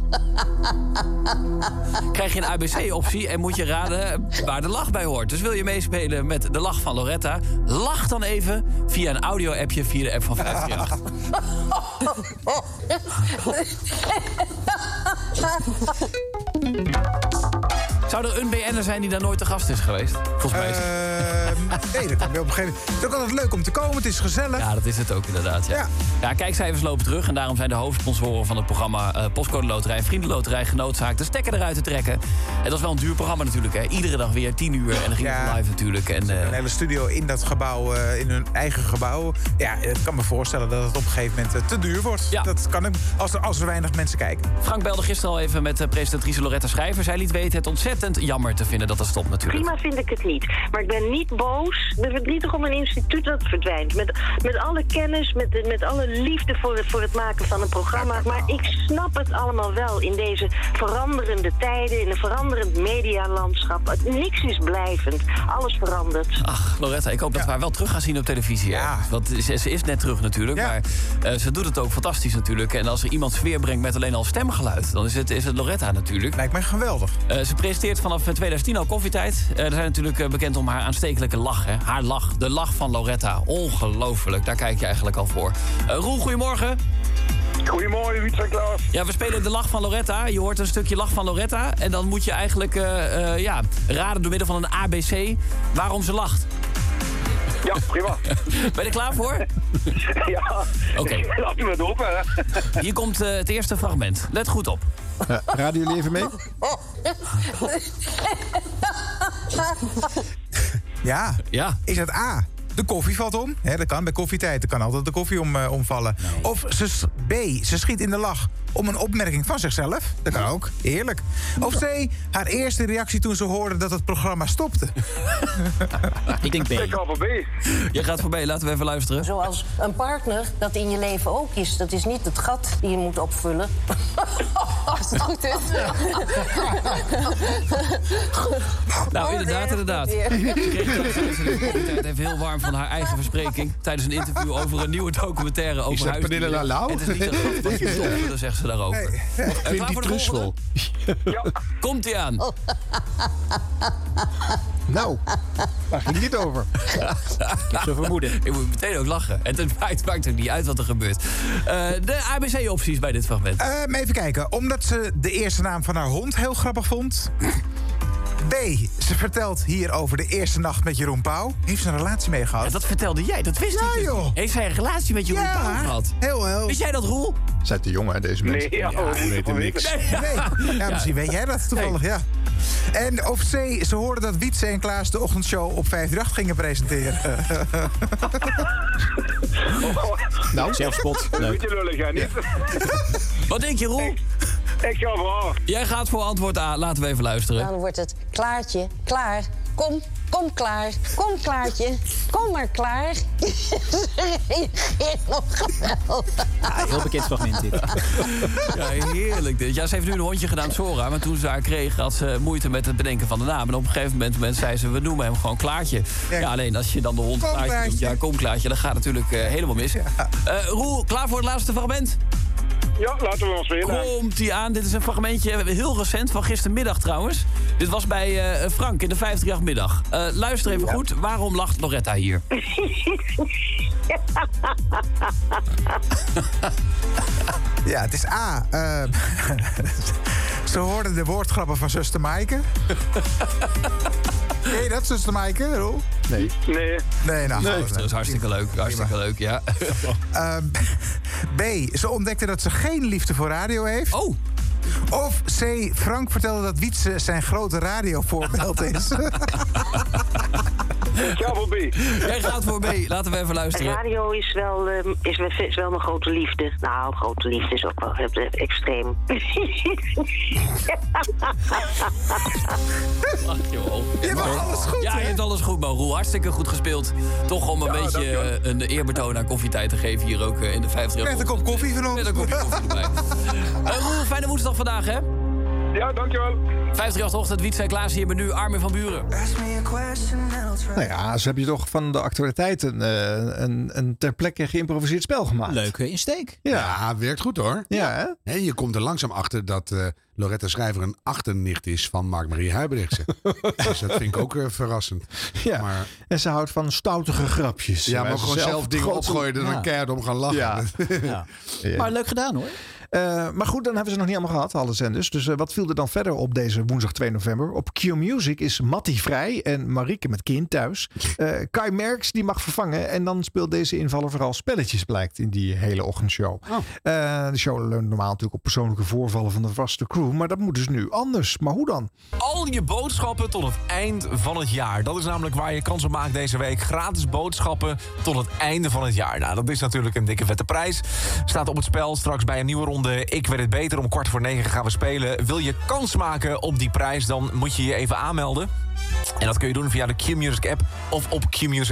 Speaker 6: krijg je een ABC-optie... en moet je raden waar de lach bij hoort. Dus wil je meespelen met de lach van Loretta... lach dan even via een audio-appje via de app van 538. Zou er een BN'er zijn die daar nooit te gast is geweest? Volgens mij is
Speaker 18: Ehm, nee, dat kan wel op een gegeven moment. Het is ook altijd leuk om te komen, het is gezellig.
Speaker 6: Ja, dat is het ook inderdaad. Ja. Ja. kijkcijfers lopen terug en daarom zijn de hoofdsponsoren van het programma eh, Postcode Loterij, Vriendenloterij, Genoodzaakt de stekker eruit te trekken. En dat is wel een duur programma natuurlijk. Hè. Iedere dag weer 10 uur en dan ging het live natuurlijk. En, eh,
Speaker 18: Een hele studio in dat gebouw, eh, in hun eigen gebouw. Ja, ik kan me voorstellen dat het op een gegeven moment eh, te duur wordt. Dat kan ik, als er, als er weinig mensen kijken.
Speaker 6: Frank belde gisteren al even met eh, presentatrice Loretta Schrijver. Zij liet weten het ontzettend jammer te vinden dat dat stopt natuurlijk.
Speaker 16: Prima vind ik het niet. Maar ik ben niet boos. Ik ben verdrietig om een instituut dat verdwijnt. Met, met alle kennis, met, met alle liefde voor, het- voor het maken van een programma. Maar ik snap het allemaal wel in deze veranderende tijden, in een veranderend medialandschap. Het- Niks is blijvend. Alles verandert.
Speaker 6: Ach, Loretta, ik hoop dat we haar wel terug gaan zien op televisie. Ja. Want ze, ze is net terug natuurlijk, maar eh, ze doet het ook fantastisch natuurlijk. En als er iemand sfeer brengt met alleen al stemgeluid... dan is het, is het Loretta natuurlijk. Eh,
Speaker 18: Lijkt mij geweldig.
Speaker 6: ze presenteert vanaf 2010 al koffietijd. Eh er zijn natuurlijk eh, bekend om haar aanstekelijke lach. Hè? Haar lach, de lach van Loretta. Ongelooflijk, daar kijk je eigenlijk al voor. Eh, Roel, goedemorgen.
Speaker 9: Goedemorgen, Wiets en Klaas.
Speaker 6: Ja, we spelen de lach van Loretta. Je hoort een stukje lach van Loretta. En dan moet je eigenlijk eh, eh, ja, raden door middel van een ABC waarom ze lacht.
Speaker 9: Ja, prima.
Speaker 6: ben je er klaar voor?
Speaker 9: ja.
Speaker 6: Oké.
Speaker 9: Laat me het open, hè.
Speaker 6: Hier komt eh, het eerste fragment. Let goed op.
Speaker 2: raden jullie even Eh, mee?
Speaker 10: Oh.
Speaker 18: Ja.
Speaker 6: ja.
Speaker 18: Is dat A? De koffie valt om. Hè, dat kan bij koffietijd. Er kan altijd de koffie om, eh, omvallen. Of ze, s- B. Ze schiet in de lach om een opmerking van zichzelf. Dat kan ook. Heerlijk. Of C. Haar eerste reactie toen ze hoorde dat het programma stopte.
Speaker 6: Ik denk B. Ik
Speaker 9: ga voor B.
Speaker 6: Je gaat voor B, laten we even luisteren.
Speaker 10: Zoals een partner dat in je leven ook is. Dat is niet het gat die je moet opvullen. Als het goed is.
Speaker 6: Nou, inderdaad, inderdaad.
Speaker 10: weer.
Speaker 6: Ze kreeg dat tijdens de koffietijd even heel warm van haar eigen verspreking... tijdens een interview over een nieuwe documentaire over
Speaker 3: Is dat
Speaker 6: huisdieren.
Speaker 3: Pernilla Lau?
Speaker 6: Het is niet dat gat wat je stopt, dat zegt ze daarover. Eh, klaar voor de volgende? Komt-ie aan.
Speaker 2: Nou, waar ging dit over?
Speaker 6: Ik heb zo'n vermoeden. Ik moet meteen ook lachen. En het maakt, maakt ook niet uit wat er gebeurt. Eh, de ABC-opties bij dit fragment.
Speaker 18: Ehm, even kijken. Omdat ze de eerste naam van haar hond heel grappig vond. B. Ze vertelt hier over de eerste nacht met Jeroen Pauw. Heeft ze een relatie mee gehad?
Speaker 6: dat vertelde jij, dat wist
Speaker 18: ja, ik joh.
Speaker 6: Heeft zij een relatie met Jeroen Pauw gehad?
Speaker 18: Heel, heel.
Speaker 6: Wist jij dat, Roel?
Speaker 2: Zijn te jong, hè, deze mensen?
Speaker 9: Nee, ja, we
Speaker 3: oh,
Speaker 9: moeten gewoon weten.
Speaker 18: Nee. Ja, misschien weet jij dat toevallig, ja. En of C, ze hoorden dat Wietse en Klaas de ochtendshow op 538 gingen presenteren.
Speaker 2: Nou, zelfspot.
Speaker 9: Een beetje lullig, hè, niet?
Speaker 6: Wat denk je, Roel?
Speaker 9: Ik ga voor A.
Speaker 6: Jij gaat voor antwoord A. Laten we even luisteren.
Speaker 10: Dan wordt het klaartje, klaar. Kom, kom klaar. Kom klaartje. Kom maar klaar. Ze reageert nog geweldig.
Speaker 30: Heel bekend fragment dit.
Speaker 6: Ja, heerlijk dit. Ja, ze heeft nu een hondje gedaan, Sora. Maar toen ze haar kreeg, had ze moeite met het bedenken van de naam. En op een gegeven moment, mensen zei ze, we noemen hem gewoon Klaartje. Ja, alleen als je dan de hond
Speaker 18: Kom,
Speaker 6: Klaartje noemt,
Speaker 18: Klaartje.
Speaker 6: ja, kom Klaartje, dan gaat het natuurlijk eh, helemaal mis. Eh, Roel, klaar voor het laatste fragment?
Speaker 9: Ja, laten we ons spelen.
Speaker 6: Komt die aan. Dit is een fragmentje, eh, heel recent, van gistermiddag trouwens. Dit was bij eh, Frank in de 538 middag. Eh, luister even goed, waarom lacht Loretta hier?
Speaker 18: ja, het is A. ehm, ze hoorden de woordgrappen van zuster Maaike. Ken je dat, zuster Maaike, Roel?
Speaker 2: Nee.
Speaker 9: Nee.
Speaker 18: Nee, nou,
Speaker 6: Nee.
Speaker 18: alles
Speaker 6: Dat is hartstikke leuk, hartstikke leuk, ja.
Speaker 18: Ehm, B. Ze ontdekte dat ze geen liefde voor radio heeft.
Speaker 6: Oh.
Speaker 18: Of C. Frank vertelde dat Wietse zijn grote radiovoorbeeld is.
Speaker 9: Ik ga voor B.
Speaker 6: Jij gaat voor B. Laten we even luisteren.
Speaker 16: Radio is wel, ehm, is, wel- is wel mijn grote liefde. Nou, grote liefde is ook wel eh, extreem.
Speaker 6: Ach, joh.
Speaker 18: Je hebt alles goed,
Speaker 6: Ja, je hebt alles goed, man. Roel, hartstikke goed gespeeld. Toch om een beetje eh, een eerbetoon aan koffietijd te geven hier ook eh, in de 50
Speaker 18: Met een kop koffie van ons.
Speaker 6: Eh, Roel, fijne woensdag vandaag, hè?
Speaker 31: Ja, dankjewel.
Speaker 6: 538 Ochtend, Wietse Klaas hier, menu Armin van Buren.
Speaker 2: Nou ja, ze hebben je toch van de actualiteiten een, een, een ter plekke geïmproviseerd spel gemaakt.
Speaker 10: Leuke insteek.
Speaker 3: Ja, werkt goed hoor.
Speaker 2: Ja,
Speaker 3: hè? je komt er langzaam achter dat eh Loretta Schrijver een achternicht is van Mark-Marie Huibrechtse. dus dat vind ik ook eh, verrassend.
Speaker 2: Ja. En ze houdt van stoutige grapjes.
Speaker 3: Ja, maar
Speaker 2: Waar ze
Speaker 3: gewoon zelf dingen
Speaker 2: grote-
Speaker 3: opgooien en dan keihard om gaan lachen.
Speaker 2: Ja.
Speaker 3: Ja.
Speaker 2: Maar
Speaker 10: leuk gedaan hoor.
Speaker 2: maar goed, dan hebben ze nog niet allemaal gehad, alle zenders. Dus eh, wat viel er dan verder op deze woensdag 2 november? Op Q Music is Matty vrij en Marieke met kind thuis. Eh Kai Merks die mag vervangen. En dan speelt deze invaller vooral spelletjes, blijkt in die hele ochtendshow. Eh, de show leunt normaal natuurlijk op persoonlijke voorvallen van de vaste crew. Maar dat moet dus nu anders. Maar hoe dan?
Speaker 4: Al je boodschappen tot het eind van het jaar. Dat is namelijk waar je kans op maakt deze week. Gratis boodschappen tot het einde van het jaar. Nou, dat is natuurlijk een dikke vette prijs. Staat op het spel straks bij een nieuwe ronde. Ik weet het beter. Om kwart voor negen gaan we spelen. Wil je kans maken op die prijs, dan moet je je even aanmelden. En dat kun je doen via de Q-Music app of op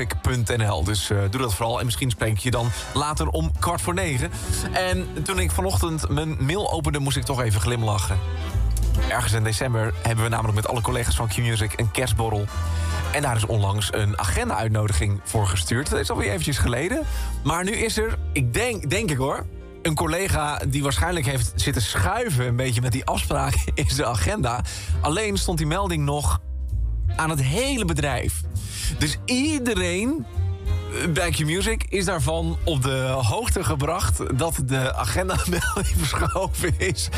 Speaker 4: qmusic.nl. Dus eh, doe dat vooral. En misschien spreek ik je dan later om kwart voor negen. En toen ik vanochtend mijn mail opende, moest ik toch even glimlachen. Ergens in december hebben we namelijk met alle collega's van Q-Music een kerstborrel. En daar is onlangs een agenda-uitnodiging voor gestuurd. Dat is alweer eventjes geleden. Maar nu is er, ik denk, denk ik hoor, een collega die waarschijnlijk heeft zitten schuiven... een beetje met die afspraak in zijn agenda. Alleen stond die melding nog aan het hele bedrijf. Dus iedereen eh, bij Q-Music is daarvan op de hoogte gebracht... dat de agenda-melding verschoven is.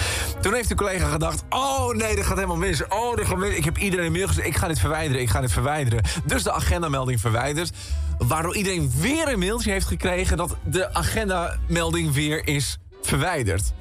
Speaker 4: Toen heeft de collega gedacht... oh nee, dat gaat helemaal mis. Oh, dat gaat mis. Ik heb iedereen een mail gestuurd. Ik ga dit verwijderen, ik ga dit verwijderen. Dus de agendamelding verwijderd. Waardoor iedereen weer een mailtje heeft gekregen... dat de agendamelding weer is verwijderd.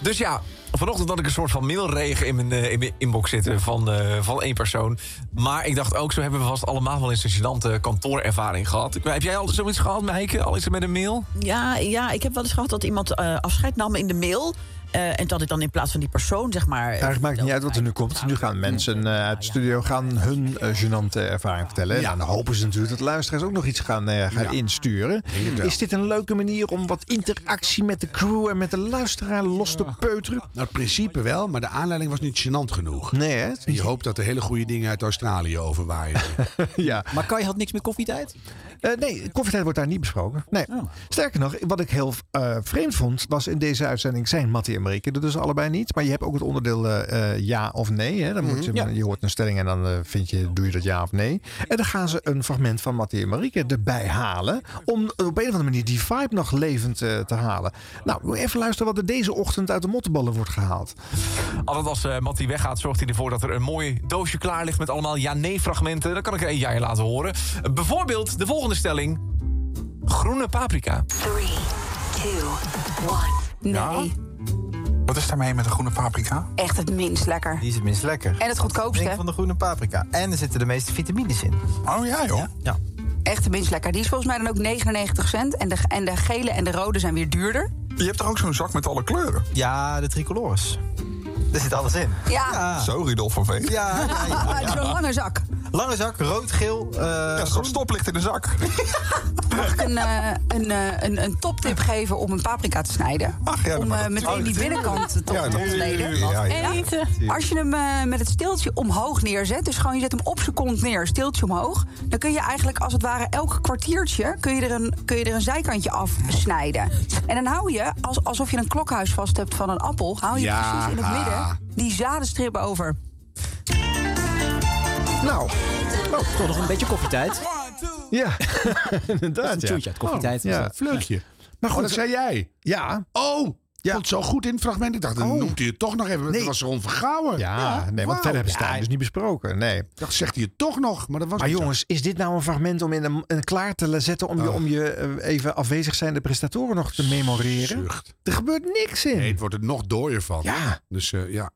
Speaker 4: Dus ja, vanochtend had ik een soort van mailregen in mijn, eh, in mijn inbox zitten van, eh, van één persoon. Maar ik dacht ook, zo hebben we vast allemaal wel eens een gênante kantoorervaring gehad. Ik- Heb jij al zoiets gehad, Meike? Al is het met een mail?
Speaker 32: Ja, ja, ik heb wel eens gehad dat iemand eh, afscheid nam in de mail. eh, en dat ik dan in plaats van die persoon, zeg maar. eh,
Speaker 2: Eigenlijk maakt het niet uit wat er nu komt. Nu gaan mensen eh, uit de studio gaan hun eh, gênante ervaring vertellen. En dan hopen ze natuurlijk dat luisteraars ook nog iets gaan, eh, gaan insturen.
Speaker 3: het wel.
Speaker 2: Is dit een leuke manier om wat interactie met de crew en met de luisteraar los te peuteren?
Speaker 3: Nou, het principe wel, maar de aanleiding was niet gênant genoeg.
Speaker 2: Nee, hè?
Speaker 3: En je hoopt dat er hele goede dingen uit Australië overwaaien.
Speaker 2: ja.
Speaker 10: Maar Kai had niks met koffietijd? Oh.
Speaker 2: Eh, nee, koffietijd wordt daar niet besproken. Nee. Sterker nog, wat ik heel eh, vreemd vond, was in deze uitzending zijn Mattie en Marieke er dus allebei niet. Maar je hebt ook het onderdeel eh, eh, ja of nee. Hè? Dan moet je,
Speaker 10: Mhm. Ja.
Speaker 2: je hoort een stelling en dan eh, vind je, doe je dat ja of nee. En dan gaan ze een fragment van Mattie en Marieke erbij halen. Om op een of andere manier die vibe nog levend eh, te halen. Nou, moet je even luisteren wat er deze ochtend uit de mottenballen wordt gehaald.
Speaker 4: Altijd als eh Mattie weggaat, zorgt hij ervoor dat er een mooi doosje klaar ligt... met allemaal ja-nee-fragmenten. Dan kan ik er een jij laten horen. Bijvoorbeeld de volgende stelling. Groene paprika.
Speaker 33: Nee,
Speaker 4: Wat is daarmee met de groene paprika?
Speaker 33: echt het minst lekker.
Speaker 19: Die is het minst lekker.
Speaker 33: En het goedkoopste.
Speaker 19: Drink van de groene paprika. En er zitten de meeste vitamines in. Oh ja, joh. Ja.
Speaker 33: Echt het minst lekker. Die is volgens mij dan ook 99 cent. En de, en de gele en de rode zijn weer duurder.
Speaker 19: Je hebt toch ook zo'n zak met alle kleuren? Ja, de tricolores. Er zit alles in.
Speaker 33: Ja. Ja.
Speaker 19: Ah. Zo, Rudolf van Veen. Ja, ja, ja.
Speaker 33: Ah, het is een lange zak.
Speaker 19: Lange zak, rood, geel. eh, ja, zo'n stoplicht in de zak.
Speaker 33: Mag ik een, eh, een, eh, een, een toptip geven om een paprika te snijden? om eh, meteen die binnenkant eh, toch
Speaker 19: Ja,
Speaker 33: te
Speaker 19: natuurlijk.
Speaker 33: ontleden.
Speaker 19: Ja, ja. En
Speaker 33: eten. Als je hem eh, met het steeltje omhoog neerzet, dus gewoon je zet hem op zijn kont neer, steeltje omhoog, dan kun je eigenlijk als het ware elk kwartiertje kun je er een, kun je er een zijkantje afsnijden. En dan hou je, als, alsof je een klokhuis vast hebt van een appel, hou je
Speaker 2: Ja.
Speaker 33: precies in het midden die zadenstrip over.
Speaker 2: Nou,
Speaker 10: toch nog een beetje koffietijd.
Speaker 2: Ja, inderdaad.
Speaker 10: Dat is een tjoentje uit koffietijd.
Speaker 2: Oh, ja.
Speaker 10: Dat is dat.
Speaker 3: Vleukje.
Speaker 2: Maar
Speaker 3: Oh,
Speaker 2: goed,
Speaker 3: dat zei jij.
Speaker 2: Ja.
Speaker 3: Oh, ja. vond zo goed in het fragment. Ik dacht, dan noemt hij het toch nog even. Dat was Ron Vergouwen.
Speaker 2: Ja, nee, want verder hebben ze het
Speaker 3: Ja,
Speaker 2: dus niet besproken. Nee.
Speaker 3: Dat zegt hij het toch nog, maar dat was
Speaker 2: Maar
Speaker 3: niet zo.
Speaker 2: jongens, is dit nou een fragment om in een, een klaar te la- zetten... om
Speaker 3: Oh.
Speaker 2: je, om je eh, even afwezig zijnde prestatoren nog te memoreren? Er gebeurt niks in.
Speaker 3: Nee, het wordt er nog dooier van.
Speaker 2: Ja.
Speaker 3: Dus eh, ja.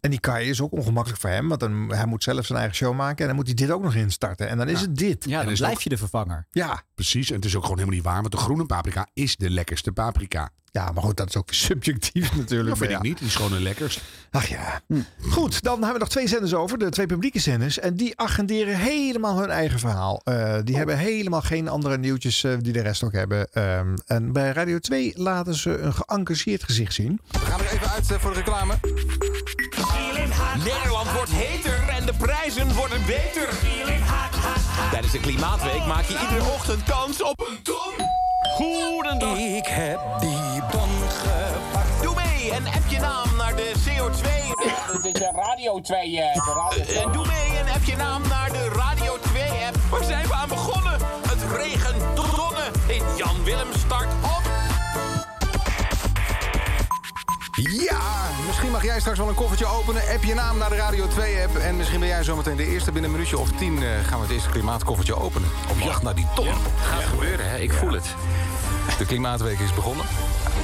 Speaker 2: En die Kai is ook ongemakkelijk voor hem, want dan, hij moet zelf zijn eigen show maken... en dan moet hij dit ook nog instarten. En dan is het dit.
Speaker 10: Ja, dan
Speaker 3: is
Speaker 10: blijf
Speaker 3: ook-
Speaker 10: je de vervanger.
Speaker 2: Ja.
Speaker 3: Precies, en het is ook gewoon helemaal niet waar, want de groene paprika is de lekkerste paprika.
Speaker 2: Ja, maar goed, dat is ook subjectief natuurlijk.
Speaker 3: Dat vind
Speaker 2: maar
Speaker 3: ik
Speaker 2: ja.
Speaker 3: niet, die is gewoon de lekkerst.
Speaker 2: Ach ja. Hm. Goed, dan hebben we nog twee zenders over. De twee publieke zenders. En die agenderen helemaal hun eigen verhaal. Eh, die hebben helemaal geen andere nieuwtjes eh, die de rest ook hebben. Ehm, en bij Radio 2 laten ze een geëngageerd gezicht zien.
Speaker 19: We gaan er even uit eh, voor de reclame.
Speaker 9: Nederland wordt heter en de prijzen worden beter. Tijdens de Klimaatweek maak je iedere ochtend kans op een ton. Goedendag. Ik heb die bon gepakt. Doe mee en app je naam naar de CO2. Dit is Radio 2. en doe mee en app je naam naar de Radio 2 app. Waar zijn we aan begonnen? Het regent tonnen in Jan Willem start op.
Speaker 8: Ja, misschien mag jij straks wel een koffertje openen. App je naam naar de Radio 2-app. En misschien ben jij zometeen de eerste binnen een minuutje of tien... eh, gaan we het eerste klimaatkoffertje openen. Op jacht naar die ton.
Speaker 9: Gaat gebeuren, hè? Ik voel het.
Speaker 8: De Klimaatweek is begonnen.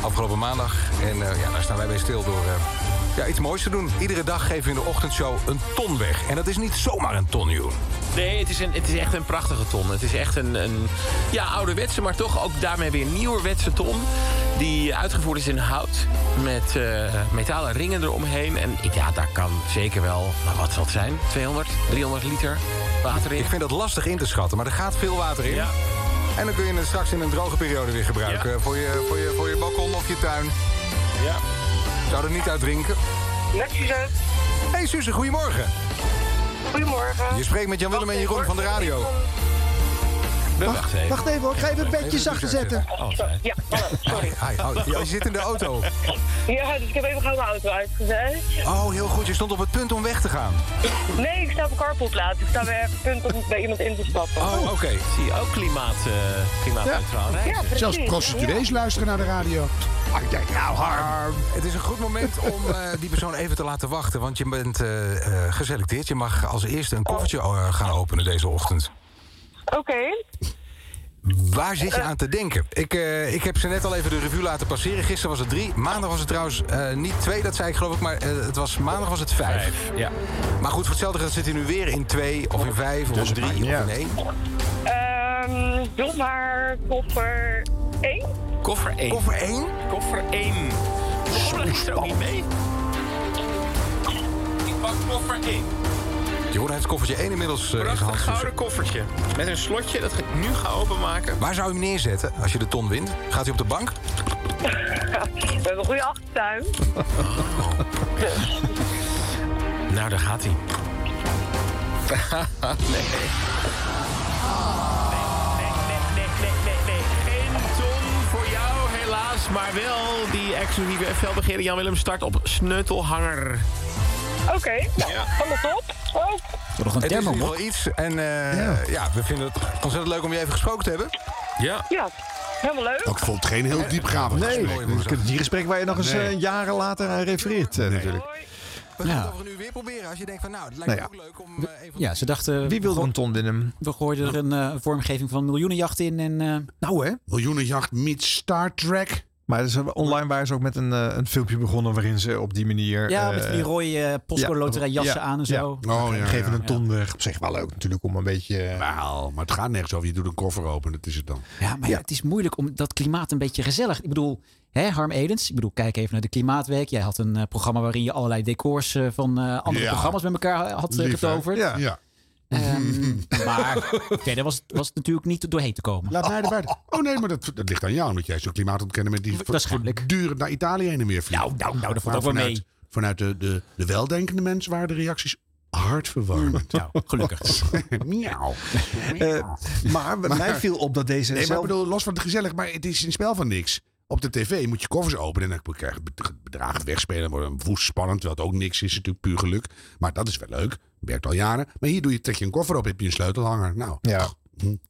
Speaker 8: Afgelopen maandag. En eh, ja, daar staan wij bij stil door eh, ja, iets moois te doen. Iedere dag geven we in de ochtendshow een ton weg. En dat is niet zomaar een ton, joh.
Speaker 9: Nee, het is, een, het is echt een prachtige ton. Het is echt een, een ja, ouderwetse, maar toch ook daarmee weer nieuwerwetse ton. Die uitgevoerd is in hout met eh, metalen ringen eromheen. En ik- ja, daar kan zeker wel, nou, wat zal het zijn? 200, 300 liter water in.
Speaker 8: Ik vind dat lastig in te schatten, maar er gaat veel water in. En dan kun je het straks in een droge periode weer gebruiken. Voor, je, voor, je, voor je balkon of je tuin. Ja. Zou er niet uit drinken.
Speaker 10: Net Suzanne.
Speaker 8: Hey Suze, goedemorgen.
Speaker 10: Goedemorgen.
Speaker 8: Je spreekt met Jan-Willem en Jeroen van de radio.
Speaker 2: Wacht even. Wacht even hoor, Oh, ik ga even het bedje zachter zetten.
Speaker 10: Ja, hallo, sorry.
Speaker 8: Hi, oh, ja, je zit in de auto.
Speaker 10: Ja, dus ik heb even gauw mijn auto uitgezet.
Speaker 8: Oh, heel goed. Je stond op het punt om weg te gaan.
Speaker 10: Nee, ik sta op een carpoolplaats. Ik sta weer even punt om bij iemand in te stappen.
Speaker 9: Oh, oké. Zie je ook klimaat, eh klimaatneutraal
Speaker 10: Ja.
Speaker 9: reizen.
Speaker 10: Ja, precies. Zelfs prostituees
Speaker 8: luisteren naar de radio. Ah, kijk nou, Harm. Het is een goed moment om eh, die persoon even te laten wachten. Want je bent eh, eh, geselecteerd. Je mag als eerste een koffertje eh, gaan openen deze ochtend.
Speaker 10: Oké.
Speaker 8: Waar zit je aan te denken? Ik, eh, ik heb ze net al even de revue laten passeren. Gisteren was het drie. Maandag was het trouwens eh, niet twee, dat zei ik geloof ik. Maar eh, het was, maandag was het vijf.
Speaker 9: ja.
Speaker 8: Maar goed, voor hetzelfde geld zit hij nu weer in twee, of in vijf, of in drie, of in één.
Speaker 10: Ehm, doe maar koffer 1.
Speaker 9: Koffer 1.
Speaker 8: Koffer 1?
Speaker 9: Koffer 1. Koffer is er ook niet mee. Ik pak koffer 1.
Speaker 8: Jeroen heeft koffertje 1 inmiddels eh, in zijn
Speaker 9: Prachtig
Speaker 8: hand.
Speaker 9: gouden koffertje. Met een slotje dat ik nu ga openmaken.
Speaker 8: Waar zou je hem neerzetten als je de ton wint? Gaat hij op de bank?
Speaker 10: We hebben een goede achtertuin.
Speaker 9: Nou, daar gaat hij. nee. Voor jou Oh, helaas, maar wel die exclusieve felbegeerde Jan-Willem start op sneutelhanger.
Speaker 10: Oké, nou, helemaal top. Oh,
Speaker 8: het is in ieder geval iets. En eh, ja. we vinden het ontzettend leuk om je even gesproken te hebben.
Speaker 9: Ja.
Speaker 10: ja, helemaal leuk.
Speaker 3: Ik vond het geen heel diepgaand
Speaker 2: Nee,
Speaker 3: gesprek.
Speaker 2: ik heb het hier gesprek waar je nog eens
Speaker 3: Nee.
Speaker 2: eh, jaren later aan refereert eh, natuurlijk.
Speaker 8: We gaan het over nu weer proberen. Als je denkt van, nou, het lijkt
Speaker 2: Nou
Speaker 8: me ook leuk om... eh,
Speaker 1: Ja, ze dachten...
Speaker 2: Wie wilde een ton winnen?
Speaker 1: We gooiden er een eh, vormgeving van miljoenenjacht in en... eh,
Speaker 2: Nou hè?
Speaker 3: Miljoenenjacht meets Star Trek.
Speaker 2: Maar dus, eh, online waren ze ook met een, eh, een filmpje begonnen waarin ze op die manier...
Speaker 1: ja,
Speaker 2: eh,
Speaker 1: met die rode eh, postcode loterij jassen
Speaker 2: ja,
Speaker 1: aan en
Speaker 2: ja.
Speaker 1: zo.
Speaker 3: Oh, ja,
Speaker 2: geven
Speaker 3: ja.
Speaker 2: een ton weg. Op zich wel leuk natuurlijk om een beetje... eh,
Speaker 3: Nou, maar het gaat nergens over. Je doet een koffer open, dat is het dan.
Speaker 1: Ja, maar ja, het is moeilijk om dat klimaat een beetje gezellig. Ik bedoel, hè, Harm Edens, ik bedoel, kijk even naar de Klimaatweek. Jij had een eh, programma waarin je allerlei decors eh, van eh, andere
Speaker 3: Ja.
Speaker 1: programma's met elkaar had eh,
Speaker 3: Lief, hè?
Speaker 1: getoverd.
Speaker 3: Ja. Ja.
Speaker 1: Ehm, maar verder was, het- was het natuurlijk niet doorheen te komen.
Speaker 3: Laat mij de waarde. Oh nee, maar dat, dat ligt aan jou, omdat jij zo'n klimaat ontkennen met die voortdurend naar Italië heen en weer vliegt. Nou,
Speaker 1: nou, nou, dat valt ook wel
Speaker 3: vanuit,
Speaker 1: mee.
Speaker 3: Vanuit de, de, de weldenkende mensen waren de reacties hartverwarmend.
Speaker 1: Nou, gelukkig.
Speaker 3: Miauw.
Speaker 2: Eh, maar mij viel op dat
Speaker 3: Nee,
Speaker 2: deze
Speaker 3: maar ik
Speaker 2: zelf-
Speaker 3: bedoel, los van het gezellig, maar het is een spel van niks. Op de tv moet je koffers openen en dan krijg je het bedrag het wegspelen. Dan wordt het woest spannend, terwijl het ook niks is. natuurlijk puur geluk. Maar dat is wel leuk. Werkt al jaren. Maar hier doe je, trek je een koffer op, heb je een sleutelhanger. Nou,
Speaker 2: Ja.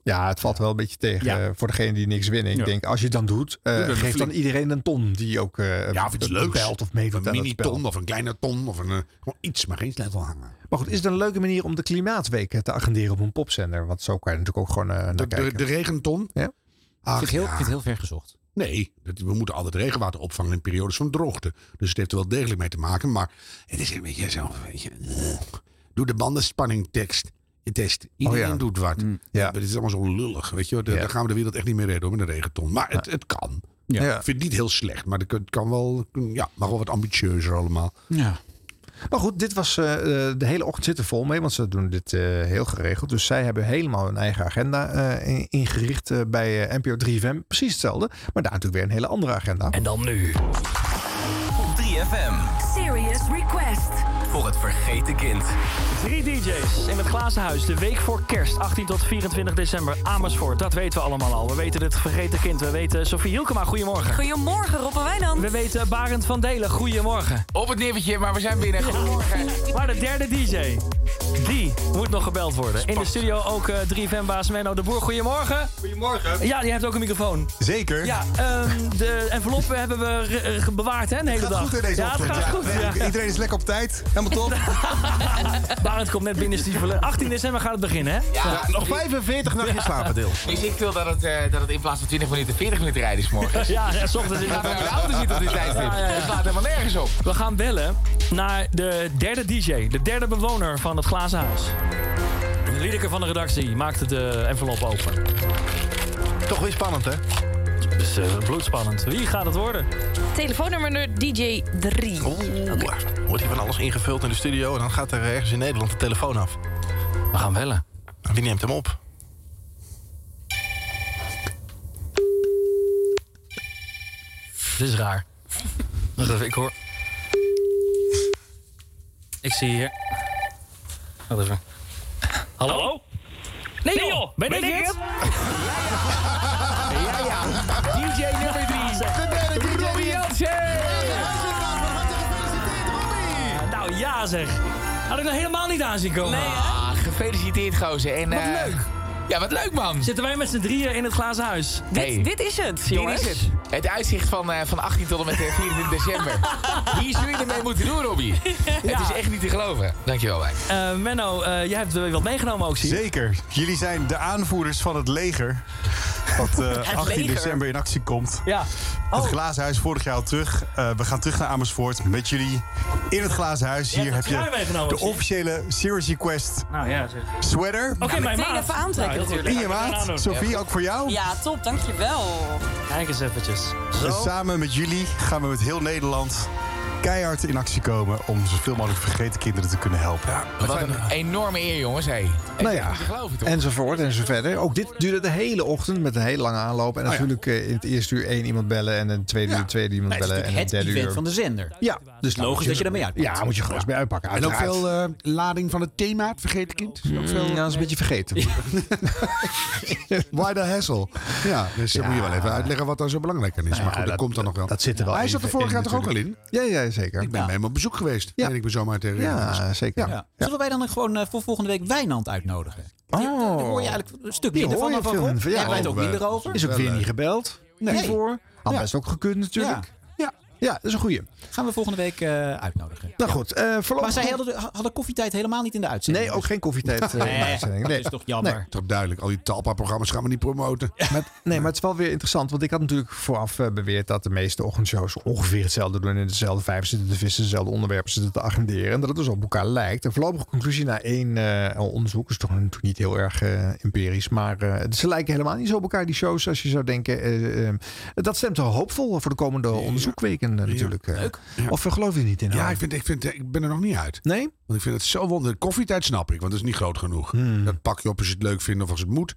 Speaker 2: ja, het valt wel een beetje tegen eh, voor degene die niks winnen. Ik
Speaker 3: Ja.
Speaker 2: denk, als je het dan doet, eh,
Speaker 3: Doe dan een
Speaker 2: geef dan
Speaker 3: flink-
Speaker 2: iedereen een ton die ook eh
Speaker 3: Ja, of iets
Speaker 2: be-
Speaker 3: leuks.
Speaker 2: belt of meedoet
Speaker 3: een
Speaker 2: aan het spel.
Speaker 3: mini-ton of een kleine ton of een, eh, gewoon iets, maar geen sleutelhanger.
Speaker 2: Maar goed, is het een leuke manier om de klimaatweek eh, te agenderen op een popzender? Want zo kan je natuurlijk ook gewoon eh, naar
Speaker 3: De, de,
Speaker 2: kijken.
Speaker 3: de regenton?
Speaker 2: Ja.
Speaker 3: Ach,
Speaker 1: vind het heel,
Speaker 3: ja.
Speaker 1: ik vind het heel ver gezocht.
Speaker 3: Nee, dat- we moeten altijd regenwater opvangen in periodes van droogte. Dus het heeft er wel degelijk mee te maken. Maar het is een beetje zo. Weet je, eh. doe de bandenspanningtekst. Test. Iedereen
Speaker 2: Oh ja.
Speaker 3: doet wat. Ja. Het is allemaal zo lullig. Weet je, wel. De- Daar gaan we de wereld echt niet meer redden hoor, met een regenton. Maar het, het kan.
Speaker 2: Ja.
Speaker 3: Ik vind het niet heel slecht. Maar het kan- het kan wel, ja, mag wel wat ambitieuzer allemaal.
Speaker 1: Ja.
Speaker 2: Maar goed, dit was eh, eh, de hele ochtend zit er vol mee, want ze doen dit eh, heel geregeld. Dus zij hebben helemaal hun eigen agenda eh, in- ingericht eh, bij eh, NPO 3FM. Precies hetzelfde, maar daar natuurlijk weer een hele andere agenda.
Speaker 34: En dan nu. Op 3FM
Speaker 11: FM.
Speaker 12: Serious Request.
Speaker 11: Voor het vergeten kind.
Speaker 23: Drie DJ's in het Glazenhuis de week voor kerst, 18 tot 24 december, Amersfoort. Dat weten we allemaal al. We weten het vergeten kind. We weten Sofie Hielkema, goedemorgen.
Speaker 20: Goedemorgen, Rob en Wijnand.
Speaker 23: We weten Barend van Delen, goedemorgen.
Speaker 19: Op het nippertje, maar we zijn binnen. Goedemorgen.
Speaker 23: Maar de derde DJ, die moet nog gebeld worden. In de studio ook eh 3FM-baas Menno de Boer, goedemorgen.
Speaker 22: Goedemorgen.
Speaker 23: Ja, die heeft ook een microfoon.
Speaker 22: Zeker.
Speaker 23: Ja, ehm, de enveloppen hebben we re- re- bewaard, hè, een hele
Speaker 22: gaat
Speaker 23: dag.
Speaker 22: goed in deze
Speaker 23: ja, het
Speaker 22: ochtend,
Speaker 23: gaat
Speaker 22: ja.
Speaker 23: goed.
Speaker 22: Nee,
Speaker 23: ja.
Speaker 22: iedereen is lekker op tijd. Helemaal top.
Speaker 23: Barend komt net binnen stiefelen. 18 december gaat het beginnen, hè?
Speaker 19: Ja, nog
Speaker 22: 45 nachtjes slapen, Deel.
Speaker 19: Is ik wil dat het, eh, dat het in plaats van 20 minuten 40 minuten rijden is morgen.
Speaker 23: Ja, ja, 's ochtends is
Speaker 19: Ik
Speaker 23: het-
Speaker 19: ga nou in de auto zitten op dit tijdstip. Dus
Speaker 23: Ja, ja, ja.
Speaker 19: Het slaat helemaal nergens op.
Speaker 23: We gaan bellen naar de derde DJ, de derde bewoner van het glazen huis. Liedeke van de redactie maakt de envelop open.
Speaker 22: Toch weer spannend, hè?
Speaker 23: Het is eh, bloedspannend. Wie gaat het worden?
Speaker 35: Telefoonnummer DJ 3.
Speaker 22: Wordt hier van alles ingevuld in de studio en dan gaat er ergens in Nederland de telefoon af.
Speaker 23: We gaan bellen.
Speaker 22: Wie neemt hem op?
Speaker 23: Dit is raar. Wacht even, ik hoor. Ik zie hier. Wacht even. Hallo?
Speaker 35: Nee,
Speaker 23: joh, ben, ik het?
Speaker 19: Ja, ja. DJ nummer 3. De derde Robbie
Speaker 23: Nou ja zeg. Had ik nog helemaal niet aan zien komen.
Speaker 19: Ah, gefeliciteerd gozer. En,
Speaker 23: Wat
Speaker 19: eh,
Speaker 23: leuk.
Speaker 19: Ja, wat leuk man.
Speaker 23: Zitten wij met z'n drieën in het glazen huis?
Speaker 19: Hey.
Speaker 23: jongens.
Speaker 19: Dit is het. Het uitzicht van, eh, van 18 tot en met eh, 24 december. Hier zou je ermee moeten doen, Robbie.
Speaker 23: Ja.
Speaker 19: Het is echt niet te geloven. Dankjewel, Wijk.
Speaker 23: Eh, Menno, eh, jij hebt wel wat meegenomen ook, zie ik.
Speaker 22: Zeker. Jullie zijn de aanvoerders van het leger. Wat eh,
Speaker 23: Het
Speaker 22: 18
Speaker 23: leger?
Speaker 22: december in actie komt.
Speaker 23: Ja.
Speaker 33: Oh.
Speaker 22: Het glazen huis vorig jaar al terug. Eh, we gaan terug naar Amersfoort met jullie in het glazen huis. Hier heb
Speaker 23: hebt een
Speaker 22: je
Speaker 23: trui meegenomen,
Speaker 22: de
Speaker 23: zie ik.
Speaker 22: officiële Serious Request
Speaker 23: Nou ja, zeg.
Speaker 22: sweater.
Speaker 23: Oké, Nou, mijn maat. Ja,
Speaker 22: In je maat. Sophie, ook voor jou.
Speaker 35: Ja, top, dankjewel.
Speaker 23: Kijk eens eventjes.
Speaker 22: En samen met jullie gaan we met heel Nederland keihard in actie komen... om zoveel mogelijk vergeten kinderen te kunnen helpen.
Speaker 19: Wat een enorme eer, jongens. Hey.
Speaker 2: Nou ja, enzovoort enzoverder. Ook dit duurde de hele ochtend met een hele lange aanloop. En
Speaker 22: Oh ja.
Speaker 2: natuurlijk eh, in het eerste uur één iemand bellen... en een tweede uur tweede iemand
Speaker 22: Nee, het is
Speaker 2: bellen en een
Speaker 22: natuurlijk
Speaker 2: derde
Speaker 22: het
Speaker 2: uur...
Speaker 22: event van de
Speaker 1: zender.
Speaker 2: Ja, dus
Speaker 22: Logisch dat je daarmee uitpakt.
Speaker 2: Ja, moet je gewoon eens mee uitpakken.
Speaker 22: En ook
Speaker 2: uiteraard. Mm,
Speaker 22: veel,
Speaker 3: eh, lading van het thema, het vergeten kind. Is ook veel... eh,
Speaker 2: Ja, dat is een beetje vergeten.
Speaker 22: Why the hassle?
Speaker 3: Ja, dus dan moet je wel even uitleggen wat daar zo belangrijk aan is.
Speaker 2: Nou
Speaker 3: maar
Speaker 2: ja,
Speaker 3: goed, dat,
Speaker 2: dat-
Speaker 3: komt dan nog wel.
Speaker 2: dat zit er wel
Speaker 3: Maar Hij
Speaker 2: in-
Speaker 3: zat er
Speaker 2: in
Speaker 3: vorig jaar toch ook al in?
Speaker 2: natuurlijk. Ja, ja, zeker.
Speaker 3: Ik ben
Speaker 2: Ja.
Speaker 3: bij hem op bezoek geweest. Ja.
Speaker 2: Ja.
Speaker 3: ik me zomaar tegen.
Speaker 2: Ja, zeker.
Speaker 1: Ja. Zullen wij dan ook gewoon eh, voor volgende week Wijnand uitnodigen?
Speaker 2: Oh.
Speaker 1: Daar hoor je eigenlijk een stuk
Speaker 2: Die
Speaker 1: minder
Speaker 2: hoor
Speaker 1: van
Speaker 2: je
Speaker 1: dan van
Speaker 2: veel
Speaker 1: Rob.
Speaker 2: minder van. Ja,
Speaker 1: Jij weet ook
Speaker 2: oh,
Speaker 1: minder
Speaker 2: eh,
Speaker 1: over.
Speaker 2: Is ook weer niet gebeld.
Speaker 1: Nee.
Speaker 2: Nee. voor. Had
Speaker 1: Ja.
Speaker 2: best ook gekund natuurlijk. Ja. Ja, dat is een goeie.
Speaker 1: Gaan we volgende week eh, uitnodigen.
Speaker 2: Nou goed, eh voorlopig...
Speaker 1: Maar zij hadden, hadden koffietijd helemaal niet in de uitzending.
Speaker 2: Nee, ook geen koffietijd. eh, in de uitzending.
Speaker 1: dat
Speaker 2: Nee.
Speaker 1: is toch jammer.
Speaker 2: Nee.
Speaker 3: Toch duidelijk, al die Talpa-programma's gaan we niet promoten.
Speaker 2: Maar, nee, maar het is wel weer interessant. Want ik had natuurlijk vooraf eh, beweerd dat de meeste ochtendshows ongeveer hetzelfde doen. In dezelfde vijf zitten te vissen, dezelfde onderwerpen zitten te agenderen. En dat het dus op elkaar lijkt. De voorlopige conclusie na één eh, onderzoek is toch natuurlijk niet heel erg eh, empirisch. Maar eh, ze lijken helemaal niet zo op elkaar, die shows, als je zou denken. Eh, eh, dat stemt wel hoopvol voor de komende onderzoekweken eh, natuurlijk. eh. Of eh, geloof je niet in?
Speaker 3: Ja,
Speaker 2: Harm?
Speaker 3: ik, vind, ik, vind, ik ben er nog niet uit.
Speaker 2: Nee?
Speaker 3: Want ik vind het zo wonderlijk. Koffietijd snap ik, want dat is niet groot genoeg. Dat pak je op als je het leuk vindt of als het moet.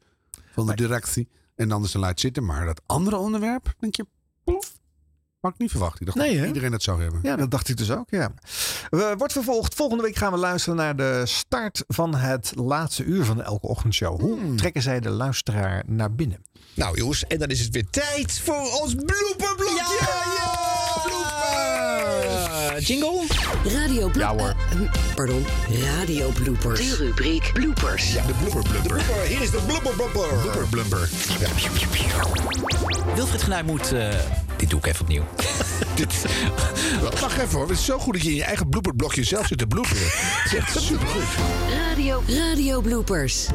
Speaker 3: Van de directie. En anders dan laat zitten. Maar dat andere onderwerp, denk je, plof. Had ik niet verwacht. Ik dacht
Speaker 2: Nee,
Speaker 3: dat
Speaker 2: hè?
Speaker 3: iedereen dat zou hebben.
Speaker 2: Ja, dat dacht ik dus ook, ja. We, wordt vervolgd. Volgende week gaan we luisteren naar de start van het laatste uur van elke ochtendshow. Hoe trekken zij de luisteraar naar binnen?
Speaker 22: Hmm. Nou jongens, en dan is het weer tijd voor ons blooperblokje!
Speaker 11: jingle? Radio Eh, hm,
Speaker 22: Ja hoor.
Speaker 11: Pardon, radio bloopers. De rubriek bloopers.
Speaker 22: Ja, de blooper blooper. Hier is de blooper blooper. Blooper blooper.
Speaker 1: Wilfried Genuij moet... eh, dit doe ik even opnieuw.
Speaker 3: Dit- Wacht even hoor. Het is zo goed dat je in je eigen blooperblokje zelf zit te bloeperen. Het is echt supergoed.
Speaker 11: Radio, radio bloopers.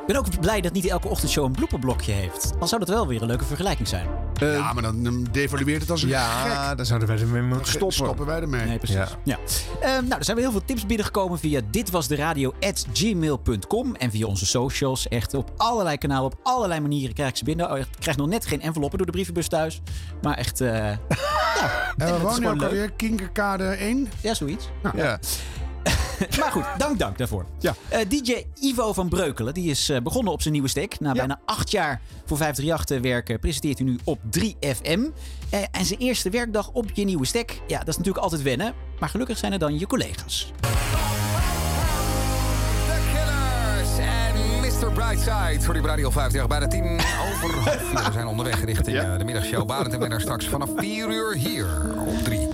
Speaker 1: Ik ben ook blij dat niet elke ochtendshow een blooperblokje heeft. Dan zou dat wel weer een leuke vergelijking zijn.
Speaker 3: ja, maar dan ehm, devalueert het als een
Speaker 2: Eh, Ja,
Speaker 3: gek.
Speaker 2: daar zouden wij ermee moeten stoppen.
Speaker 3: Stoppen wij ermee.
Speaker 1: Nee, precies. Ja. Ehm, nou, er zijn weer heel veel tips binnengekomen via ditwasderadio.gmail.com en via onze socials. Echt op allerlei kanalen, op allerlei manieren krijg ik ze binnen. Oh, echt, ik krijg nog net geen enveloppen door de brievenbus thuis. Maar echt, eh, ja.
Speaker 3: En we
Speaker 1: het is
Speaker 3: wonen
Speaker 1: gewoon
Speaker 3: ook
Speaker 1: leuk.
Speaker 3: alweer Kinkerkade 1.
Speaker 1: Ja, zoiets.
Speaker 3: Nou,
Speaker 2: Ja.
Speaker 1: maar goed, dank, dank daarvoor. Ja. DJ Ivo van Breukelen, die is eh, begonnen op zijn nieuwe stick. Na bijna acht jaar voor 538 te werken, presenteert hij nu op 3FM. Eh, en zijn eerste werkdag op je nieuwe stick, ja, dat is natuurlijk altijd wennen. Maar gelukkig zijn er dan je collega's.
Speaker 8: Killers en Mr. Brightside. Sorry, Radio 50, bijna 10 over half vier. We zijn onderweg richting eh, de middagshow. Barend en wij daar straks vanaf 4 uur hier op 3.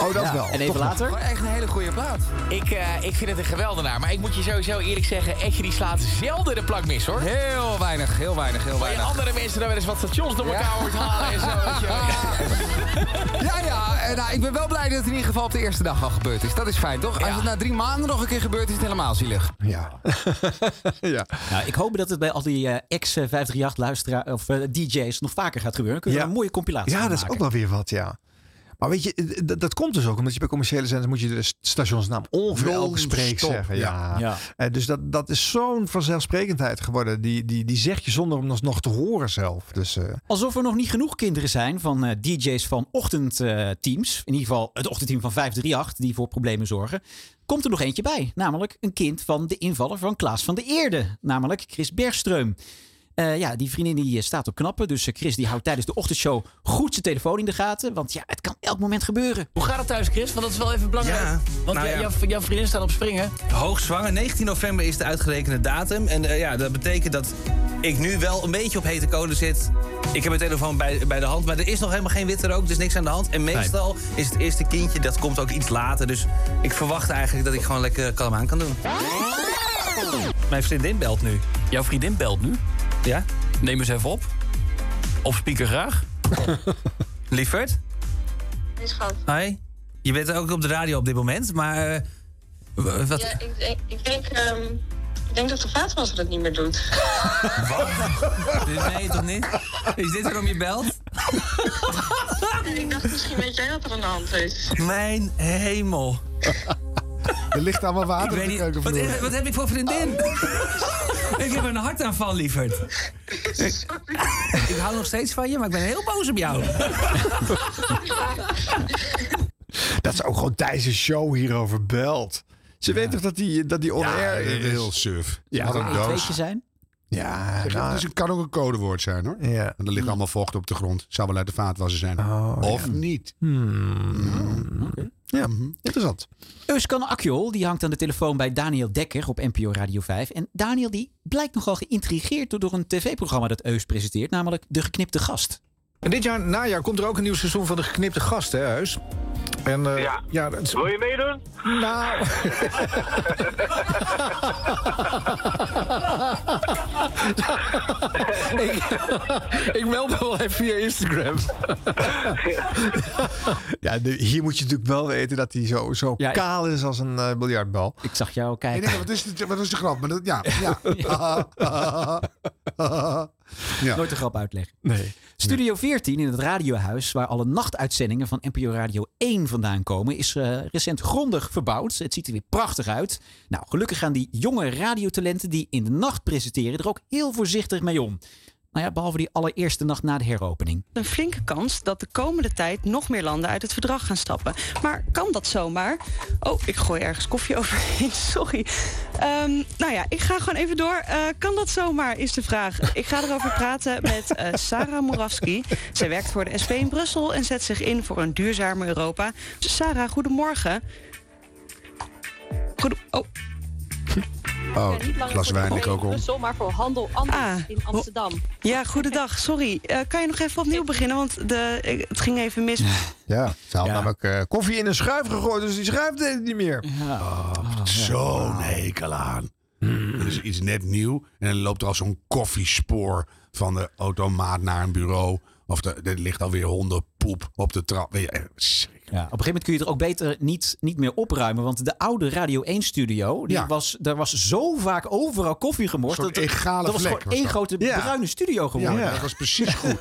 Speaker 2: Oh, dat wel. Toch wel.
Speaker 8: Echt een hele goede plaat.
Speaker 36: Ik, eh, ik vind het een geweldenaar. Maar ik moet je sowieso eerlijk zeggen... Etje die slaat zelden de plank mis, hoor.
Speaker 8: Heel weinig, heel weinig, heel
Speaker 36: weinig. andere mensen dan wel eens wat stations door elkaar hoort halen en zo. weet je wel.
Speaker 8: Ja, ja. eh, nou, ik ben wel blij dat het in ieder geval op de eerste dag al gebeurd is. Dat is fijn, toch? Als het na drie maanden nog een keer gebeurt, is het helemaal zielig.
Speaker 2: Ja. ja.
Speaker 1: Nou, ik hoop dat het bij al die eh, ex-538 luisteraars of eh, DJ's nog vaker gaat gebeuren. Dan kunnen we er een mooie compilatie
Speaker 2: Ja,
Speaker 1: van
Speaker 2: dat is
Speaker 1: maken.
Speaker 2: ook wel weer wat, ja. Maar weet je, d- d- dat komt dus ook omdat je bij commerciële zenders moet je de st- stationsnaam ongeveer elke spreek
Speaker 1: Non-stop,
Speaker 2: zeggen.
Speaker 1: ja.
Speaker 2: Ja.
Speaker 1: Ja.
Speaker 2: Eh, dus dat, dat is zo'n vanzelfsprekendheid geworden. Die, die, die zeg je zonder om dat nog te horen zelf. Dus eh,
Speaker 1: Alsof er nog niet genoeg kinderen zijn van eh, DJ's van ochtendteams. in ieder geval het ochtendteam van 538, die voor problemen zorgen. Komt er nog eentje bij. Namelijk een kind van de invaller van Klaas van der Eerde. Namelijk Chris Bergström. Eh, ja, die vriendin die eh, staat op knappen. Dus eh, Chris die houdt tijdens de ochtendshow goed zijn telefoon in de gaten. Want ja, het kan elk moment gebeuren.
Speaker 6: Hoe gaat het thuis, Chris? Want dat is wel even belangrijk.
Speaker 9: Ja,
Speaker 6: Want
Speaker 9: nou ja.
Speaker 6: jij- Jouw, jouw vriendin staat op springen.
Speaker 9: Hoogzwanger, 19 november is de uitgerekende datum. En eh, ja, dat betekent dat ik nu wel een beetje op hete kolen zit. Ik heb mijn telefoon bij, bij de hand, maar er is nog helemaal geen witte rook, dus niks aan de hand. En meestal is het eerste kindje, dat komt ook iets later. Dus ik verwacht eigenlijk dat ik gewoon lekker kalm aan kan doen. Mijn vriendin belt nu.
Speaker 6: Jouw vriendin belt nu?
Speaker 9: Ja?
Speaker 6: Neem eens even op. Op speaker graag.
Speaker 9: Lieverd?
Speaker 21: Hey, schat.
Speaker 9: Hoi. Je bent ook op de radio op dit moment, maar... eh, w- wat?
Speaker 21: Ja, ik, denk- ik, denk, ehm, ik denk dat de vaatwasser dat niet meer doet.
Speaker 9: Nee, toch niet? Is dit waarom je belt?
Speaker 21: ik dacht misschien weet jij wat er aan de hand is.
Speaker 9: Mijn hemel.
Speaker 2: er ligt allemaal water in de keuken
Speaker 9: Wat,
Speaker 2: vloer.
Speaker 9: is- wat heb ik voor vriendin? ik heb een hartaanval, lieverd. ik hou nog steeds van je, maar ik ben heel boos op jou.
Speaker 2: Dat ze ook gewoon tijdens een show hierover belt. Ze weet toch dat die, dat die on-air is?
Speaker 3: heel surf.
Speaker 2: Ja,
Speaker 3: Wat een
Speaker 2: een
Speaker 3: doos.
Speaker 2: tweetje
Speaker 1: zijn.
Speaker 2: Ja,
Speaker 3: Zeg, dus
Speaker 2: nou,
Speaker 3: het is een, kan ook een codewoord zijn hoor.
Speaker 2: Ja.
Speaker 3: En er ligt allemaal vocht op de grond. Zou wel uit de vaatwasser zijn. of niet.
Speaker 2: Oh, Hmm.
Speaker 3: Mhm.
Speaker 2: Ja, interessant.
Speaker 1: Hmm. Euskan Akjol die hangt aan de telefoon bij Daniel Dekker op NPO Radio 5. En Daniel die blijkt nogal geïntrigeerd door- door een tv-programma dat Eus presenteert, namelijk De Geknipte Gast.
Speaker 10: En dit jaar najaar komt er ook een nieuw seizoen van de geknipte gast, hè, Huis? En, ja. ja dat is-
Speaker 18: Wil je meedoen?
Speaker 10: Nou. ik, ik meld me wel even via Instagram.
Speaker 2: Ja, de- hier moet je natuurlijk wel weten dat hij zo, zo
Speaker 3: Ja, ik-
Speaker 2: kaal is als een eh, biljartbal.
Speaker 1: Ik zag jou
Speaker 3: Nee, nee, wat is, dit- wat is de grap? Maar dat, ja, ja.
Speaker 1: Nooit een grap uitleggen.
Speaker 2: Nee.
Speaker 1: Studio 14 in het radiohuis, waar alle nachtuitzendingen van NPO Radio 1 vandaan komen, is eh, recent grondig verbouwd. Het ziet er weer prachtig uit. Nou, gelukkig gaan die jonge radiotalenten die in de nacht presenteren er ook heel voorzichtig mee om. Nou ja, behalve die allereerste nacht na de heropening.
Speaker 37: een flinke kans dat de komende tijd nog meer landen uit het verdrag gaan stappen. Maar kan dat zomaar? Oh, ik gooi ergens koffie overheen, sorry. Ehm, nou ja, ik ga gewoon even door. Eh, kan dat zomaar, is de vraag. Ik ga erover praten met eh, Sarah Morawski. Zij werkt voor de SP in Brussel en zet zich in voor een duurzamer Europa. Sarah, goedemorgen. Goede... Oh.
Speaker 3: Oh, glas wijn ligt ook om.
Speaker 37: maar voor handel anders in Amsterdam. Ah, Ja, goedendag. Sorry. Eh, kan je nog even opnieuw beginnen? Want de, eh, het ging even mis.
Speaker 2: Ja, ze had namelijk eh, koffie in een schuif gegooid, dus die schuif deed het niet meer. Oh.
Speaker 3: Zo'n hekel aan.
Speaker 2: Hmm.
Speaker 3: Er is iets net nieuw en dan loopt er al zo'n koffiespoor van de automaat naar een bureau. Of er, er ligt alweer hondenpoep op de trap. Weet je, eh, schrik.
Speaker 1: Ja, op een gegeven moment kun je er ook beter niet, niet meer opruimen. Want de oude Radio 1 studio, die was, daar was zo vaak overal koffie gemorst.
Speaker 3: Een soort
Speaker 1: dat,
Speaker 3: egale
Speaker 1: dat was
Speaker 3: vlek
Speaker 1: gewoon
Speaker 3: was
Speaker 1: één
Speaker 3: dat.
Speaker 1: grote
Speaker 3: Ja.
Speaker 1: bruine studio geworden.
Speaker 2: Ja,
Speaker 1: Ja,
Speaker 2: dat
Speaker 3: was precies goed.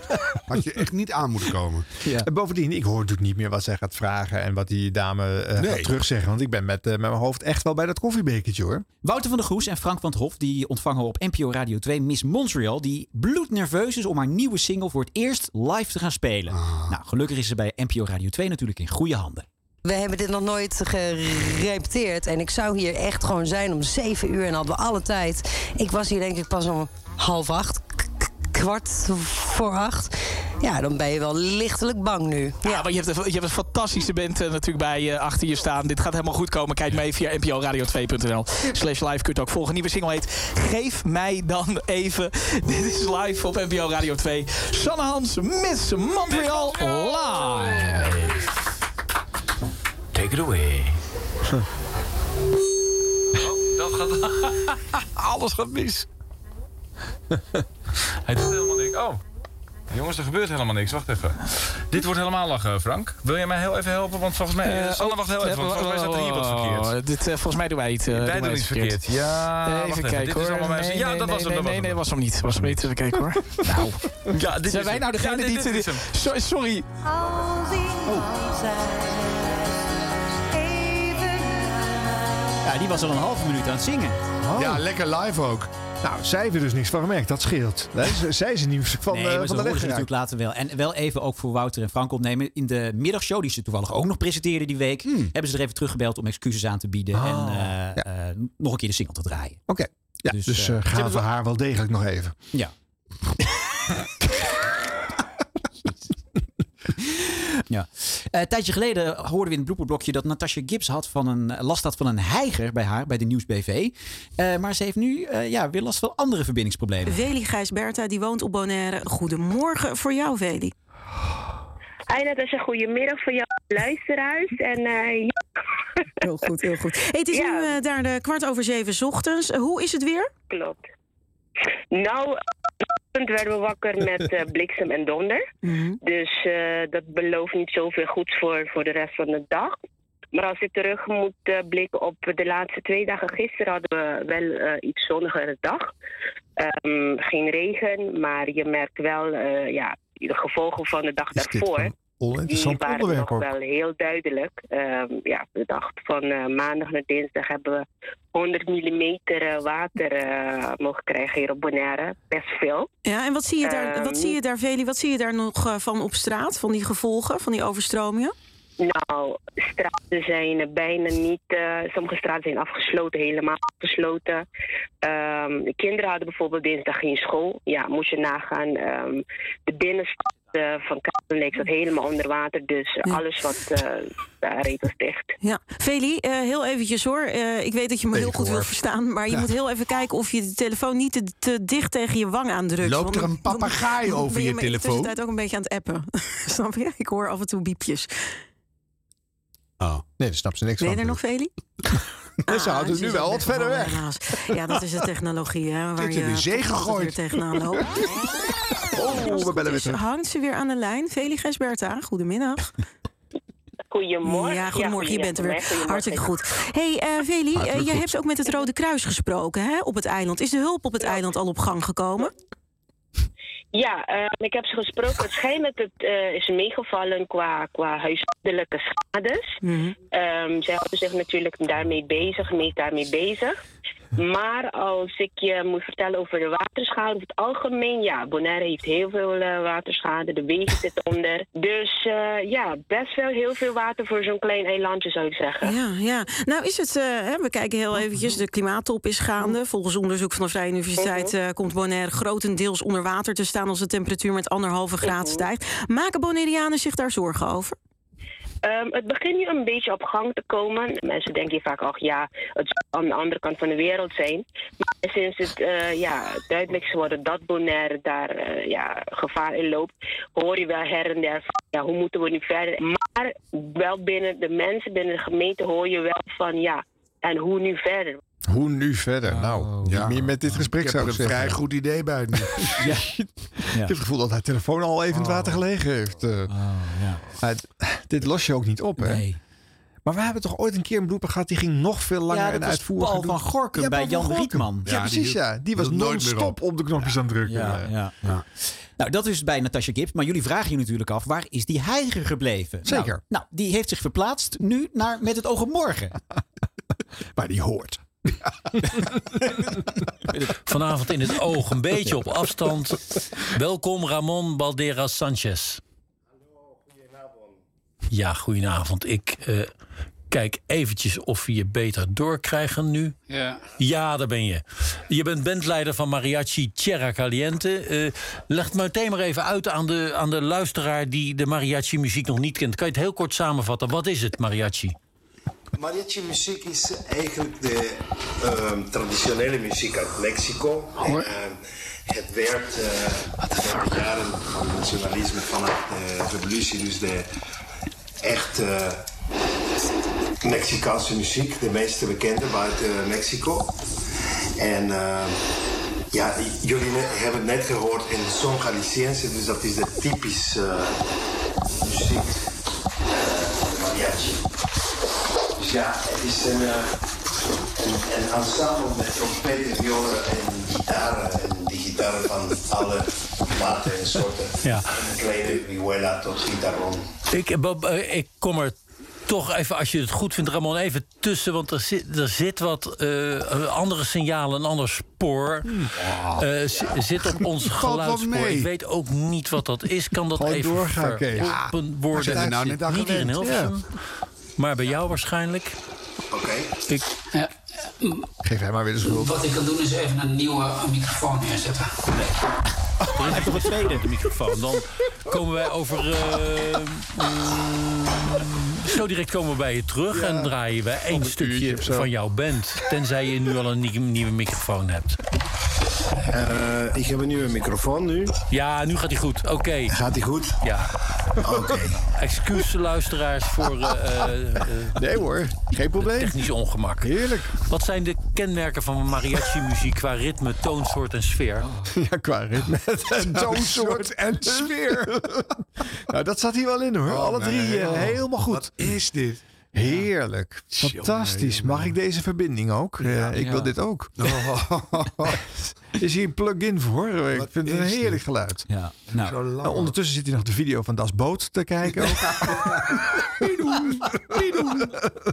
Speaker 3: Had je echt niet aan moeten komen.
Speaker 2: En bovendien, ik hoor natuurlijk niet meer wat zij gaat vragen en wat die dame eh
Speaker 3: Nee.
Speaker 2: gaat terugzeggen. Want ik ben met, eh, met mijn hoofd echt wel bij dat koffiebekertje hoor.
Speaker 1: Wouter van der Goes en Frank van het Hof die ontvangen op NPO Radio 2 Miss Montreal. Die bloednerveus is om haar nieuwe
Speaker 2: Ah.
Speaker 1: single voor het eerst live te gaan spelen. Nou, gelukkig is ze bij NPO Radio 2 natuurlijk in goede handen.
Speaker 5: We hebben dit nog nooit gerepeteerd. En ik zou hier echt gewoon zijn om zeven uur en hadden we alle tijd. Ik was hier denk ik pas om half acht, k- k- kwart voor acht. Ja, dan ben je wel lichtelijk bang nu.
Speaker 38: Ja, maar je hebt, een- je hebt een fantastische band eh, natuurlijk bij je achter je staan. Dit gaat helemaal goed komen. Kijk mee via nporadio2.nl. Slash live kunt ook volgen. Nieuwe single heet Geef mij dan even. Dit is live op NPO Radio 2. Sanne Hans, Miss Montreal live.
Speaker 39: Take it away.
Speaker 10: Oh, Dat gaat... Alles gaat mis.
Speaker 9: Hij doet helemaal niks. Oh. Jongens, er gebeurt helemaal niks. Wacht even. Dit wordt helemaal lachen, Frank. Wil jij mij heel even helpen? Want volgens mij...
Speaker 38: Eh,
Speaker 9: eh, Sanne, wacht heel even. Want volgens mij staat er hier wat verkeerd.
Speaker 38: Oh, dit, eh, volgens mij doen wij het. eh,
Speaker 9: wij doen
Speaker 38: het Eh,
Speaker 9: iets verkeerd. Ja,
Speaker 38: even
Speaker 9: wacht even.
Speaker 38: kijken
Speaker 9: Dit is
Speaker 38: hoor.
Speaker 9: allemaal mijn-
Speaker 38: nee,
Speaker 9: ja,
Speaker 38: nee,
Speaker 9: dat
Speaker 38: nee,
Speaker 9: was hem,
Speaker 38: Nee,
Speaker 9: dat was
Speaker 38: nee,
Speaker 9: hem.
Speaker 38: nee, was hem niet. Was hem niet. Even kijken hoor. nou.
Speaker 9: Ja, dit
Speaker 38: Zijn
Speaker 9: is
Speaker 38: wij
Speaker 9: hem.
Speaker 38: nou degene
Speaker 9: Ja, dit-
Speaker 38: die...
Speaker 9: dit is hem.
Speaker 38: Sorry, sorry.
Speaker 1: Ja, die was al een halve minuut aan het zingen.
Speaker 2: Oh. Ja,
Speaker 1: lekker live ook.
Speaker 2: Nou, zij heeft er dus niks van gemerkt. Dat scheelt. Nee, ze- zij is in ieder geval van,
Speaker 1: nee, maar
Speaker 2: eh, van
Speaker 1: ze
Speaker 2: de
Speaker 1: horen
Speaker 2: leg
Speaker 1: ze
Speaker 2: geraakt.
Speaker 1: natuurlijk later wel. En wel even ook voor Wouter en Frank opnemen. In de middagshow, die ze toevallig ook nog presenteerden die week... hebben ze er even teruggebeld om excuses aan te bieden.
Speaker 2: Hmm. Ah.
Speaker 1: En eh, eh, nog een keer de single te draaien.
Speaker 2: Oké. Ja, dus
Speaker 1: eh,
Speaker 2: eh,
Speaker 1: ze
Speaker 2: gaan
Speaker 1: hebben
Speaker 2: we
Speaker 1: wel-
Speaker 2: haar wel degelijk nog even.
Speaker 1: Ja. ja. Eh, een tijdje geleden hoorden we in het blooperblokje dat Natasha Gibbs had van een, eh, last had van een heiger bij haar, bij de Nieuwsbv. Eh, maar ze heeft nu eh, ja, weer last van andere verbindingsproblemen.
Speaker 32: Veli Gijsberta, die woont op Bonaire. Goedemorgen voor jou, Veli.
Speaker 21: Hey Natasja, goedemiddag voor jou luisteraars. En eh, ja,
Speaker 32: Heel goed, heel goed. Hey, het is nu eh, daar de kwart over zeven 's ochtends. Eh, hoe is het weer?
Speaker 21: klopt. Nou, vanochtend werden we wakker met eh, bliksem en donder. Dus eh, dat belooft niet zoveel goeds voor, voor de rest van de dag. Maar als ik terug moet eh, blikken op de laatste twee dagen. Gisteren hadden we wel eh, iets zonnigere dag. Ehm, geen regen, maar je merkt wel eh, ja, de gevolgen van de dag daarvoor.
Speaker 2: Oninteressant
Speaker 21: die waren
Speaker 2: onderwerp
Speaker 21: nog
Speaker 2: ook.
Speaker 21: wel heel duidelijk. Ehm, ja, de dag van eh, maandag naar dinsdag hebben we 100 millimeter eh, water eh, mogen krijgen hier op Bonaire. Best veel.
Speaker 32: Ja, en wat zie je daar,
Speaker 21: Ehm,
Speaker 32: wat zie je daar Veli, wat zie je daar nog eh, van op straat? Van die gevolgen, van die overstromingen?
Speaker 21: Nou, straten zijn eh, bijna niet. eh, sommige straten zijn afgesloten, helemaal afgesloten. Ehm, de kinderen hadden bijvoorbeeld dinsdag geen school. Ja, moest je nagaan. ehm, de binnenstad eh, van Kaapstad zat helemaal onder water. Dus eh, alles wat eh daar reed was dicht.
Speaker 32: Ja, Veli, eh, heel eventjes hoor. Eh, ik weet dat je me heel goed
Speaker 21: hoor.
Speaker 32: wil verstaan, maar je
Speaker 21: Ja.
Speaker 32: moet heel even kijken of je de telefoon niet te, te dicht tegen je wang aandrukt.
Speaker 3: Loopt
Speaker 32: want
Speaker 3: er een
Speaker 32: dan- dan-
Speaker 3: papegaai
Speaker 32: dan
Speaker 3: over
Speaker 32: ben
Speaker 3: je
Speaker 32: me
Speaker 3: telefoon?
Speaker 32: Ik ben tijd ook een beetje aan het appen. Snap je? Ik hoor af en toe biepjes.
Speaker 2: Oh. Nee, daar snapt ze niks
Speaker 32: Ben je
Speaker 2: van.
Speaker 32: er nog, Veli?
Speaker 2: Ze houdt het
Speaker 32: ze
Speaker 2: nu
Speaker 32: is
Speaker 2: wel
Speaker 32: ook
Speaker 2: wat verder
Speaker 32: weggevallen,
Speaker 2: weg.
Speaker 32: helaas. Ja, dat is de technologie, hè? Waar
Speaker 2: Zit in
Speaker 32: je
Speaker 2: de zee
Speaker 32: toch altijd
Speaker 2: gegooid.
Speaker 32: weer tegenaan loopt.
Speaker 2: Oh, we bellen weer
Speaker 32: Dus
Speaker 2: terug.
Speaker 32: hangt ze weer aan de lijn. Veli Gesberta, goedemiddag.
Speaker 21: Goedemorgen.
Speaker 32: Ja, goedemorgen. je bent er
Speaker 21: goedemorgen,
Speaker 32: weer.
Speaker 21: goedemorgen.
Speaker 32: Hartstikke goed. hey, eh, Veli, eh,
Speaker 21: Hartelijk
Speaker 32: jij
Speaker 21: goed.
Speaker 32: hebt ook met het Rode Kruis gesproken hè, op het eiland. Is de hulp op het eiland al op gang gekomen?
Speaker 21: Ja, ehm, ik heb ze gesproken. Het schijnt dat het eh, is meegevallen qua, qua huishoudelijke schades.
Speaker 10: Mhm.
Speaker 21: Ehm, zij houden zich natuurlijk daarmee bezig, mee daarmee bezig. Maar als ik je moet vertellen over de waterschade, over het algemeen, ja, Bonaire heeft heel veel eh, waterschade, de wegen zitten onder. Dus eh, ja, best wel heel veel water voor zo'n klein eilandje zou ik zeggen.
Speaker 32: Ja, ja. Nou is het, eh, hè, we kijken heel eventjes, de klimaattop is gaande. Volgens onderzoek van de Vrije Universiteit eh, komt Bonaire grotendeels onder water te staan... als de temperatuur met anderhalve graad stijgt. Maken Bonaireanen zich daar zorgen over?
Speaker 21: Ehm, het begint nu een beetje op gang te komen. Mensen denken hier vaak, ach ja, het zal aan de andere kant van de wereld zijn. Maar sinds het eh, ja, duidelijk is geworden dat Bonaire daar eh, ja, gevaar in loopt, hoor je wel her en der van, ja, hoe moeten we nu verder? Maar wel binnen de mensen, binnen de gemeente hoor je wel van, ja, en hoe nu verder?
Speaker 2: Hoe nu verder? Nou, ja. meer met dit gesprek
Speaker 3: Ik heb
Speaker 2: zou
Speaker 3: er
Speaker 2: ik
Speaker 3: een
Speaker 2: zeggen.
Speaker 3: vrij goed idee bij nu.
Speaker 2: ja. Ik heb het gevoel dat haar telefoon al even in het water gelegen heeft. eh. Maar d- dit los je ook niet op, hè? Maar we hebben toch ooit een keer een blooper gehad... die ging nog veel langer
Speaker 1: Ja, dat
Speaker 2: en
Speaker 1: was
Speaker 2: uitvoerig.
Speaker 1: Paul
Speaker 2: gedoe.
Speaker 1: van Gorkum bij
Speaker 2: Paul van
Speaker 1: Jan
Speaker 2: Gorkum.
Speaker 1: Rietman.
Speaker 2: Ja,
Speaker 1: Ja, die hield-
Speaker 2: precies, ja. Die
Speaker 1: die
Speaker 2: was
Speaker 1: hield nooit meer
Speaker 2: non-stop
Speaker 1: op.
Speaker 2: op. de knopjes aan het drukken.
Speaker 1: Ja, ja, ja. Nou, dat is bij Natasha Gibbs. Maar jullie vragen je natuurlijk af, waar is die heiger gebleven?
Speaker 2: Zeker.
Speaker 1: Nou, nou, die heeft zich verplaatst nu naar Met het oog op morgen.
Speaker 2: Maar die hoort.
Speaker 25: Vanavond in het oog, een beetje op afstand. Welkom Ramon Balderas Sanchez. Ja, goedenavond. Ik eh, kijk eventjes of we je beter doorkrijgen nu.
Speaker 33: Ja.
Speaker 25: Ja, daar ben je. Je bent bandleider van Mariachi Tierra Caliente. Eh leg maar meteen maar even uit aan de, aan de luisteraar die de mariachi-muziek nog niet kent. Kan je het heel kort samenvatten? Wat is het, mariachi?
Speaker 40: Mariachi muziek is eigenlijk de ehm, traditionele muziek uit Mexico. En, ehm, het werd eh, in de jaren van het nationalisme vanaf de revolutie, dus de echt eh, Mexicaanse muziek, de meeste bekende buiten Mexico. En ehm, ja, jullie ne- hebben het net gehoord in Son Galiciense, dus dat is de typisch eh, muziek eh, mariachi. Dus ja, het is een, eh, een, een ensemble met trompetten, violen en gitaren. En die gitaren van alle maten en soorten.
Speaker 25: Ja.
Speaker 40: Een kleine vihuela tot gitaron.
Speaker 25: Ik, Bob, eh, ik kom er toch even, als je het goed vindt, Ramon, even tussen. Want er zit, er zit wat eh, andere signalen, een ander spoor. Eh, z- Zit op ons
Speaker 3: Valt wel
Speaker 25: geluidsspoor.
Speaker 3: mee.
Speaker 25: Ik weet ook niet wat dat is. Kan dat
Speaker 3: Gewoon
Speaker 25: even
Speaker 3: doorgaan, Kees. Ja,
Speaker 25: veropen
Speaker 3: waar zit
Speaker 25: worden?
Speaker 3: hij nou net aan
Speaker 25: niet hier in
Speaker 3: gewend?
Speaker 25: Hilversum, maar bij jou waarschijnlijk.
Speaker 40: Oké.
Speaker 25: Ik
Speaker 24: Geef hem maar weer de schuld.
Speaker 33: Wat ik kan doen is even een nieuwe microfoon neerzetten.
Speaker 25: Er is nog een tweede microfoon. Dan komen wij over. eh, mm, zo direct komen we bij je terug en draaien wij één stukje van jouw band. Tenzij je nu al een nie- nieuwe microfoon hebt.
Speaker 40: Eh, ik heb een nieuwe microfoon nu.
Speaker 25: Ja, nu gaat hij goed. Oké.
Speaker 40: Gaat hij goed?
Speaker 25: Ja.
Speaker 40: Oké.
Speaker 25: Excuus, luisteraars, voor. eh,
Speaker 24: nee hoor, geen probleem.
Speaker 25: Technisch ongemak.
Speaker 24: Heerlijk.
Speaker 25: Wat zijn de kenmerken van mariachi-muziek qua ritme, toonsoort en sfeer?
Speaker 24: Ja, qua ritme.
Speaker 2: Toonsoort en sfeer. nou, dat zat hier wel in hoor. Alle
Speaker 24: Oh, nee,
Speaker 2: drie eh,
Speaker 24: joh.
Speaker 2: helemaal goed. Wat
Speaker 24: is dit?
Speaker 2: Heerlijk. Fantastisch. Mag ik deze verbinding ook? Eh, ik
Speaker 24: ja. Oh.
Speaker 2: wil dit ook. is hier een plug-in voor? Ik vind het een
Speaker 24: is dit?
Speaker 2: heerlijk geluid.
Speaker 1: Ja,
Speaker 2: nou. ondertussen zit hij nog de video van Das Boot te kijken. ook.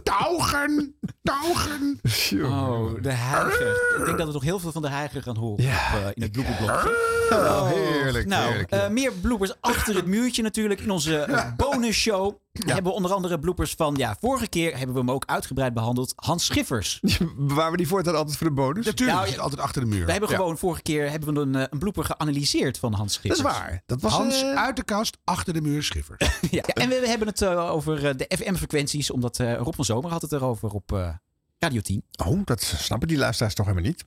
Speaker 3: Taugen! Taugen!
Speaker 1: Oh, de heiger. Ik denk dat we nog heel veel van de heiger gaan horen op, eh, in het bloepenblokje.
Speaker 2: Oh, heerlijk,
Speaker 1: Nou,
Speaker 2: heerlijk,
Speaker 1: eh, meer bloepers achter het muurtje natuurlijk. In onze eh, bonusshow hebben we onder andere bloepers van... Ja, vorige keer hebben we hem ook uitgebreid behandeld. Hans Schiffers.
Speaker 2: Waar we die voortaan altijd voor de bonus?
Speaker 1: Natuurlijk, Nou, die zit
Speaker 3: altijd achter de muur.
Speaker 1: We hebben gewoon vorige keer hebben we een, eh, een blooper geanalyseerd van Hans Schiffers.
Speaker 2: eh,
Speaker 3: Hans
Speaker 1: eh,
Speaker 3: uit de kast, achter de muur schiffer.
Speaker 1: Ja, en we hebben het eh, over eh, de FM-frequenties, omdat eh, Rob van Zomer had het erover op eh, Radio 10.
Speaker 2: Oh, dat snappen die luisteraars toch helemaal niet.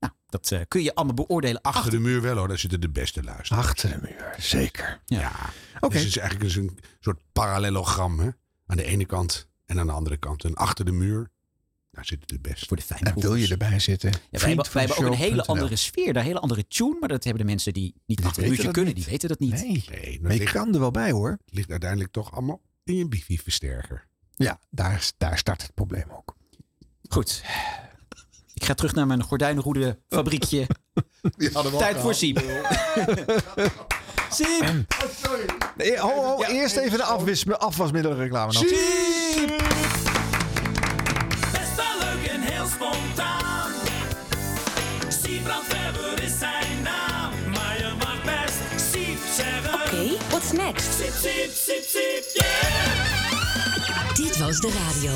Speaker 1: Nou, dat eh, kun je allemaal beoordelen achter,
Speaker 3: Achter de muur wel hoor, daar zitten de beste luisteraars.
Speaker 2: Achter de muur, zeker.
Speaker 1: Ja.
Speaker 3: Dus het is eigenlijk dus een soort parallelogram. Hè? Aan de ene kant en aan de andere kant. En achter de muur, daar zitten de beste.
Speaker 1: Voor de fijne
Speaker 3: wil je
Speaker 2: erbij zitten?
Speaker 1: Ja, wij hebben, wij hebben ook een hele andere sfeer, een hele andere tune, maar dat hebben de mensen die niet achter het
Speaker 3: weten
Speaker 1: muurtje
Speaker 3: dat
Speaker 1: kunnen, die weten dat niet.
Speaker 2: Nee,
Speaker 3: nee
Speaker 2: Maar je kan er wel bij hoor.
Speaker 3: ligt uiteindelijk toch allemaal in je wifi-versterker.
Speaker 2: Ja, daar, daar start het probleem ook.
Speaker 1: Goed. Ik ga terug naar mijn gordijnenroede fabriekje. Tijd voor Siep. Siep!
Speaker 2: Nee, Eh, ho, ho, eerst even de afwis, afwasmiddelenreclame. nog.
Speaker 10: Best wel leuk en heel spontaan. Siebrand Weber is zijn naam. Maar je mag best Siep zeggen. Oké,
Speaker 11: what's next?
Speaker 10: Siep, Siep, Siep, Siep, yeah.
Speaker 11: Dit was de radio.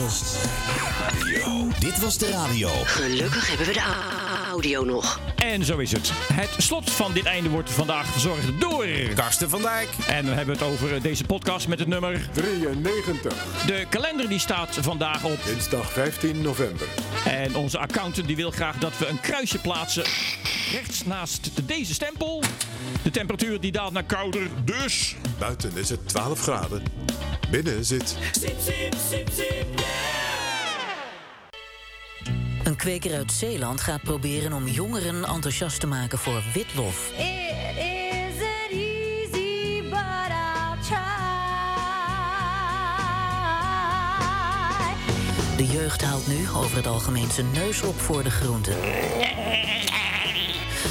Speaker 6: Dit was de radio.
Speaker 11: Gelukkig hebben we de a- audio nog.
Speaker 6: En zo is het. Het slot van dit einde wordt vandaag verzorgd door... Karsten van Dijk. En we hebben het over eh, deze podcast met het nummer... 93. De kalender die staat vandaag op... Dinsdag 15 november. En onze accountant die wil graag dat we een kruisje plaatsen... rechts naast deze stempel. De temperatuur die daalt naar kouder, dus...
Speaker 10: Buiten is het 12 graden. Binnen zit Siep, Siep, Siep, Siep,
Speaker 11: Een kweker uit Zeeland gaat proberen om jongeren enthousiast te maken voor witlof.
Speaker 12: It isn't easy, but I'll try.
Speaker 11: De jeugd haalt nu over het algemeen zijn neus op voor de groenten.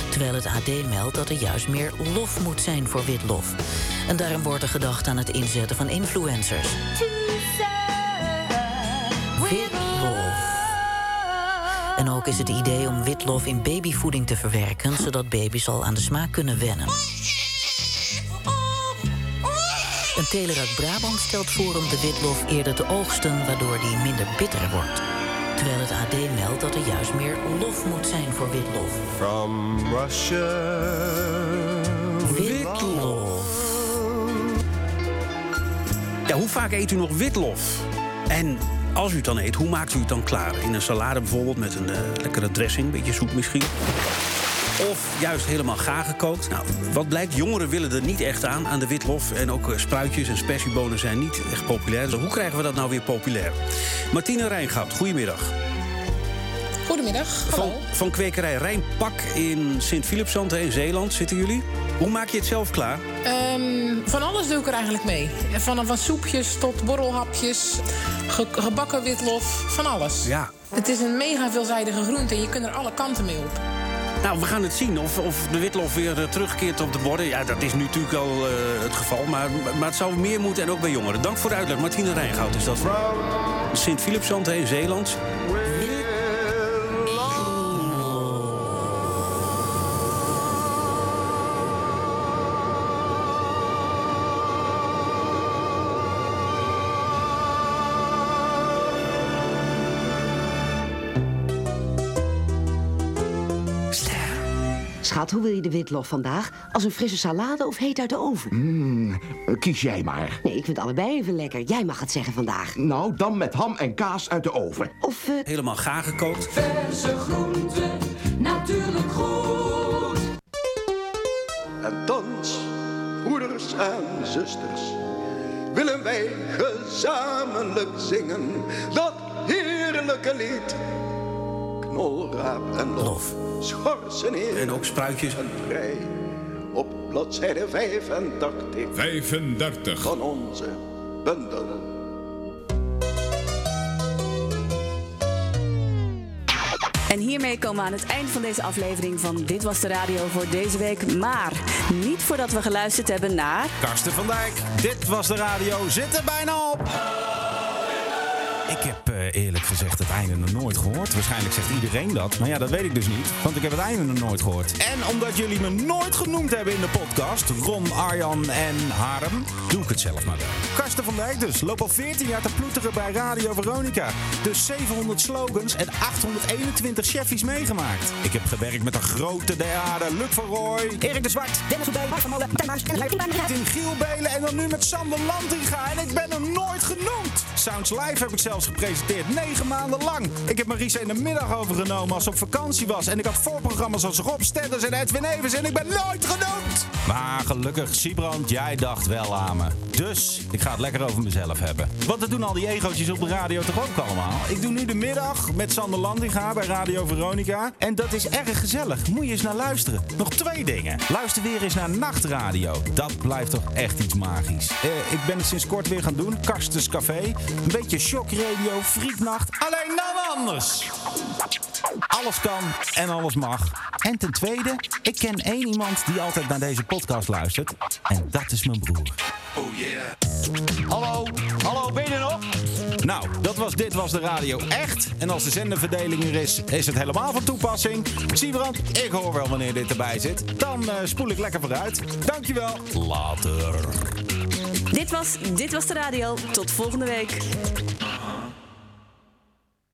Speaker 11: Terwijl het AD meldt dat er juist meer lof moet zijn voor witlof. En daarom wordt er gedacht aan het inzetten van influencers. Witlof. En ook is het idee om witlof in babyvoeding te verwerken... zodat baby's al aan de smaak kunnen wennen. En Telerak Brabant stelt voor om de witlof eerder te oogsten... waardoor die minder bitter wordt. Terwijl het AD meldt dat er juist meer lof moet zijn voor witlof.
Speaker 10: From Russia.
Speaker 11: Witlof.
Speaker 41: Ja, hoe vaak eet u nog witlof? En als u het dan eet, hoe maakt u het dan klaar? In een salade bijvoorbeeld met een eh, lekkere dressing, een beetje zoet misschien. Of juist helemaal gaar gekookt. Nou, wat blijkt, jongeren willen er niet echt aan, aan de witlof. En ook eh, spruitjes en spersiebonen zijn niet echt populair. Dus hoe krijgen we dat nou weer populair? Martine Rijngoud, goedemiddag.
Speaker 9: Goedemiddag.
Speaker 41: Van, van kwekerij Rijnpak in Sint-Philipsand hè, in Zeeland zitten jullie. Hoe maak je het zelf klaar?
Speaker 9: Ehm, van alles doe ik er eigenlijk mee. Van, van soepjes tot borrelhapjes, ge- gebakken witlof, van alles.
Speaker 41: Ja.
Speaker 9: Het is een mega veelzijdige groente en je kunt er alle kanten mee op.
Speaker 41: Nou, we gaan het zien of, of de witlof weer eh, terugkeert op de borden. Ja, dat is nu natuurlijk al eh, het geval. Maar, maar het zou meer moeten en ook bij jongeren. Dank voor de uitleg. Martine Rijngoud is dat. Sint-Philipsand hè, in Zeeland.
Speaker 12: Schat, hoe wil je de witlof vandaag? Als een frisse salade of heet uit de oven?
Speaker 22: Hmm, kies jij maar.
Speaker 12: Nee, ik vind allebei even lekker. Jij mag het zeggen vandaag.
Speaker 22: Nou, dan met ham en kaas uit de oven.
Speaker 12: Of eh,
Speaker 41: Helemaal gaar gekookt.
Speaker 12: Verse groenten,
Speaker 10: natuurlijk goed. En thans, broeders en zusters, willen wij gezamenlijk zingen dat heerlijke lied. Knolraap en lof, schorsen heer
Speaker 41: en ook spruitjes
Speaker 10: en prei. Op bladzijde 85 35 van onze bundel.
Speaker 35: En hiermee komen we aan het eind van deze aflevering van Dit Was De Radio voor deze week. Maar niet voordat we geluisterd hebben naar...
Speaker 42: Karsten van Dijk, dit was de radio. Zit er bijna op. Ik heb eh, eerlijk gezegd het einde nog nooit gehoord. Waarschijnlijk zegt iedereen dat. Maar ja, dat weet ik dus niet. Want ik heb het einde nog nooit gehoord. En omdat jullie me nooit genoemd hebben in de podcast, Ron, Arjan en Harem, doe ik het zelf maar wel.
Speaker 22: Karsten van Dijk dus. Loop al 14 jaar te ploeteren bij Radio Veronica. Dus 700 slogans en 821 cheffies meegemaakt.
Speaker 42: Ik heb gewerkt met een grote der aarde, Luc van Rooij, Erik de Zwart, Dennis van Dijk, Mark van Molen, Tim Huis, Dennis Luijten,
Speaker 22: Tim Giel Belen en dan nu met Sander Landinga. En ik ben hem nooit genoemd. Sounds Live heb ik zelfs gepresenteerd. 9 maanden lang. Ik heb Marisa in de middag overgenomen als ze op vakantie was. En ik had voorprogramma's als Rob Stedders en Edwin Evers. En ik ben nooit genoemd.
Speaker 42: Maar gelukkig, Siebrand, jij dacht wel aan me. Dus ik ga het lekker over mezelf hebben.
Speaker 22: Want dat doen al die egootjes op de radio toch ook allemaal? Ik doe nu de middag met Sander Landinga bij Radio Veronica. En dat is erg gezellig. Moet je eens naar luisteren. Nog twee dingen. Luister weer eens naar Nachtradio. Dat blijft toch echt iets magisch. Eh, ik ben het sinds kort weer gaan doen. Karstens Café. Een beetje shockradio, frietnacht. Alleen dan anders. Alles kan en alles mag. En ten tweede, ik ken één iemand die altijd naar deze podcast luistert. En dat is mijn broer.
Speaker 10: Oh yeah.
Speaker 22: Hallo, hallo, ben je er nog? Nou, dat was Dit Was De Radio Echt. En als de zenderverdeling er is, is het helemaal van toepassing. Siebrand, ik hoor wel wanneer dit erbij zit. Dan eh, spoel ik lekker vooruit. Dankjewel. Later.
Speaker 35: Dit was Dit Was De Radio. Tot volgende week.